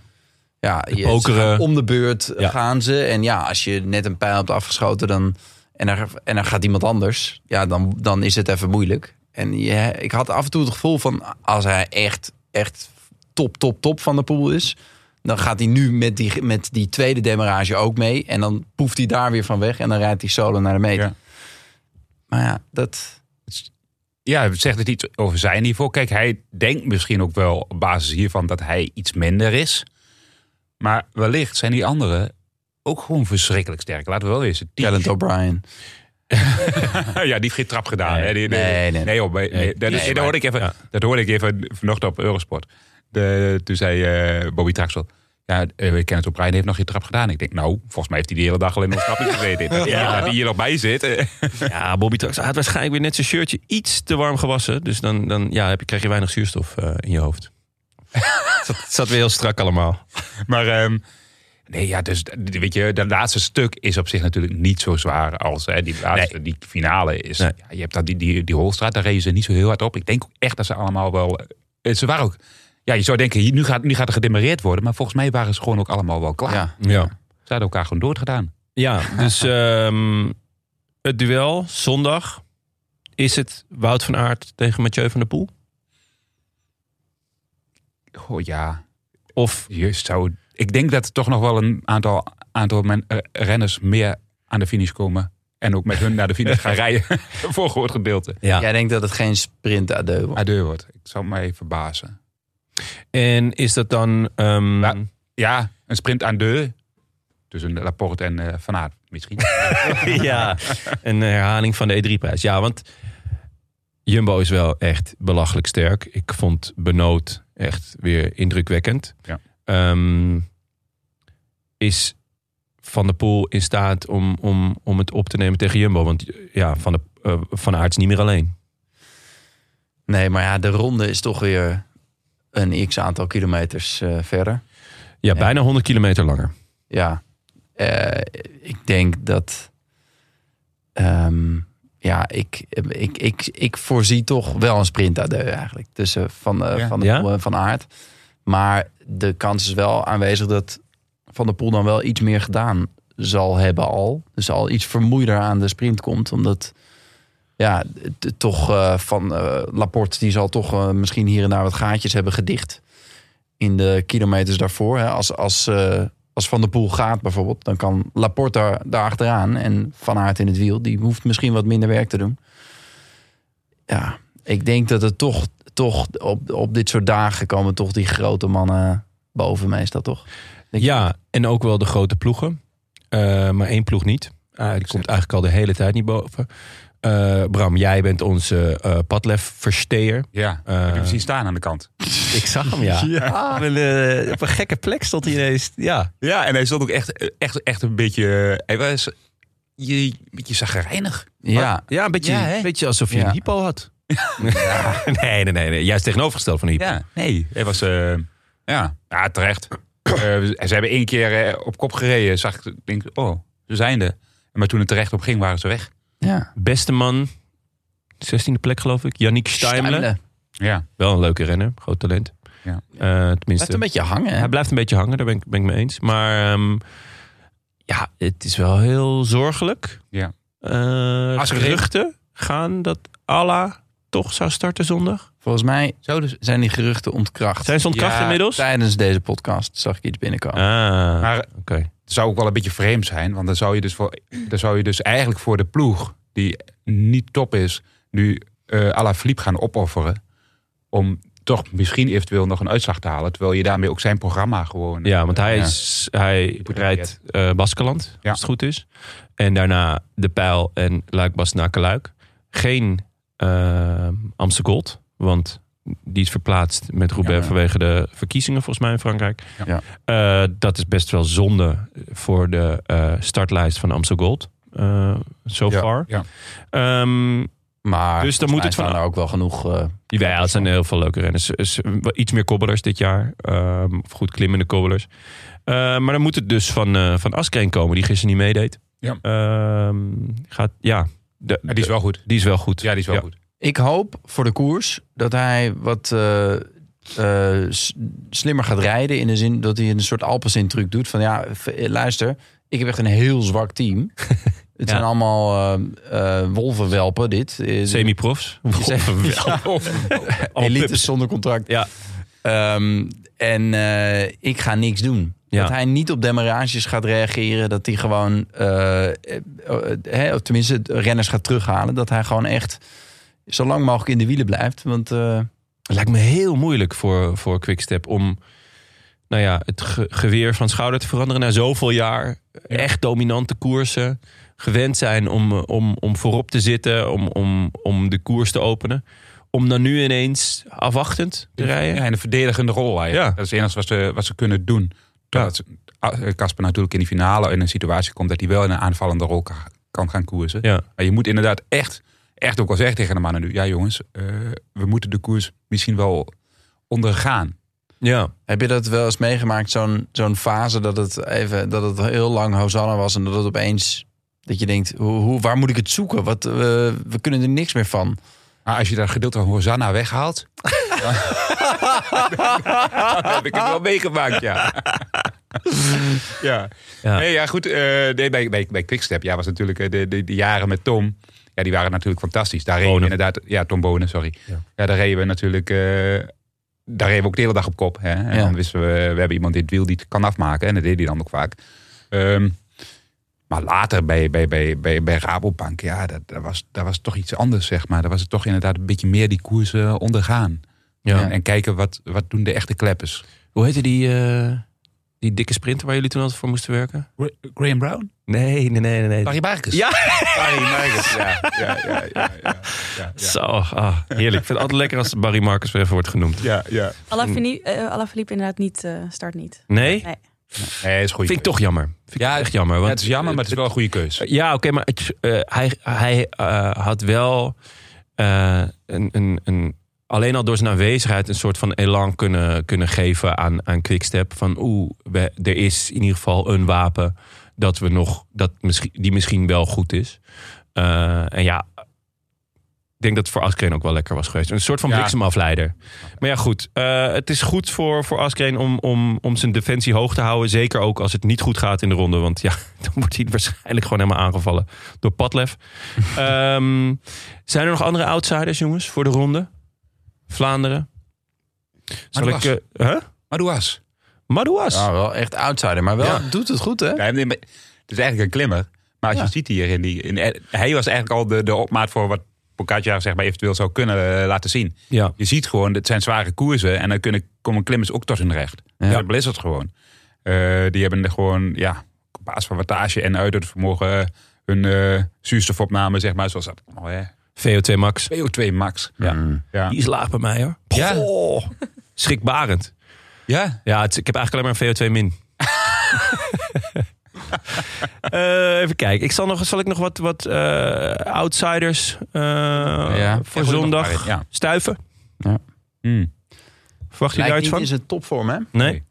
Ja. Ja, je, ze
pokeren.
gaan om de beurt
Ja.
gaan ze. En ja, als je net een pijl hebt afgeschoten dan, en, er, en er gaat iemand anders, ja, dan, dan is het even moeilijk. En je, ik had af en toe het gevoel van als hij echt, echt top, top, top van de pool is, dan gaat hij nu met die, met die tweede demarage ook mee. En dan poeft hij daar weer van weg en dan rijdt hij solo naar de meter.
Ja.
Maar ja, dat.
Ja, het zegt het iets over zijn niveau. Kijk, hij denkt misschien ook wel op basis hiervan dat hij iets minder is. Maar wellicht zijn die anderen ook gewoon verschrikkelijk sterk. Laten we wel eens.
Talent O'Brien.
ja, die heeft geen trap gedaan. hè? Die- die-
Nee, nee.
nee, joh, maar- nee, dat,
Nee,
dat
maar-
hoorde ik even, dat hoorde ik even vanochtend op Eurosport. De, toen zei eh, Bobby Traxel. Ja, eh, Kenneth O'Brien heeft nog geen trap gedaan. Ik denk, nou, volgens mij heeft hij de hele dag alleen nog trappen gezeten. Dat die-
Ja.
Dat hij hier nog bij zit. eh.
Ja, Bobby Trax had waarschijnlijk weer net zijn shirtje iets te warm gewassen. Dus dan, dan ja, heb je, krijg je weinig zuurstof eh, in je hoofd. Het zat, het zat weer heel strak allemaal.
Maar ehm, nee, ja, dus d- weet je, dat laatste stuk is op zich natuurlijk niet zo zwaar als hè, die, laatste, die finale is.
Nee.
Ja, je hebt dat, die, die, die Holstraat, daar reden ze niet zo heel hard op. Ik denk ook echt dat ze allemaal wel. eh, Ze waren ook. Ja, je zou denken, hier- nu gaat, nu gaat er gedemareerd worden. Maar volgens mij waren ze gewoon ook allemaal wel klaar.
Ja.
Ja.
Ze hadden elkaar gewoon doorgedaan.
Ja, dus ehm, het duel zondag. Is het Wout van Aert tegen Mathieu van der Poel?
Oh ja.
Of
Je zou, ik denk dat er toch nog wel een aantal, aantal men- eh, renners meer aan de finish komen. En ook met hun naar de finish gaan rijden. voor een groot gedeelte.
ja.
Jij denkt dat het geen sprint adeu wordt.
Adieu wordt. Ik zou mij verbazen.
En is dat dan. ehm,
Ja. Ja, een sprint aan de. Tussen Laporte en eh, Van Aert misschien.
ja, een herhaling van de E3-prijs. Ja, want Jumbo is wel echt belachelijk sterk. Ik vond Benoot echt weer indrukwekkend.
Ja.
Ehm, is Van der Poel in staat om, om, om het op te nemen tegen Jumbo? Want ja, Van, de, eh, van Aert is niet meer alleen.
Nee, maar ja, de ronde is toch weer een x aantal kilometers eh, verder.
Ja, bijna 100 kilometer langer.
Ja, eh, ik denk dat. ehm, ja, ik, ik, ik, ik voorzie toch wel een sprint uit eigenlijk tussen Van, eh,
Ja.
van de
Ja?
Poel en Van Aert. Maar de kans is wel aanwezig dat Van der Poel dan wel iets meer gedaan zal hebben al. Dus al iets vermoeider aan de sprint komt. Omdat, ja, het- toch eh, van eh, Laporte, die zal toch eh, misschien hier en daar wat gaatjes hebben gedicht. In de kilometers daarvoor. Hè. Als, als, eh, als Van der Poel gaat bijvoorbeeld, dan kan Laporte daar, daar achteraan. En Van Aert in het wiel, die hoeft misschien wat minder werk te doen. Ja, ik denk dat het toch, toch op, op dit soort dagen komen toch die grote
eh,
mannen boven meestal, toch? Denk je?
Ja, en ook wel de grote ploegen. Eh, maar één ploeg niet. Ah, die komt eigenlijk al de hele tijd niet boven. Eh, Bram, jij bent onze eh padlef-versteer.
ja,
Eh.
ik heb hem zien staan aan de kant.
Ik zag hem, ja. Op, een, eh, op een gekke plek stond hij ineens. Ja.
Ja, en hij stond ook echt, echt, echt een beetje... eh, Hij was je, een beetje zagrijnig.
Ja,
ja, een beetje,
Ja, hè?
een beetje alsof je
Ja.
een hypo had. nee, nee, nee, nee. Juist tegenovergesteld van een hypo.
Ja, nee. Hij was... eh, ja, ja, terecht. Eh, ze hebben één keer eh, op kop gereden. Zag ik, denk ik, oh, ze zijn er. Maar toen het terecht op ging, waren ze weg.
ja.
Beste man, 16e plek geloof ik. Yannick Steimle.
Stijmelen.
Ja,
Wel een leuke renner, groot talent.
Ja.
Eh, tenminste,
Blijft een beetje hangen, hè?
hij blijft een beetje hangen, daar ben ik, ben ik mee eens. Maar ehm, ja, het is wel heel zorgelijk.
Ja.
Eh,
Als er-
geruchten gaan dat Allah toch zou starten zondag.
Volgens mij zijn die geruchten ontkracht.
Zijn ze ontkracht
Ja,
inmiddels?
Tijdens deze podcast zag ik iets binnenkomen.
Ah,
maar
oké.
Het zou ook wel een beetje vreemd zijn. Want dan zou je dus, voor, dan zou je dus eigenlijk voor de ploeg, die niet top is, nu eh à la Philippe gaan opofferen. Om toch misschien eventueel nog een uitslag te halen. Terwijl je daarmee ook zijn programma gewoon... eh,
Ja, want hij,
Ja.
is, hij
moet
rijdt eh Baskeland,
Ja.
als het goed is. En daarna De Pijl en Luik naar Luik. Geen eh, Amstel Gold, want die is verplaatst met Roubaix
Ja, ja.
vanwege de verkiezingen volgens mij in Frankrijk.
Ja.
Eh, dat is best wel zonde voor de eh, startlijst van Amstel Gold. eh so
Ja,
far.
ja.
Ehm,
Maar
Dus dan
volgens
moet
mij
het van-
staan er ook wel genoeg. eh,
ja, het zijn heel veel leuke renners. Er is wel Iets meer kobbelers dit jaar. Ehm, of goed klimmende kobbelers. Ehm, maar dan moet het dus van, eh van Askreen komen, die gisteren niet meedeed.
Ja.
Ehm, gaat, ja. De-
Maar die is wel goed.
die is wel goed.
Ja, die is wel
Ja.
goed.
ik hoop voor de koers dat hij wat eh, eh, s- slimmer gaat rijden. In de zin dat hij een soort Alpecin-truc doet. Van ja, v- eh, luister, ik heb echt een heel zwak team. Het zijn allemaal eh, eh, wolvenwelpen, dit. Eh,
Semi-profs. Wolvenwelpen.
Elite
pups.
zonder contract.
Ja.
Ehm, en eh, ik ga niks doen.
Ja.
Dat hij niet op demarages gaat reageren. Dat hij gewoon, eh, eh, hè, of tenminste, de renners gaat terughalen. Dat hij gewoon echt zo lang mogelijk in de wielen blijft. Want eh,
Het lijkt me heel moeilijk voor, voor Quickstep om nou ja, het ge- geweer van schouder te veranderen na zoveel jaar. Echt dominante koersen. Gewend zijn om, eh, om, om voorop te zitten, om, om, om de koers te openen. Om dan nu ineens afwachtend te rijden.
Ja, en een verdedigende rol eigenlijk.
Ja.
Dat is het enige wat ze, wat ze kunnen doen. Terwijl ze- Kasper natuurlijk in die finale in een situatie komt... dat hij wel in een aanvallende rol ka- kan gaan koersen.
Ja.
Maar je moet inderdaad echt, echt ook wel zeggen tegen de mannen nu... ja jongens, eh, we moeten de koers misschien wel ondergaan.
Ja.
heb je dat wel eens meegemaakt? Zo'n zo'n fase dat het, even, dat het heel lang Hosanna was. En dat het opeens, dat je denkt, hoe, hoe, waar moet ik het zoeken? Wat, eh, we kunnen er niks meer van.
Maar als je daar gedeelte van Hosanna weghaalt... dan, dan heb ik het wel meegemaakt, ja. ja.
Ja.
Nee, ja, goed. eh, nee, bij, bij, bij Quickstep ja, was natuurlijk eh, de, de, de jaren met Tom. Ja, die waren natuurlijk fantastisch. Daar reden we
Bonen.
inderdaad... Ja, Tom Bonen, sorry. Ja, daar reden we natuurlijk... eh, daar reden we ook de hele dag op kop. Hè? En
Ja.
dan wisten we... We hebben iemand dit wiel die het kan afmaken. En dat deed hij dan ook vaak. Ehm, maar later bij, bij, bij, bij, bij Rabobank, ja, dat, dat, was, dat was toch iets anders, zeg maar. Daar was het toch inderdaad een beetje meer die koers eh, ondergaan.
Ja.
En, en kijken, wat, wat doen de echte kleppers?
Hoe heette die, eh, die dikke sprinter waar jullie toen altijd voor moesten werken?
Graham Brown?
Nee, nee, nee, nee.
Barry Barkers?
Ja.
Barry Barkers, ja. ja, ja, ja, ja, ja, ja.
Zo, ah, heerlijk. Ik vind het altijd lekker als Barry Marcus weer even wordt genoemd.
Ja, ja.
Alaphilippe eh, Alaphilippe inderdaad niet, eh, start niet.
Nee?
Nee.
Nee, is goed.
Vind ik toch jammer. Vind ik
Ja,
echt jammer. Want
het is jammer, maar het is wel een goede keus.
Ja, oké, maar het, eh, hij, hij eh, had wel eh, een, een, een, alleen al door zijn aanwezigheid een soort van elan kunnen, kunnen geven aan, aan Quickstep. Van oeh, we- er is in ieder geval een wapen dat we nog, dat misschien, die misschien wel goed is. Eh, en ja, ik denk dat het voor Askreen ook wel lekker was geweest. Een soort van
Ja.
bliksemafleider. Maar ja, goed. eh, het is goed voor, voor Askreen om, om, om zijn defensie hoog te houden. Zeker ook als het niet goed gaat in de ronde. Want ja, dan wordt hij waarschijnlijk gewoon helemaal aangevallen door Padlef. Ehm, zijn er nog andere outsiders, jongens, voor de ronde? Vlaanderen? Zal ik...
Madouas.
eh, hè?
Maar doe was.
Madouas.
Ja, wel echt outsider. Maar wel
Ja.
doet het goed, hè?
Ja, nee, maar het is eigenlijk een klimmer. Maar als je ziet hier, in die, in, hij was eigenlijk al de, de opmaat voor wat Pogacar zeg maar, eventueel zou kunnen eh, laten zien.
Ja.
Je ziet gewoon, het zijn zware koersen en dan kunnen, komen klimmers ook tot hun recht. Ja. Dat Blizzard gewoon. Eh, die hebben er gewoon, ja, op basis van wattage en uithoudingsvermogen eh, hun eh, zuurstofopname, zeg maar, zoals dat allemaal, hè.
VO2 Max.
VO2 max.
Ja.
Ja.
Die is laag bij mij, hoor.
Ja.
Goh, Schrikbarend.
ja.
Ja, het- ik heb eigenlijk alleen maar een VO2 min. Eh, even kijken. Ik zal, nog, zal ik nog wat, wat eh, outsiders eh, voor
gooi er nog maar
zondag
in, ja.
stuiven?
Hmm.
Lijkt
Verwacht jullie daar iets
niet
van?
in zijn topvorm, hè?
Nee.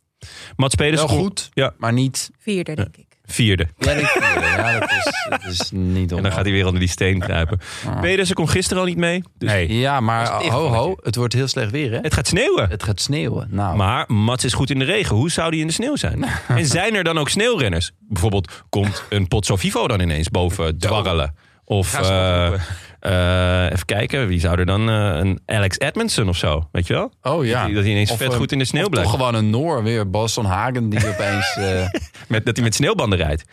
Mats Pedersen.
Wel
kon-
goed,
Ja,
maar niet
Vierde, denk ik.
vierde.
Ja, dat, ja, dat, is, dat is niet
En dan gaat hij weer onder die steen kruipen. Pedersen kon gisteren al niet mee. Dus
Nee.
Ja,
Dat
maar
is het
ho, ho,
ingevalletje.
het wordt heel slecht weer, hè?
Het gaat sneeuwen.
Het gaat sneeuwen. Nou,
Maar Mats is goed in de regen. Hoe zou die in de sneeuw zijn? en zijn er dan ook sneeuwrenners? Bijvoorbeeld komt een Pozzo Vivo dan ineens boven dwarrelen? Of
Ga ze
eh,
oproepen.
eh, even kijken, wie zou er dan eh, een Alex Edmondson of zo? Weet je wel?
oh ja.
Dat hij ineens
Of,
vet
eh,
goed in de sneeuw
Toch
blijft.
gewoon een Noor weer, Bas van Hagen, die opeens eh
Met, dat hij met sneeuwbanden rijdt.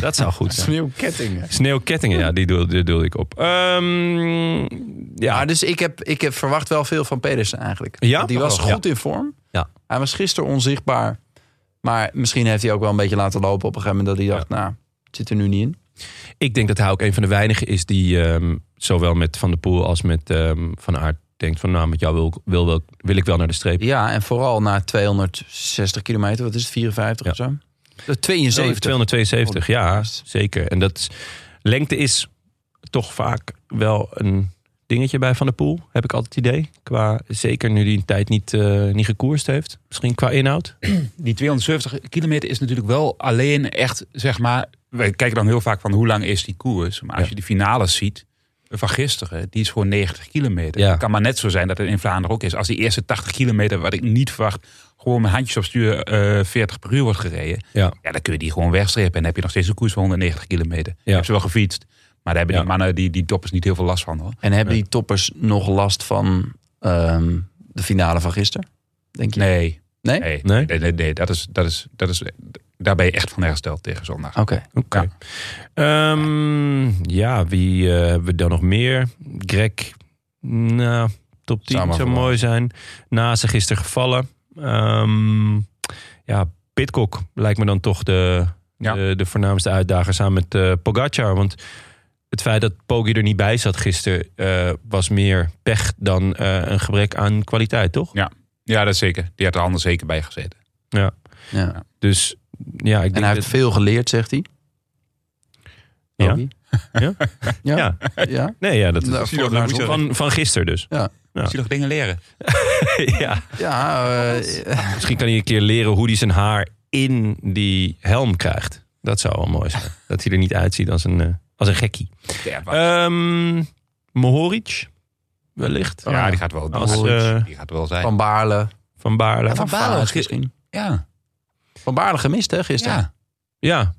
dat zou goed zijn.
sneeuwkettingen.
Sneeuwkettingen, ja, die doe- die doe ik op. Ehm, ja,
Ja, dus ik, heb, ik heb verwacht wel veel van Pedersen eigenlijk.
Ja?
Want Die was
Oh, ja.
goed in vorm.
Ja.
Hij was gisteren onzichtbaar. Maar misschien heeft hij ook wel een beetje laten lopen op een gegeven moment dat hij dacht, nou, het zit er nu niet in.
Ik denk dat hij ook een van de weinigen is die ehm, zowel met Van der Poel als met ehm, Van Aert denkt van nou, met jou wil, ik- wil, wil, wil ik wel naar de streep.
Ja, en vooral na 260 kilometer, wat is het, 54
Ja.
of zo? Eh, 72.
272, ja,
Yes.
zeker. En dat is- lengte is toch vaak wel een dingetje bij Van der Poel, heb ik altijd het idee. Qua, zeker nu hij een tijd niet, eh, niet gekoerst heeft. Misschien qua inhoud.
die 270 kilometer is natuurlijk wel alleen echt, zeg maar. We kijken dan heel vaak van hoe lang is die koers. Maar als
Ja.
je de finales ziet, van gisteren, die is gewoon 90 kilometer.
Ja.
Het kan maar net zo zijn dat het in Vlaanderen ook is. Als die eerste 80 kilometer, wat ik niet verwacht, gewoon met handjes op stuur eh 40 per uur wordt gereden.
Ja.
Ja, dan kun je die gewoon wegstrepen. En dan heb je nog steeds een koers van 190 kilometer. Ik heb ze wel gefietst. Maar daar hebben die mannen, die, die toppers, niet heel veel last van. Hoor.
En hebben die toppers nog last van ehm, de finale van gisteren? Denk je?
Nee.
Nee?
Nee, nee, nee, nee, dat is, dat is, dat is, daar ben je echt van hersteld tegen zondag.
Oké.
Oké. Ehm, ja, wie eh, hebben we dan nog meer? Greg, nou, top 10
Zou maar verwachten.
zou, mooi zijn. Naast gisteren gevallen. Ehm, ja, Pitcock lijkt me dan toch de,
Ja.
de, de voornaamste uitdager samen met eh Pogacar. Want het feit dat Poggi er niet bij zat gisteren eh, was meer pech dan eh, een gebrek aan kwaliteit, toch?
Ja, dat zeker. Die had er anders zeker bij gezeten.
Ja.
Ja.
Dus ja, ik
En
denk
hij
dat-
heeft veel geleerd, zegt hij.
Ja.
Oké.
Ja?
Ja.
Ja.
Ja.
Nee, ja, dat is
Nou, voor-
van, van, van gisteren dus. Ja.
Zie je nog dingen leren?
ja.
Ja, eh,
Misschien kan hij een keer leren hoe hij zijn haar in die helm krijgt. Dat zou wel mooi zijn. Dat hij er niet uitziet als een, eh, als een gekkie.
Ja, wat-
Ehm Mohoric, wellicht.
ja, die gaat wel.
Als,
die,
eh,
die gaat wel zijn.
Van Baarle.
Van Baarle.
Van Baarle misschien.
ja.
Van Baarle gemist, hè, gisteren?
ja.
Ja.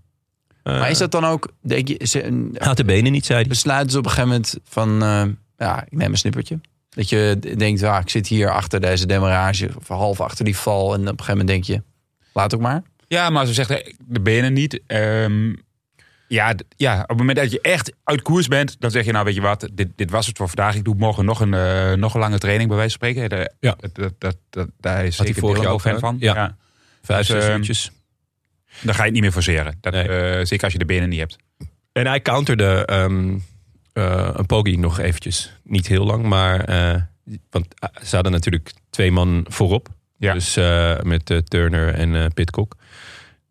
Eh,
Maar is dat dan ook, denk je, ze-
Hij had de benen niet,
Dus-
zei hij.
besluiten ze op een gegeven moment van, eh, ja, ik neem een snippertje. Dat je d- denkt, ah, ik zit hier achter deze demarrage, of half achter die val. En op een gegeven moment denk je, laat ook maar.
Ja, maar ze zegt hè, de benen niet. Ehm, ja, d- ja, op het moment dat je echt uit koers bent, dan zeg je nou weet je wat, dit, dit was het voor vandaag. Ik doe morgen nog een, eh, nog een lange training bij wijze van spreken. De-
Ja.
dat, dat, dat, dat- daar is
hij
zeker
vorig
Dylan
jaar
ook fan
ook,
van.
hè? Ja. Vijf,
Dus,
zes
ehm,
uurtjes.
Dan ga je het niet meer forceren. Dat,
Nee.
eh, zeker als je de benen niet hebt.
En hij counterde ehm, eh, een pogie nog eventjes. Niet heel lang, maar... eh, want eh, ze hadden natuurlijk twee man voorop.
Ja.
Dus eh, met eh, Turner en eh Pitcock.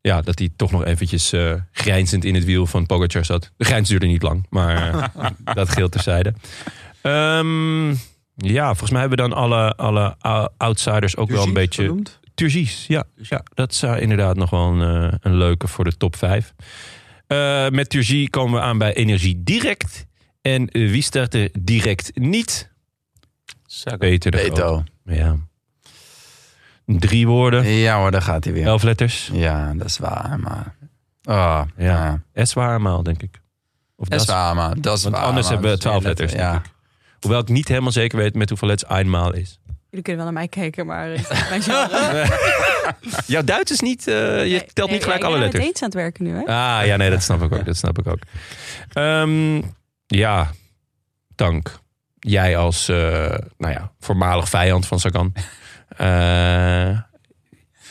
Ja, dat hij toch nog eventjes eh, grijnzend in het wiel van Pogacar zat. De grijns duurde niet lang, maar eh, dat geldt terzijde. Ehm, ja, volgens mij hebben we dan alle, alle ou- outsiders ook wel een beetje... Turgis, ja. ja. Dat zou inderdaad nog wel een, eh, een leuke voor de top 5. met Turgie komen we aan bij Energie Direct. En eh, wie start er direct niet? Peter de Groot.
Beto.
Ja. Drie woorden,
Ja hoor, daar gaat hij weer.
elf letters.
Ja, dat is waar, maar... Ah, ja.
Ja. S waarmaal, denk ik. Of
Dat is waar, maar dat is
Want
waar.
anders
maar.
hebben we twaalf
Dat is
letters.
Ja.
denk ik. Hoewel ik niet helemaal zeker weet met hoeveel letters eenmaal is.
Jullie kunnen wel naar mij kijken, maar eh, mijn genre.
Jouw Duits is niet... eh, je
Nee,
telt
nee,
niet gelijk
ja,
alle
Ik ben
letters.
aan het eens aan het werken nu, hè?
Ah, ja, nee, dat snap ik ook. Dat snap ik ook. Ehm, ja, Tank. Jij als eh, nou ja, voormalig vijand van Sagan. Eh,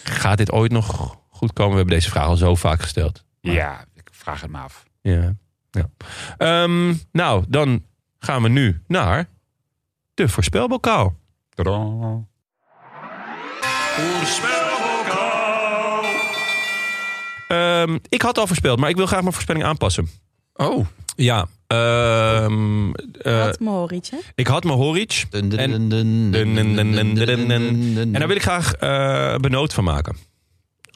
gaat dit ooit nog goed komen? We hebben deze vraag al zo vaak gesteld.
Ja, ik vraag het me af.
Ja. ja. Ehm, nou, dan gaan we nu naar de voorspelbokaal.
Tadaa.
Ehm, ik had al voorspeld, maar ik wil graag mijn voorspelling aanpassen.
Oh.
Ja. ehm, eh,
Wat Mohoric, hè?
ik had mijn Horic.
Dun, dun,
En-
dun, dun,
dun, dun, dun, dun, dun, dun, dun.
dun.
En daar wil ik graag eh benoot van maken.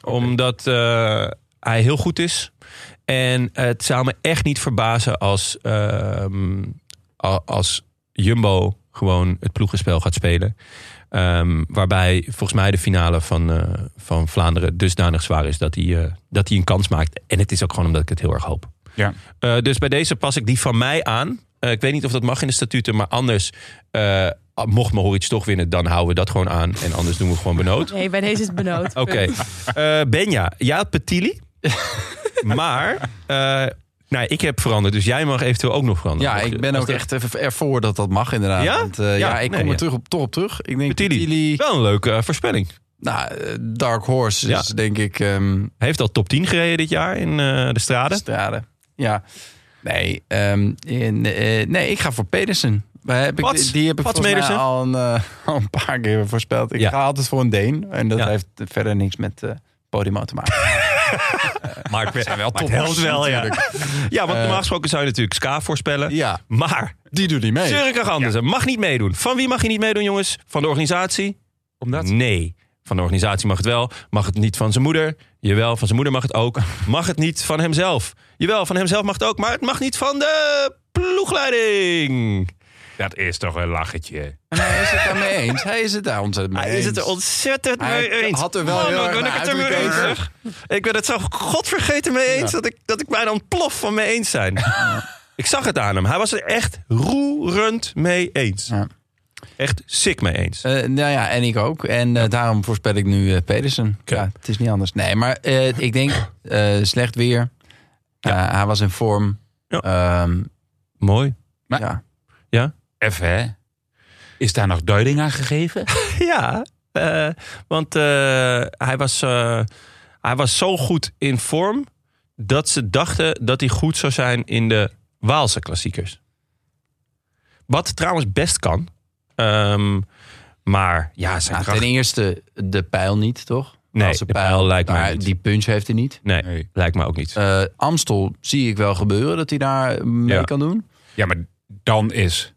Omdat eh, hij heel goed is. En het zou me echt niet verbazen als, ehm, a- als Jumbo gewoon het ploegenspel gaat spelen. Ehm, waarbij volgens mij de finale van, eh, van Vlaanderen dusdanig zwaar is dat hij, eh, dat hij een kans maakt. En het is ook gewoon omdat ik het heel erg hoop.
Ja.
Eh, dus bij deze pas ik die van mij aan. Eh, ik weet niet of dat mag in de statuten, maar anders, eh, mocht Mohoric toch winnen, dan houden we dat gewoon aan. En anders doen we gewoon benood.
Nee, bij deze is het benood.
Oké. Eh, Benja, jij had Petili. maar eh, nou, ik heb veranderd, dus jij mag eventueel ook nog veranderen.
Ja,
Mocht je-
ik ben
als
ook
dat-
echt even ervoor dat dat mag, inderdaad.
Ja?
Want, eh, ja,
Ja,
ik kom
nee,
er
ja.
terug op, toch op terug. Ik denk
Petili.
Petili-
Wel een leuke eh, voorspelling.
Nou, eh, Dark Horse
Ja.
is denk ik ehm
Hij heeft al top 10 gereden dit jaar in eh, de straden.
Strade. Ja. Nee, ehm, in, eh, nee, ik ga voor Pedersen. Maar Heb ik,
Pats?
die, die heb ik
Pats
volgens mij
Pedersen?
al een, eh, al een paar keer voorspeld. Ik
Ja.
ga altijd voor een Deen. En dat
Ja.
heeft verder niks met eh podium te maken.
Maar het zijn wel
top helpt wel, ja.
Ja, want normaal gesproken zou je natuurlijk Ska voorspellen.
Eh. Ja.
Maar
Die doet niet mee.
Surikag Andersen mag niet meedoen. Van wie mag je niet meedoen, jongens? Van de organisatie?
Omdat?
Nee. Van de organisatie mag het wel. Mag het niet van zijn moeder? Jawel, van zijn moeder mag het ook. Mag het niet van hemzelf? Jawel, van hemzelf mag het ook, maar het mag niet van de ploegleiding.
Dat is toch een lachetje.
Hij is het daarmee eens. Hij is het daar ontzettend mee
Hij is het er
eens.
ontzettend
Hij
mee eens.
had er wel
Oh,
heel
dan
erg
ben ik
naar
het er mee eens.
uitgekeken.
zeg. Ik ben het zo godvergeten mee eens dat, ik, dat ik bijna ontplof van mee eens zijn. ik zag het aan hem. Hij was er echt roerend mee eens. Echt sick mee eens.
Eh, nou ja, en ik ook. En eh, daarom voorspel ik nu eh, Pedersen. Ja, het is niet anders. Nee, maar eh, ik denk eh, slecht weer. Eh, hij was in vorm. Ehm,
Mooi.
Maar-
ja.
Ja?
Even, hè? Is daar nog duiding aan gegeven?
ja, eh, want eh, hij, was, eh, hij was zo goed in vorm dat ze dachten dat hij goed zou zijn in de Waalse klassiekers. Wat trouwens best kan. Ehm, maar ja, zijn
Nou,
kracht...
ten eerste de pijl niet, toch?
Nee,
Als
de pijl lijkt mij
maar
niet.
Die punch heeft hij niet.
Nee,
Nee.
lijkt me ook niet.
Eh, Amstel zie ik wel gebeuren dat hij daar mee
Ja.
kan doen.
Ja, maar dan is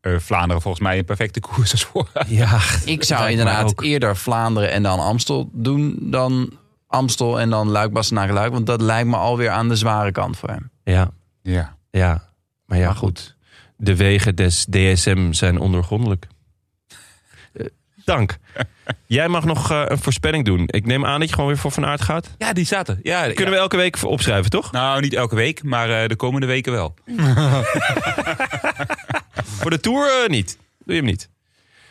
eh, Vlaanderen volgens mij een perfecte koers als voor.
Eh, Ja,
Ik zou
lijkt mij
inderdaad
ook.
eerder Vlaanderen en dan Amstel doen dan Amstel en dan Luik, Bastenaken, Luik. Want dat lijkt me alweer aan de zware kant voor hem.
ja,
Ja.
ja. Maar ja, goed. De wegen des DSM zijn ondergrondelijk. Eh, Dank. Jij mag nog eh, een voorspelling doen. Ik neem aan dat je gewoon weer voor Van Aert gaat.
ja, die zaten. Ja,
Kunnen we elke week opschrijven, toch?
Nou, niet elke week, maar eh, de komende weken wel.
Voor de Tour eh, niet. Doe je hem niet.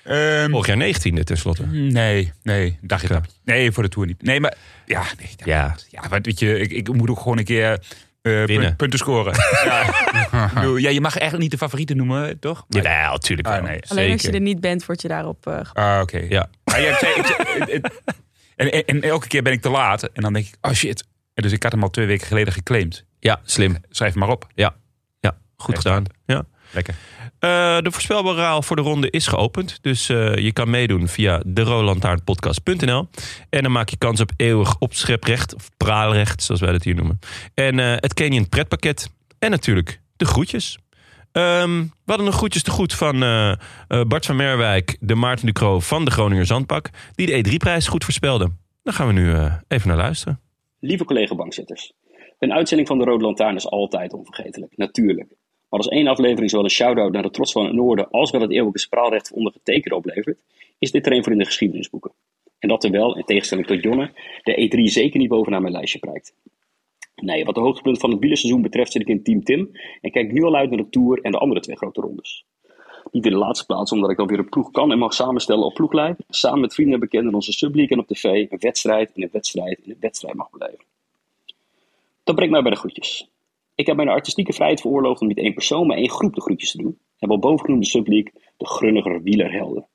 Ehm,
Vorig jaar 19e tenslotte.
nee, nee, dagje
Oké.
grapje. Nee, voor de Tour niet. Nee, maar ja, nee, dat-
Ja.
ja wat, weet je, ik, ik moet ook gewoon een keer eh, pun-
Winnen.
punten scoren. ja. Ik bedoel, ja, je mag eigenlijk niet de favorieten noemen, toch? Maar-
Jawel, tuurlijk wel.
Ah, nee.
Alleen als je
Zeker.
er niet bent, word je daarop eh, gep-
Ah, oké.
Ja.
Maar ja, ik zei- ik zei- het- het- en, en, en elke keer ben ik te laat. En dan denk ik, oh shit. En dus ik had hem al twee weken geleden geclaimd.
ja, slim.
Schrijf maar op.
Ja, ja goed gedaan. Ja.
Lekker.
Eh, de voorspelbare raal voor de ronde is geopend. Dus eh, je kan meedoen via derolantaarnpodcast.nl. En dan maak je kans op eeuwig opscheprecht. Of praalrecht, zoals wij dat hier noemen. En eh, het Canyon pretpakket. En natuurlijk de groetjes. Ehm, we hadden nog groetjes te goed van eh, eh, Bart van Merwijk, de Maarten Ducro van de Groninger Zandpak. Die de E3-prijs goed voorspelde. Daar gaan we nu eh, even naar luisteren.
Lieve collega-bankzitters, een uitzending van de Rode Lantaarn is altijd onvergetelijk, natuurlijk. Maar als één aflevering zowel een shout-out naar de trots van het Noorden als wel het eeuwige spraalrecht van ondergetekende oplevert, is dit er een voor in de geschiedenisboeken. En dat terwijl, in tegenstelling tot Jonne, de E3 zeker niet bovenaan mijn lijstje prijkt. Nee, wat de hoogtepunt van het wielerseizoen betreft zit ik in Team Tim en kijk nu al uit naar de Tour en de andere twee grote rondes. Niet in de laatste plaats, omdat ik dan weer een ploeg kan en mag samenstellen op ploeglijn, samen met vrienden en bekenden onze subleague en op tv een wedstrijd in een wedstrijd in een wedstrijd mag beleven. Dat brengt mij bij de groetjes. Ik heb mijn artistieke vrijheid veroorloofd om niet één persoon, maar één groep de groetjes te doen. En wel bovengenoemde subleague, de Grunniger Wielerhelden.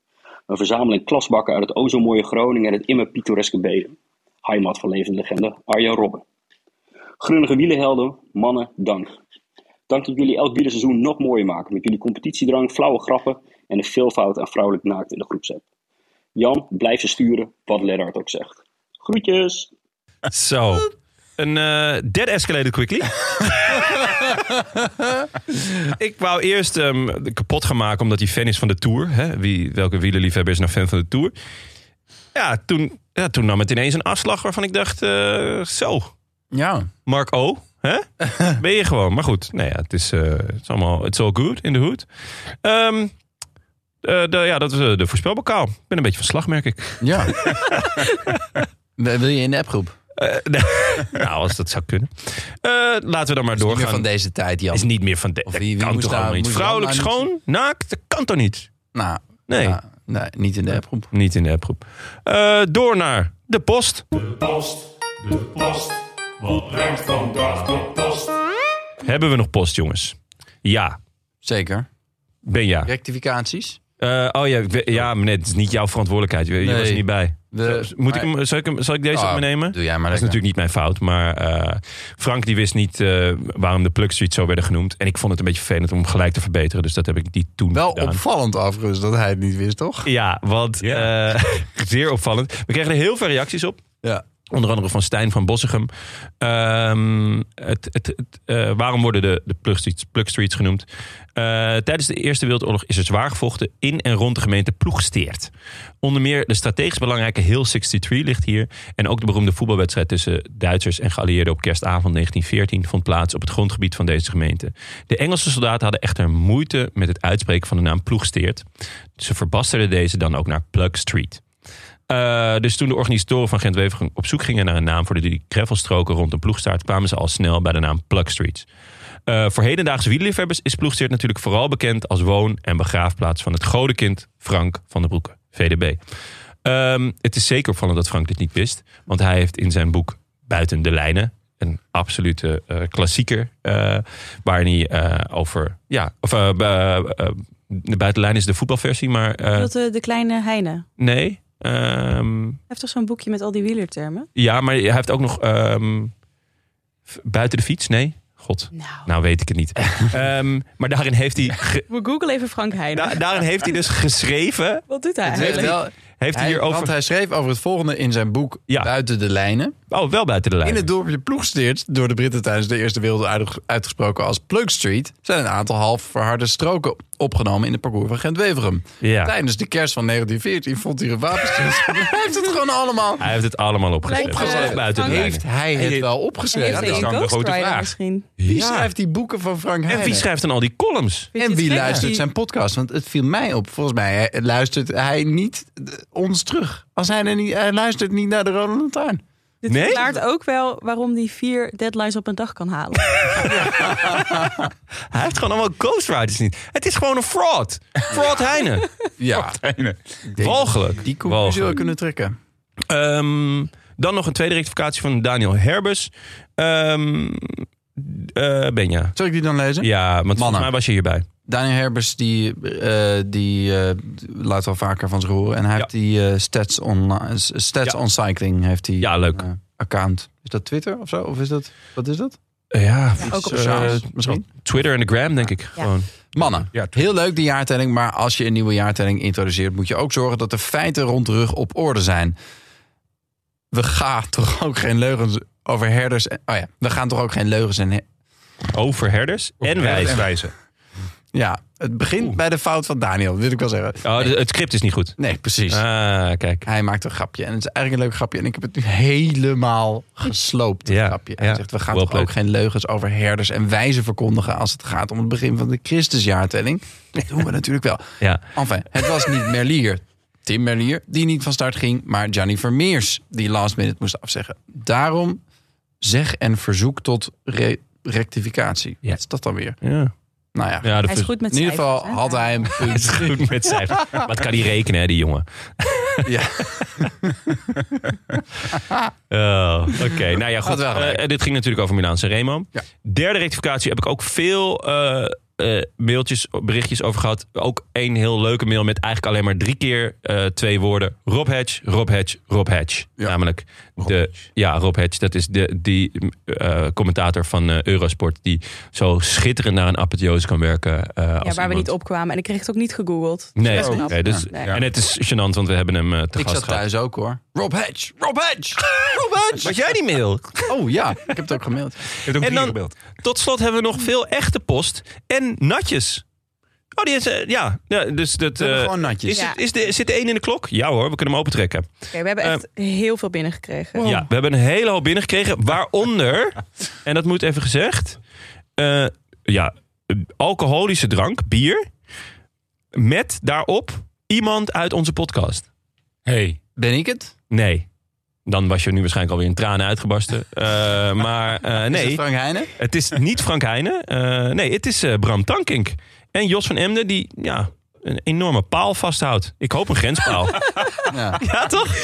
Een verzameling klasbakken uit het o zo mooie Groningen en het immer pittoreske Bedum. Heimat van levende legende Arjen Robben. Grunnige Wielerhelden, mannen, dank. Dank dat jullie elk wielerseizoen nog mooier maken met jullie competitiedrang, flauwe grappen en de veelvoud aan vrouwelijk naakt in de groepsapp. Jan, blijf ze sturen, wat Lennart ook zegt. Groetjes!
Zo. Een eh dead escalated quickly. ik wou eerst ehm, kapot gaan maken omdat hij fan is van de Tour. Hè? Wie, welke wielerliefhebber is nou fan van de Tour? Ja, toen, ja, toen nam het ineens een afslag waarvan ik dacht... eh, zo,
Ja.
Mark O. Hè? ben je gewoon. Maar goed, nou ja, het is, eh, het is allemaal... It's all good in the hood. Ehm, eh, de- ja, dat is eh, de voorspelbokaal. Ik ben een beetje van slag, merk ik.
Ja. Wil wil je in de appgroep?
Eh, nou, als dat zou kunnen. Eh, laten we dan maar
Niet meer
doorgaan.
van deze tijd, Jan.
is niet meer van de.
Of
dat
wie- wie
kan
moest
toch
daar-
allemaal niet.
moest Jan
Vrouwelijk
nou niet-
schoon, naakt, dat kan toch niet?
Nou,
Nee.
nou, nee, niet in de appgroep.
Niet in de appgroep. Eh, door naar de post. Hebben we nog post, jongens? Ja,
Zeker.
ben ja.
Rectificaties?
Eh, oh ja, ik weet- ja meneer, het is niet jouw verantwoordelijkheid. Je, je
Nee.
was er niet bij.
We-
Zal- Moet ik hem, zal, ik hem, zal ik deze
Ah,
op me nemen?
Doe jij maar
Dat is
lekker.
natuurlijk niet mijn fout, maar eh, Frank die wist niet eh, waarom de Plugstreet zo werden genoemd. En ik vond het een beetje vervelend om hem gelijk te verbeteren, dus dat heb ik niet toen
Wel
gedaan.
opvallend afgerust dat hij het niet wist, toch?
Ja, want
Ja.
eh, zeer opvallend. We kregen er heel veel reacties op.
Ja.
Onder andere van Stijn van Bossegem. Ehm, het, het, het, eh, waarom worden de, de plugstreets, plugstreets genoemd? Eh, tijdens de Eerste Wereldoorlog is er zwaar gevochten in en rond de gemeente Ploegsteert. Onder meer de strategisch belangrijke Hill 63 ligt hier. En ook de beroemde voetbalwedstrijd tussen Duitsers en geallieerden op kerstavond 1914 vond plaats op het grondgebied van deze gemeente. De Engelse soldaten hadden echter moeite met het uitspreken van de naam Ploegsteert. Ze verbasterden deze dan ook naar Plugstreet. Eh, dus toen de organisatoren van gent wevergem op zoek gingen naar een naam voor de drie greffelstroken rond een ploegstaart, kwamen ze al snel bij de naam Plugstreet. Eh voor hedendaagse wielerliefhebbers is Ploegsteert natuurlijk vooral bekend als woon- en begraafplaats van het godenkind Frank van den Broeke, VDB. Ehm, het is zeker opvallend dat Frank dit niet wist, want hij heeft in zijn boek Buiten de Lijnen, een absolute eh, klassieker, eh waarin hij eh, over, ja, of eh, bu- eh, de buitenlijn is de voetbalversie, maar eh,
Dat de, de kleine Heine. Hij
nee. ehm,
heeft toch zo'n boekje met al die wielertermen?
Ja, maar hij heeft ook nog ehm, v- buiten de fiets. Nee, god. Nou, weet ik het niet. Ehm, maar daarin heeft hij, ge-
We googlen even Frank Heine.
da- daarin heeft hij dus geschreven.
Wat doet hij eigenlijk?
Heeft hij hierover-
Want hij schreef over het volgende in zijn boek Buiten de Lijnen.
Oh, wel buiten de
In
lijnen.
het dorpje Ploegsteert, door de Britten tijdens de Eerste Wereldoorlog uitgesproken als Plug Street, zijn een aantal half verharde stroken opgenomen in het parcours van Gent-Weverum.
Ja.
Tijdens de kerst van 1914 vond hij een wapenstilstand. hij heeft het gewoon allemaal
Hij heeft het allemaal opgeschreven.
Lijkt, eh,
Wel buiten de
Heeft
lijnen.
hij het wel opgeschreven?
Heeft hij een ghostwriter misschien?
Wie
Ja.
schrijft die boeken van Frank Heijnen?
En wie schrijft dan al die columns?
En wie
gek
luistert
dat
zijn podcast? Want het viel mij op. Volgens mij eh, luistert hij niet eh, ons terug. Als hij, er niet, hij luistert niet naar de Rode Lantaarn.
Dit
Nee?
verklaart ook wel waarom hij vier deadlines op een dag kan halen.
Hij heeft gewoon allemaal ghostwriters niet. Het is gewoon een fraud. Fraud Heine.
Ja,
Walgelijk.
die koek zullen
Walgelijk.
we kunnen trekken.
Ehm, dan nog een tweede rectificatie van Daniel Herbers. Ehm eh, Benja.
Zal ik die dan lezen?
Ja, want volgens
Mannen.
mij was je hierbij.
Daniel Herbers die, eh, die eh, laat wel vaker van zich horen. En hij heeft die eh, stats, on, eh, stats
Ja.
on Cycling heeft die,
Ja, leuk.
eh, account. Is dat Twitter of zo? Of is dat, wat is dat?
ja,
ook op
eh,
sociaals, misschien.
Twitter en de gram, denk ik. Gewoon.
Mannen, heel leuk die jaartelling, maar als je een nieuwe jaartelling introduceert, moet je ook zorgen dat de feiten rond de rug op orde zijn. We gaan toch ook geen leugens over herders. En, oh ja, we gaan toch ook geen leugens en. he-
Over herders en wijzen.
Ja, het begint bij de fout van Daniel, wil ik wel zeggen.
Oh, de- het script is niet goed.
Nee, precies.
Ah, kijk.
Hij maakt een grapje en het is eigenlijk een leuk grapje. En ik heb het nu helemaal gesloopt, het
Ja,
grapje. Hij
ja.
zegt, we gaan
Well
toch ook geen leugens over herders en wijzen verkondigen... als het gaat om het begin van de Christusjaartelling. Dat doen we natuurlijk wel.
Ja.
Enfin, het was niet Merlier, Tim Merlier, die niet van start ging... maar Gianni Vermeers, die last minute moest afzeggen. Daarom zeg en verzoek tot re- rectificatie.
Ja.
Wat is dat dan weer?
Ja,
Nou ja,
ja dat
Hij is goed met
in ieder geval
cijfers, hè?
had hij een punt.
is goed met cijfers. Wat kan hij rekenen, hè, die jongen?
Ja.
Oh, Oké, nou ja, goed.
Had wel gelijk.
Eh, dit ging natuurlijk over Milaan Sanremo.
Ja.
Derde rectificatie heb ik ook veel eh, eh, mailtjes, berichtjes over gehad. Ook één heel leuke mail met eigenlijk alleen maar drie keer eh, twee woorden. Rob Hedge, Rob Hedge, Rob Hedge.
Ja.
Namelijk de... Ja, Rob Hedge. Dat is de, die eh, commentator van eh, Eurosport die zo schitterend naar een apotheose kan werken. eh, als
Ja, waar we
iemand-
niet opkwamen. En ik kreeg het ook niet gegoogeld.
Nee,
Best knap.
nee, dus,
Nee.
en het is gênant, want we hebben hem eh, te
Ik
gast
zat
gehad.
thuis ook hoor. Rob Hedge, Rob Hedge, Rob Hedge.
Was jij die mail?
Oh ja, ik heb het ook gemaild.
En dan, tot slot hebben we nog veel echte post en natjes. Oh, die is, eh, ja. ja, dus dat...
We hebben
eh,
gewoon natjes.
Is,
Ja.
het- is de, zit de één in de klok? Ja hoor, we kunnen hem opentrekken.
Oké, we hebben echt heel veel binnengekregen.
Ja, we hebben een hele hoop binnengekregen. Waaronder, en dat moet even gezegd... eh, ja, alcoholische drank, bier... met daarop iemand uit onze podcast.
Hey.
Ben ik het?
Nee. Dan was je nu waarschijnlijk alweer in tranen uitgebarsten. Eh, maar eh,
Is
nee.
het Frank Heijnen?
Het is niet Frank Heijnen. Eh, nee, het is eh, Bram Tankink. En Jos van Emden, die ja, een enorme paal vasthoudt. Ik hoop een grenspaal.
Ja.
ja, toch?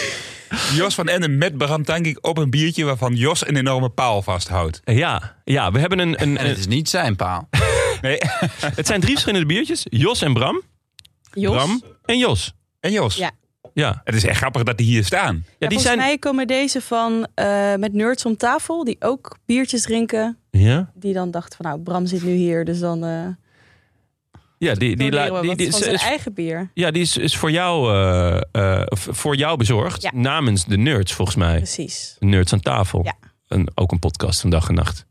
Jos van Enden met Bram Tankink op een biertje waarvan Jos een enorme paal vasthoudt.
Eh, Ja, ja we hebben een... een,
En het is niet zijn paal.
Nee.
het zijn drie verschillende biertjes. Jos en Bram.
Jos.
Bram en Jos.
En Jos.
Ja.
Ja,
Het is echt grappig dat die hier staan.
ja die
Ja, volgens
zijn...
mij komen deze van eh, met nerds om tafel, die ook biertjes drinken.
Ja?
Die dan dachten van nou, Bram zit nu hier, dus dan... eh,
Ja, die, die,
Leeuwen,
la- die,
want
die
van
is,
zijn
is-
eigen bier.
ja, die is, is voor, jou, eh, eh, v- voor jou bezorgd.
Ja.
Namens de nerds, volgens mij.
Precies.
Nerds aan tafel.
Ja.
Een, ook een podcast van dag en nacht.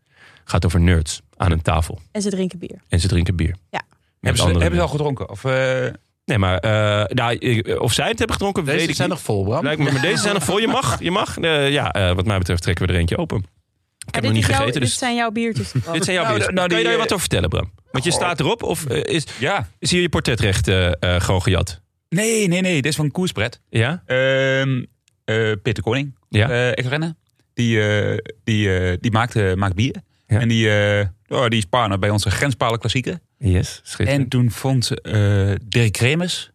Gaat over nerds aan een tafel.
En ze drinken bier.
En ze drinken bier.
Ja.
Hebben ze- hebben ze al eh,
gedronken? Of, Nee, maar eh, nou, ik- of zij het hebben gedronken,
Deze
weet ik
zijn
niet.
nog vol, Bram.
Lijkt me, maar deze zijn nog vol. Je mag, je mag. Eh, ja, eh, wat mij betreft trekken we er eentje open. Ik
Maar
heb
Ah, dit,
nog niet
is jouw-
gegeten,
dit
dus
zijn jouw biertjes.
dit zijn jouw
Nou,
biertjes.
de- nou,
kan je
die,
daar
eh,
wat over vertellen, Bram? Want je staat erop of eh, is, ja. is hier je portretrecht eh, eh, gewoon gejat?
Nee, nee, nee. Dit is van Koerspret.
Ja?
Ehm, eh, Peter Koning,
Ja.
eh, ex-renner. Die, eh, die, eh, die maakt, eh, maakt bier. En die, eh, oh, die is partner bij onze Grenspalen Klassieker.
Yes, schitterend.
En toen vond eh Dirk Kremers,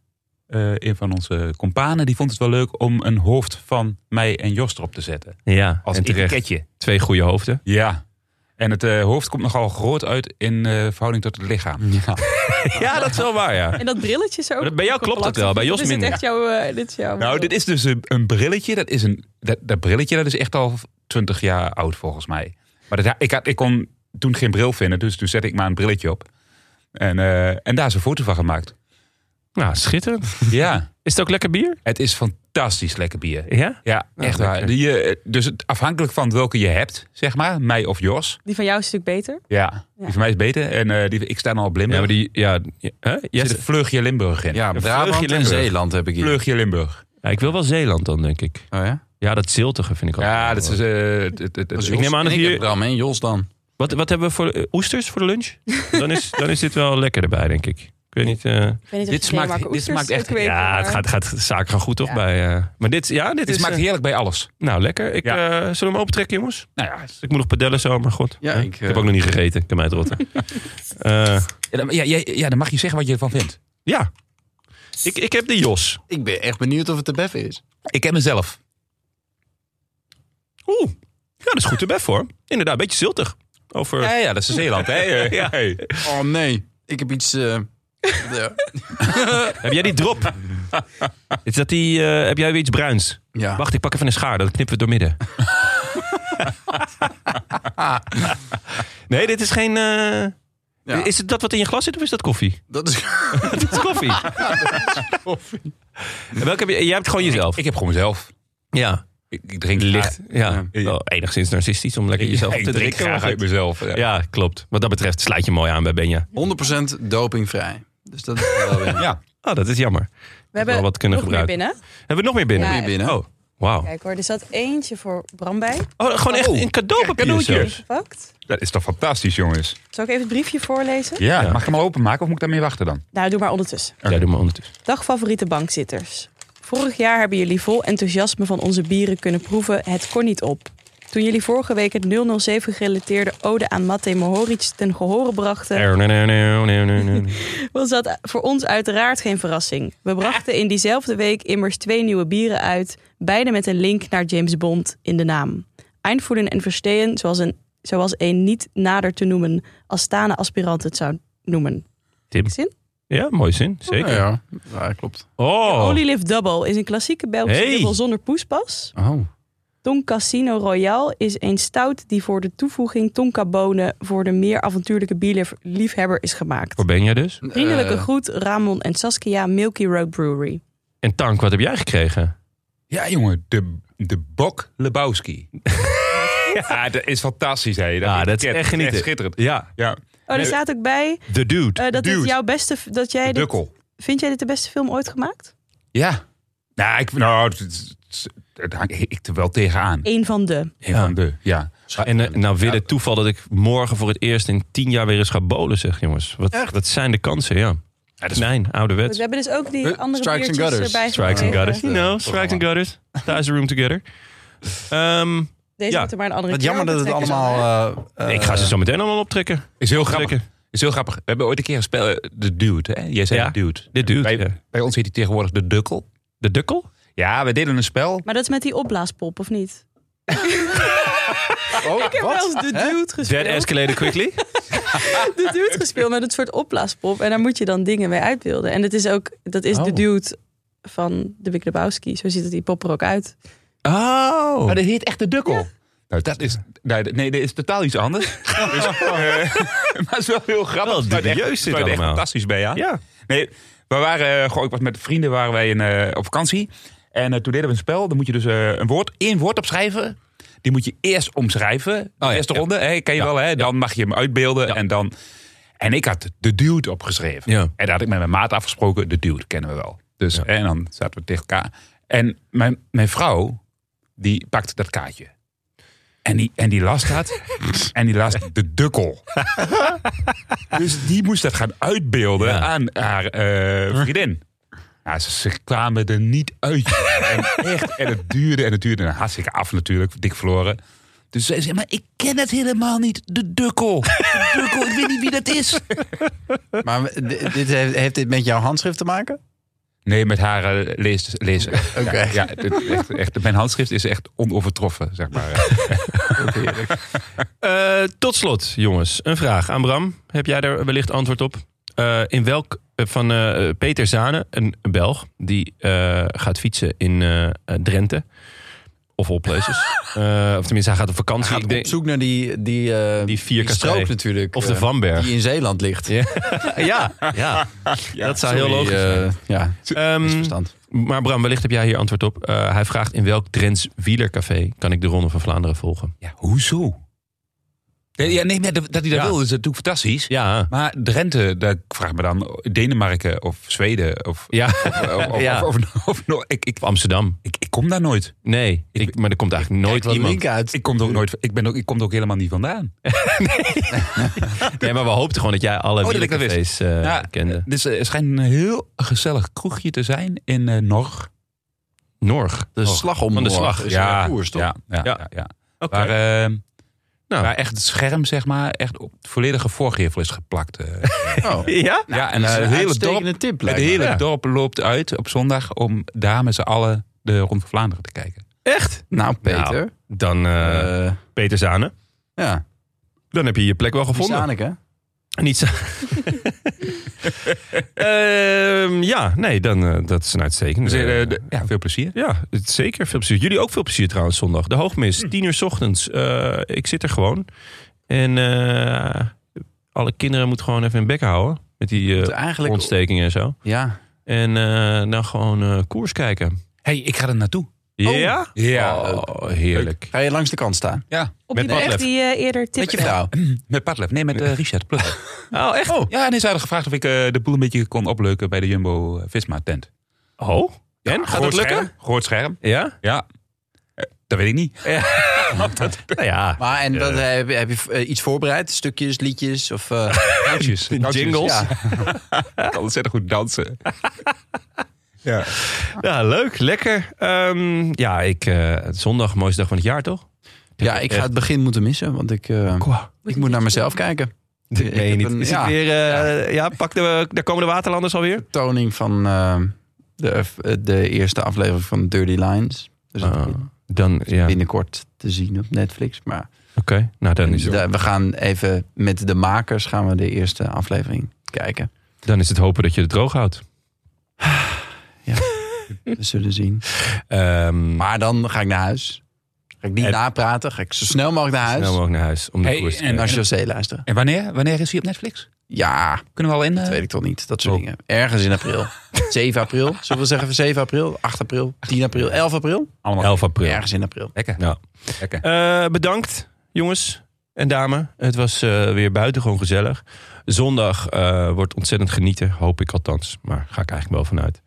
eh, een van onze companen, die vond het wel leuk om een hoofd van mij en Jos erop te zetten.
Ja,
Als
en terecht.
etiketje.
Twee goede hoofden.
Ja. En het eh, hoofd komt nogal groot uit in eh, verhouding tot het lichaam. Ja,
ja dat is wel waar, ja.
En dat brilletje is er ook.
Bij jou
op
klopt dat
geplakt.
wel, bij Jos
Dit is
minder.
echt jouw... eh, dit is jouw
Nou, dit is dus een, een brilletje. Dat, is een, dat, dat brilletje dat is echt al 20 jaar oud volgens mij. Maar dat, ik, had, ik kon toen geen bril vinden, dus toen zette ik maar een brilletje op. En, eh, en daar is een foto van gemaakt.
Nou, schitterend.
Ja.
Is het ook lekker bier?
Het is fantastisch lekker bier.
Ja?
Ja, echt waar.
lekker.
Die, eh, dus het, afhankelijk van welke je hebt, zeg maar, mij of Jos.
Die van jou is een stuk beter.
Ja, die van mij is beter. En eh, die, ik sta dan op Limburg. Ja, maar
die, ja,
Er zit een vleugje Limburg in.
Ja,
Een
Brabant
vleugje
en
Limburg.
Zeeland heb ik hier.
Vleugje Limburg.
Ja, ik wil wel Zeeland dan, denk ik.
Oh ja?
Ja, dat ziltige vind ik al.
Ja, dat is... eh, het- het- het-
ik neem aan dat
en ik
hier...
heb Bram en Jos dan.
Wat, wat hebben we voor eh, oesters voor de lunch? Dan is, dan is dit wel lekker erbij, denk ik. Ik weet niet... eh,
weet niet of Dit je smaakt- Denemarken dit oesters smaakt echt- ook weet,
Ja, het
maar-
gaat, gaat, de zaak gaat goed, toch? Bij, eh, maar dit, ja, dit
Dit
is...
smaakt
eh,
heerlijk bij alles.
Nou, lekker. Ik, eh, zullen we hem opentrekken, jongens?
Nou ja,
Ik moet nog padellen zo, maar god.
Ja,
Eh,
ik, eh,
heb ook nog niet gegeten. Ik kan mij het rotten. Eh,
Ja, dan- ja, ja, ja, dan mag je zeggen wat je ervan vindt.
ja. Ik, ik heb de Jos.
Ik ben echt benieuwd of het te beffen is.
Ik heb mezelf.
Oeh. Ja, dat is goed erbij voor. Inderdaad, een beetje ziltig. Over...
Ja, ja, dat is dus de Zeeland, hè?
Ja.
Oh nee, ik heb iets... eh, ja.
Heb jij die drop? Is dat die, eh, heb jij weer iets bruins?
Ja.
Wacht, ik pak even een schaar. Dan knippen we het doormidden. nee, dit is geen... eh,
Ja.
Is het dat wat in je glas zit of is dat koffie?
Dat is...
dat is koffie. En welke heb je, jij hebt gewoon jezelf.
Ik heb gewoon mezelf.
Ja.
Ik, ik drink
Licht.
graag-
Ja. Wel enigszins narcistisch om lekker jezelf
Ja,
te
ik drink
drinken.
graag
maar
uit
goed.
mezelf. Ja.
Ja, klopt. Wat dat betreft sluit je mooi aan bij Benja.
100% dopingvrij. Dus dat is wel weer...
Ja.
Oh, dat is jammer.
We hebben
wel wat kunnen
nog
gebruiken.
meer binnen.
Hebben we nog meer binnen?
Ja,
Weer binnen.
Oh, wauw.
Kijk hoor, er zat eentje voor Bram bij.
Oh, gewoon echt een cadeaupapier
cadeautje.
zelfs.
Pakt.
Dat is toch fantastisch, jongens?
Zal ik even het briefje voorlezen?
Ja, mag ik hem al openmaken of moet ik daarmee wachten dan?
Nou, doe maar ondertussen.
Ja, doe maar ondertussen.
Dag favoriete bankzitters. Vorig jaar hebben jullie vol enthousiasme van onze bieren kunnen proeven. Het kon niet op. Toen jullie vorige week het 007 gerelateerde ode aan Matej Mohoric ten gehore brachten,
Nee, nee, nee, nee, nee, nee.
was dat voor ons uiteraard geen verrassing. We brachten in diezelfde week immers twee nieuwe bieren uit, beide met een link naar James Bond in de naam. Eindvoeden en Verstehen, zoals een, zoals een niet nader te noemen Astana-aspirant het zou noemen.
Tim.
Zin?
Ja, mooi zin. Zeker.
Ja, ja. Ja, klopt.
Oh,
Holy Lift Double is een klassieke Belgische
Hey.
dubbel zonder poespas.
Oh.
Ton Casino Royal is een stout die voor de toevoeging tonkabonen voor de meer avontuurlijke bierliefhebber is gemaakt.
voor Benja dus.
Vriendelijke
Eh,
groet, Ramon en Saskia, Milky Road Brewery.
En Tank, wat heb jij gekregen?
Ja, jongen, de, de Bok Lebowski. ja, dat is fantastisch, hè?
Ja, dat is
pakket
echt genieten.
schitterend.
Ja,
Ja,
Oh, er staat ook bij
The Dude.
eh, dat dit
Dude.
jouw beste... f- Dat jij dit,
Dukkel.
vind jij dit de beste film ooit gemaakt?
Ja. Nou, ik, nou het, het- het hang ik er wel tegenaan.
Eén van de.
Een van de, ja.
En eh, nou weer het toeval dat ik morgen voor het eerst in tien jaar weer eens ga bowlen, zeg jongens. Wat, dat zijn de kansen, ja. Nee,
We
ouderwets.
hebben dus ook die
Eh,
andere
Strikes and
biertjes
Gutters.
erbij
Strikes and
gekregen.
gutters. You know, strikes and gutters. Ties the room together. Ehm,
Deze
Ja.
moeten maar een andere
Wat
keer
jammer dat het
opentrekken dan,
allemaal...
hè?
eh, eh,
ik ga ze zo meteen allemaal optrekken.
Is heel grappig.
Zeker.
Is heel grappig. We hebben ooit een keer gespeeld. eh, De Dude, hè? Jij zei
Ja,
de Dude.
de Dude,
Bij,
ja.
bij ons heet hij tegenwoordig de Dukkel.
De Dukkel?
Ja, we deden een spel.
Maar dat is met die opblaaspop, of niet?
oh,
Ik heb wel eens
wat?
de dude
That
gespeeld.
escalated quickly.
de dude gespeeld met het soort opblaaspop. En daar moet je dan dingen mee uitbeelden. En het is ook, dat is de dude van de Big Lebowski. Zo ziet het die pop er ook uit.
Oh.
Maar dat heet echt de Dukkel. Nou, dat is, nee, nee, dat is totaal iets anders. Dus, eh, maar het is wel heel grappig.
Wel
Het sluit echt-
dubieus dit
sluit echt
allemaal.
fantastisch bij, ja.
Ja.
Nee, we waren, eh, gewoon, ik was met vrienden waren wij in, eh, op vakantie. En eh, toen deden we een spel. Dan moet je dus eh, een woord, één woord opschrijven. Die moet je eerst omschrijven. De
Oh ja,
eerste
ja.
ronde, hè, ken je
Ja,
wel. Hè? Dan mag je hem uitbeelden. En, dan, en ik had de dude opgeschreven.
Ja.
En daar had ik met mijn maat afgesproken. De dude kennen we wel. Dus, hè, En dan zaten we tegen elkaar. En mijn, mijn vrouw, die pakt dat kaartje. En die, en die las dat. en die las de dukkel. dus die moest dat gaan uitbeelden aan haar eh, vriendin. Ja, ze, ze kwamen er niet uit. en, echt, en het duurde en het duurde. En hartstikke af natuurlijk, dik verloren. Dus zij zei, maar ik ken het helemaal niet. De dukkel. De dukkel, ik weet niet wie dat is.
eh, Maar d- dit heeft, heeft dit met jouw handschrift te maken?
Nee, met haar eh, lees, lezen. Oké. Ja, dit- echt, echt, mijn handschrift is echt onovertroffen, zeg maar.
Eh, tot slot, jongens, een vraag aan Bram. Heb jij daar wellicht antwoord op? Eh, in welk eh, van eh, Peter Zane, een Belg, die eh, gaat fietsen in eh, eh, Drenthe. Of all places. Eh, of tenminste, hij gaat op vakantie.
Hij
Ik
gaat
denk-
op zoek naar die, die, eh die
vierkastrij.
strook natuurlijk.
Of de
eh,
Vanberg.
Die in Zeeland ligt. Ja,
ja, ja. dat zou heel logisch zijn.
eh, ja.
Ehm, maar Bram, wellicht heb jij hier antwoord op. Eh, hij vraagt in welk Drents wielercafé kan ik de Ronde van Vlaanderen volgen?
Ja, hoezo? Nee, ja, nee, maar dat, dat hij dat
Ja.
wil is natuurlijk fantastisch.
Ja.
Maar Drenthe, daar ik vraag me dan Denemarken of Zweden of,
Ja.
of, of, of-
Ja.
of- of- of- of- ik, ik,
Amsterdam.
Ik, ik kom daar nooit.
Nee, ik, maar er komt eigenlijk nooit iemand.
Ik kom er ook nooit. Ik ben ook, ik kom er ook helemaal niet vandaan.
Nee, maar we hoopten gewoon dat jij alle
Oh, dat ik dat wist.
wielercafés eh,
Ja,
kende.
Dus eh, het schijnt een heel gezellig kroegje te zijn in eh, Norg.
Norg. Oh.
De slag om
Van de
Norg
slag.
is
ja,
een koers, toch?
Ja, ja,
Ja.
ja. ja.
Oké.
Waar, eh,
Nou.
waar echt het scherm, zeg maar, echt op het volledige voorgevel is geplakt. eh.
Nou, Ja?
ja, en
dat is
eh,
een
het hele,
uitstekende
dorp,
tip,
het
lijkt me.
hele
Ja.
dorp loopt uit op zondag om daar met z'n allen de Rond van Vlaanderen te kijken.
Echt?
Nou, Peter.
Nou, dan eh,
Eh,
Peter Zane.
ja,
Dan heb je je plek wel gevonden.
Zaneke.
Niet zo. Ehm, ja, nee, dan, eh, dat is een uitstekende.
Dus, eh, de- ja, veel plezier.
ja, het- zeker. Veel plezier. Jullie ook veel plezier trouwens zondag. De hoogmis, 10 uur 's ochtends. Eh, ik zit er gewoon. En eh, alle kinderen moeten gewoon even hun bek houden. Met die eh
eigenlijk-
ontstekingen en zo.
Ja.
En eh, dan gewoon eh, koers kijken.
hey, ik ga er naartoe.
Oh. Ja?
Ja,
Oh, heerlijk.
Ga je langs de kant staan?
ja.
Op
Met
die weg
padlef.
die je eerder
Met je
tipte.
vrouw?
Met Padlef. Nee, met eh, Richard Plugge.
Oh, echt?
Ja, en ze hadden gevraagd of ik eh, de boel een beetje kon opleuken bij de eh, Jumbo-Visma-tent.
Oh?
Ja,
En? Gaat
groot
dat lukken?
scherm, Groot scherm.
Ja?
Ja. Eh, Dat weet ik niet.
Nou ja.
Maar en dat, heb, je- heb je eh, iets voorbereid? Stukjes, liedjes? Of, eh,
Dansjes.
Jingles.
Ja. Ik kan ontzettend goed dansen. ja.
Ja, leuk. Lekker. Ehm, ja, ik, eh, zondag, mooiste dag van het jaar, toch?
ja, ik ga het begin moeten missen, want ik, eh, ik moet naar mezelf kijken. Ik
Nee,
heb
niet.
een-
Is
ja.
het weer... eh, ja. pak de... Daar komen de waterlanders alweer.
toning van eh, de, eh, de eerste aflevering van Dirty Lines. Dus dat
Ah, dan, ja. Oké.
binnenkort te zien op Netflix. Maar
Nou, dan is, het,
da- we gaan even met de makers gaan we de eerste aflevering kijken.
dan is het hopen dat je het droog houdt.
We zullen zien.
Ehm,
Maar dan ga ik naar huis. Ga ik niet
En-
napraten. Ga ik zo snel mogelijk naar
snel
huis.
mogelijk nou, naar huis. Om de
Hey,
koers eh, te
en-
kijken.
Naar José luisteren.
En wanneer, wanneer is hij op Netflix?
Ja,
Kunnen we al in? eh,
dat weet ik toch niet. Dat soort
oh.
dingen. Ergens in april. 7 april. Zullen we zeggen 7 april? 8 april? 10 april? 11 april?
allemaal
11 april.
Ergens in april.
Lekker.
Nou.
Lekker.
Eh, bedankt, jongens en dame. Het was eh weer buitengewoon gezellig. Zondag eh, wordt ontzettend genieten, hoop ik althans. Maar ga ik eigenlijk wel vanuit.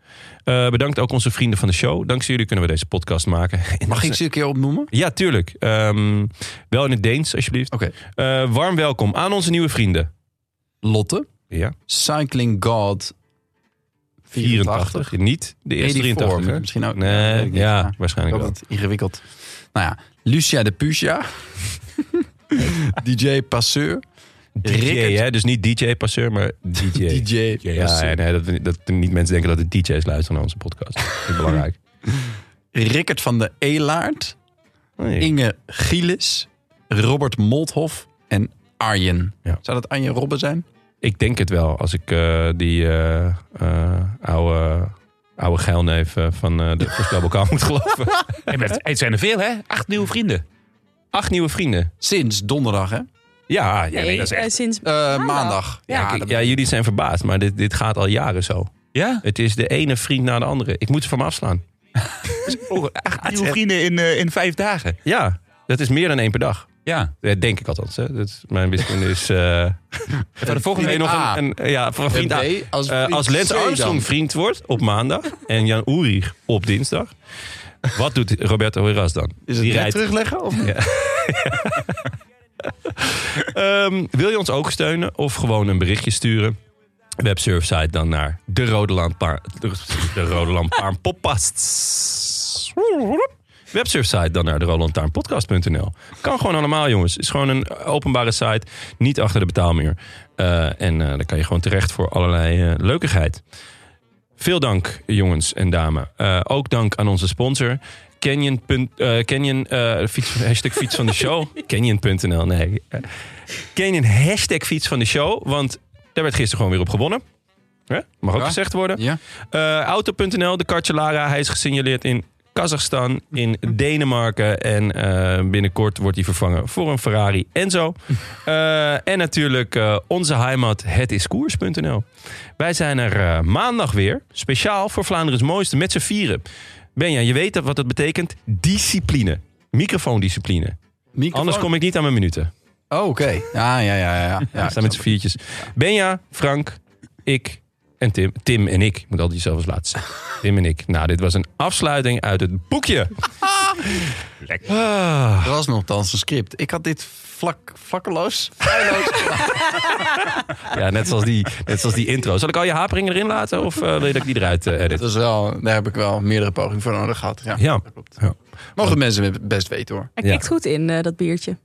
Eh, bedankt ook onze vrienden van de show. Dankzij jullie kunnen we deze podcast maken. En dat
Mag
is-
ik ze een keer opnoemen?
Ja, tuurlijk. Ehm, wel in het Deens, alsjeblieft.
Oké.
Eh, warm welkom aan onze nieuwe vrienden.
Lotte.
Ja.
Cycling God
84. Niet de eerste
84,
83. hè? Oh,
misschien ook. Weet
Nee,
ik niet.
ja,
Maar
waarschijnlijk
ik
wel.
had het ingewikkeld. Nou ja, Lucia de Pucia. DJ Passeur.
DJ,
Rickert.
hè? Dus niet DJ-passeur, maar DJ.
DJ.
Ja, ja, nee, dat, we- dat er niet mensen denken dat de DJ's luisteren naar onze podcast. Dat is belangrijk.
Rickert van de Elaard.
Nee.
Inge Gielis. Robert Molthof. En Arjen.
Ja.
Zou dat Arjen Robben zijn?
Ik denk het wel, als ik eh, die eh, eh, oude, oude geilneef eh, van eh, de voorspelbokaal moet geloven.
Hey, maar het- het zijn er veel, hè? Acht nieuwe vrienden.
Acht nieuwe vrienden.
Sinds donderdag, hè?
Ja, ja
Nee,
nee, dat is
eh,
echt...
sinds
Eh, maandag.
Ja,
Ja.
kijk, ja, jullie zijn verbaasd, maar dit, dit gaat al jaren zo.
Ja?
Het is de ene vriend na de andere. Ik moet ze van me afslaan.
Nieuwe vrienden in, eh, in vijf dagen.
Ja, dat is meer dan één per dag.
Ja.
Ja, denk ik althans. Hè. Dat is- mijn wiskunde is... eh
de volgende
Nee,
week
nog
A.
een, een- ja, voor een vriend
En
A.
B, als
Eh,
vriend
als Lance
C dan.
Armstrong vriend wordt op maandag en Jan Ulrich op dinsdag. Wat doet Roberto Heras dan?
Is het
Die
net
rijdt-
terugleggen? Of niet?
Ehm, wil je ons ook steunen of gewoon een berichtje sturen? Websurfsite dan naar de Rode Lantaarn de Rode Lantaarn Podcast. Websurfsite dan naar de Rode Lantaarn Podcast.nl. Kan gewoon allemaal, jongens. Het is gewoon een openbare site, niet achter de betaalmuur. Eh, en eh dan kan je gewoon terecht voor allerlei eh, leukigheid. Veel dank, jongens en dames. Eh, ook dank aan onze sponsor. Canyon. punt- eh, Canyon eh, fiets, hashtag fiets van de show. Canyon.nl, nee. Eh, Canyon hashtag fiets van de show. Want daar werd gisteren gewoon weer op gewonnen. Hè? Mag ook
Ja.
gezegd worden.
Ja.
Eh, Auto.nl, de Kartjelara. Hij is gesignaleerd in Kazachstan, in Denemarken. En eh, binnenkort wordt hij vervangen voor een Ferrari en zo. Eh, en natuurlijk eh, onze heimat, hetiskoers.nl. Wij zijn er eh, maandag weer. Speciaal voor Vlaanderen's Mooiste met z'n vieren. Benja, je weet dat wat dat betekent? Discipline. Microfoondiscipline. Anders kom ik niet aan mijn minuten.
Oh, oké. Ja, ja, ja, ja.
Ja,
ja.
staan met z'n viertjes. Benja, Frank, ik en Tim. Tim en ik. Ik moet altijd jezelf als laatste zeggen. Tim en ik. Nou, dit was een afsluiting uit het boekje. Ah.
Er was nogthans een script. Ik had dit vlak, vakkeloos.
Ja, net zoals, die, net zoals die intro. Zal ik al je haperingen erin laten? Of eh, wil je dat ik die eruit eh, edit?
Dat is wel, daar heb ik wel meerdere pogingen voor nodig gehad. Ja.
Ja. Ja.
Mogen mensen het best weten hoor.
Hij
Ja.
kijkt goed in, eh, dat biertje.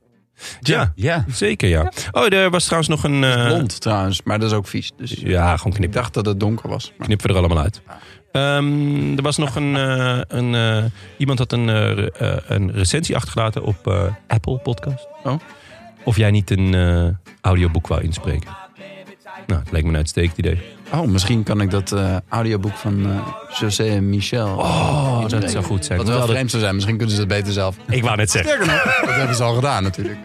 Ja,
Ja.
zeker ja. Oh, er was trouwens nog een... eh,
Blond trouwens, maar dat is ook vies. Dus
Ja, gewoon
ik
knip.
dacht dat het donker was. Maar
Knippen we er allemaal uit. Ehm, er was nog een... eh, een eh, iemand had een, eh, re- eh, een recensie achtergelaten op eh, Apple Podcast.
Oh.
Of jij niet een eh, audioboek wou inspreken. Nou, het lijkt me een uitstekend idee.
Oh, misschien kan ik dat eh, audioboek van eh, José en Michel.
Oh, dat zou goed zijn.
Wat wel
Hoewel dat-
vreemd zou zijn, misschien kunnen ze dat beter zelf.
Ik wou net zeggen.
Sterker nog, dat hebben ze al gedaan natuurlijk.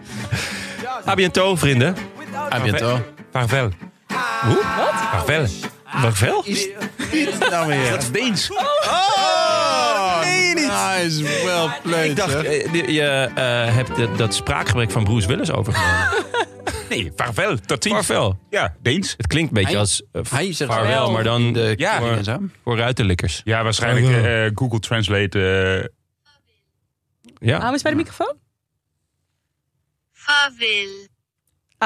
A bientôt, vrienden.
A bientôt.
Vaarwel.
Hoe?
Vaarwel.
Wat wel?
Nou weer. Dat is Deens. Oh, Nice, well played.
Ik dacht,
hè.
eh, je eh, hebt dat- dat spraakgebrek van Bruce Willis overgenomen.
Nee, vaarwel. Tot ziens.
Vaarwel.
Ja, Deens.
Het klinkt een beetje
Hij-
als eh,
hij zegt
vaarwel,
wel.
maar dan
De
Ja,
voor,
en zo.
voor ruitenlikkers.
Ja, waarschijnlijk eh, eh, Google Translate. eh,
Ja.
Hou eens bij de microfoon.
Farvel.
Ah,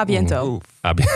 A biento.
Ah, bi-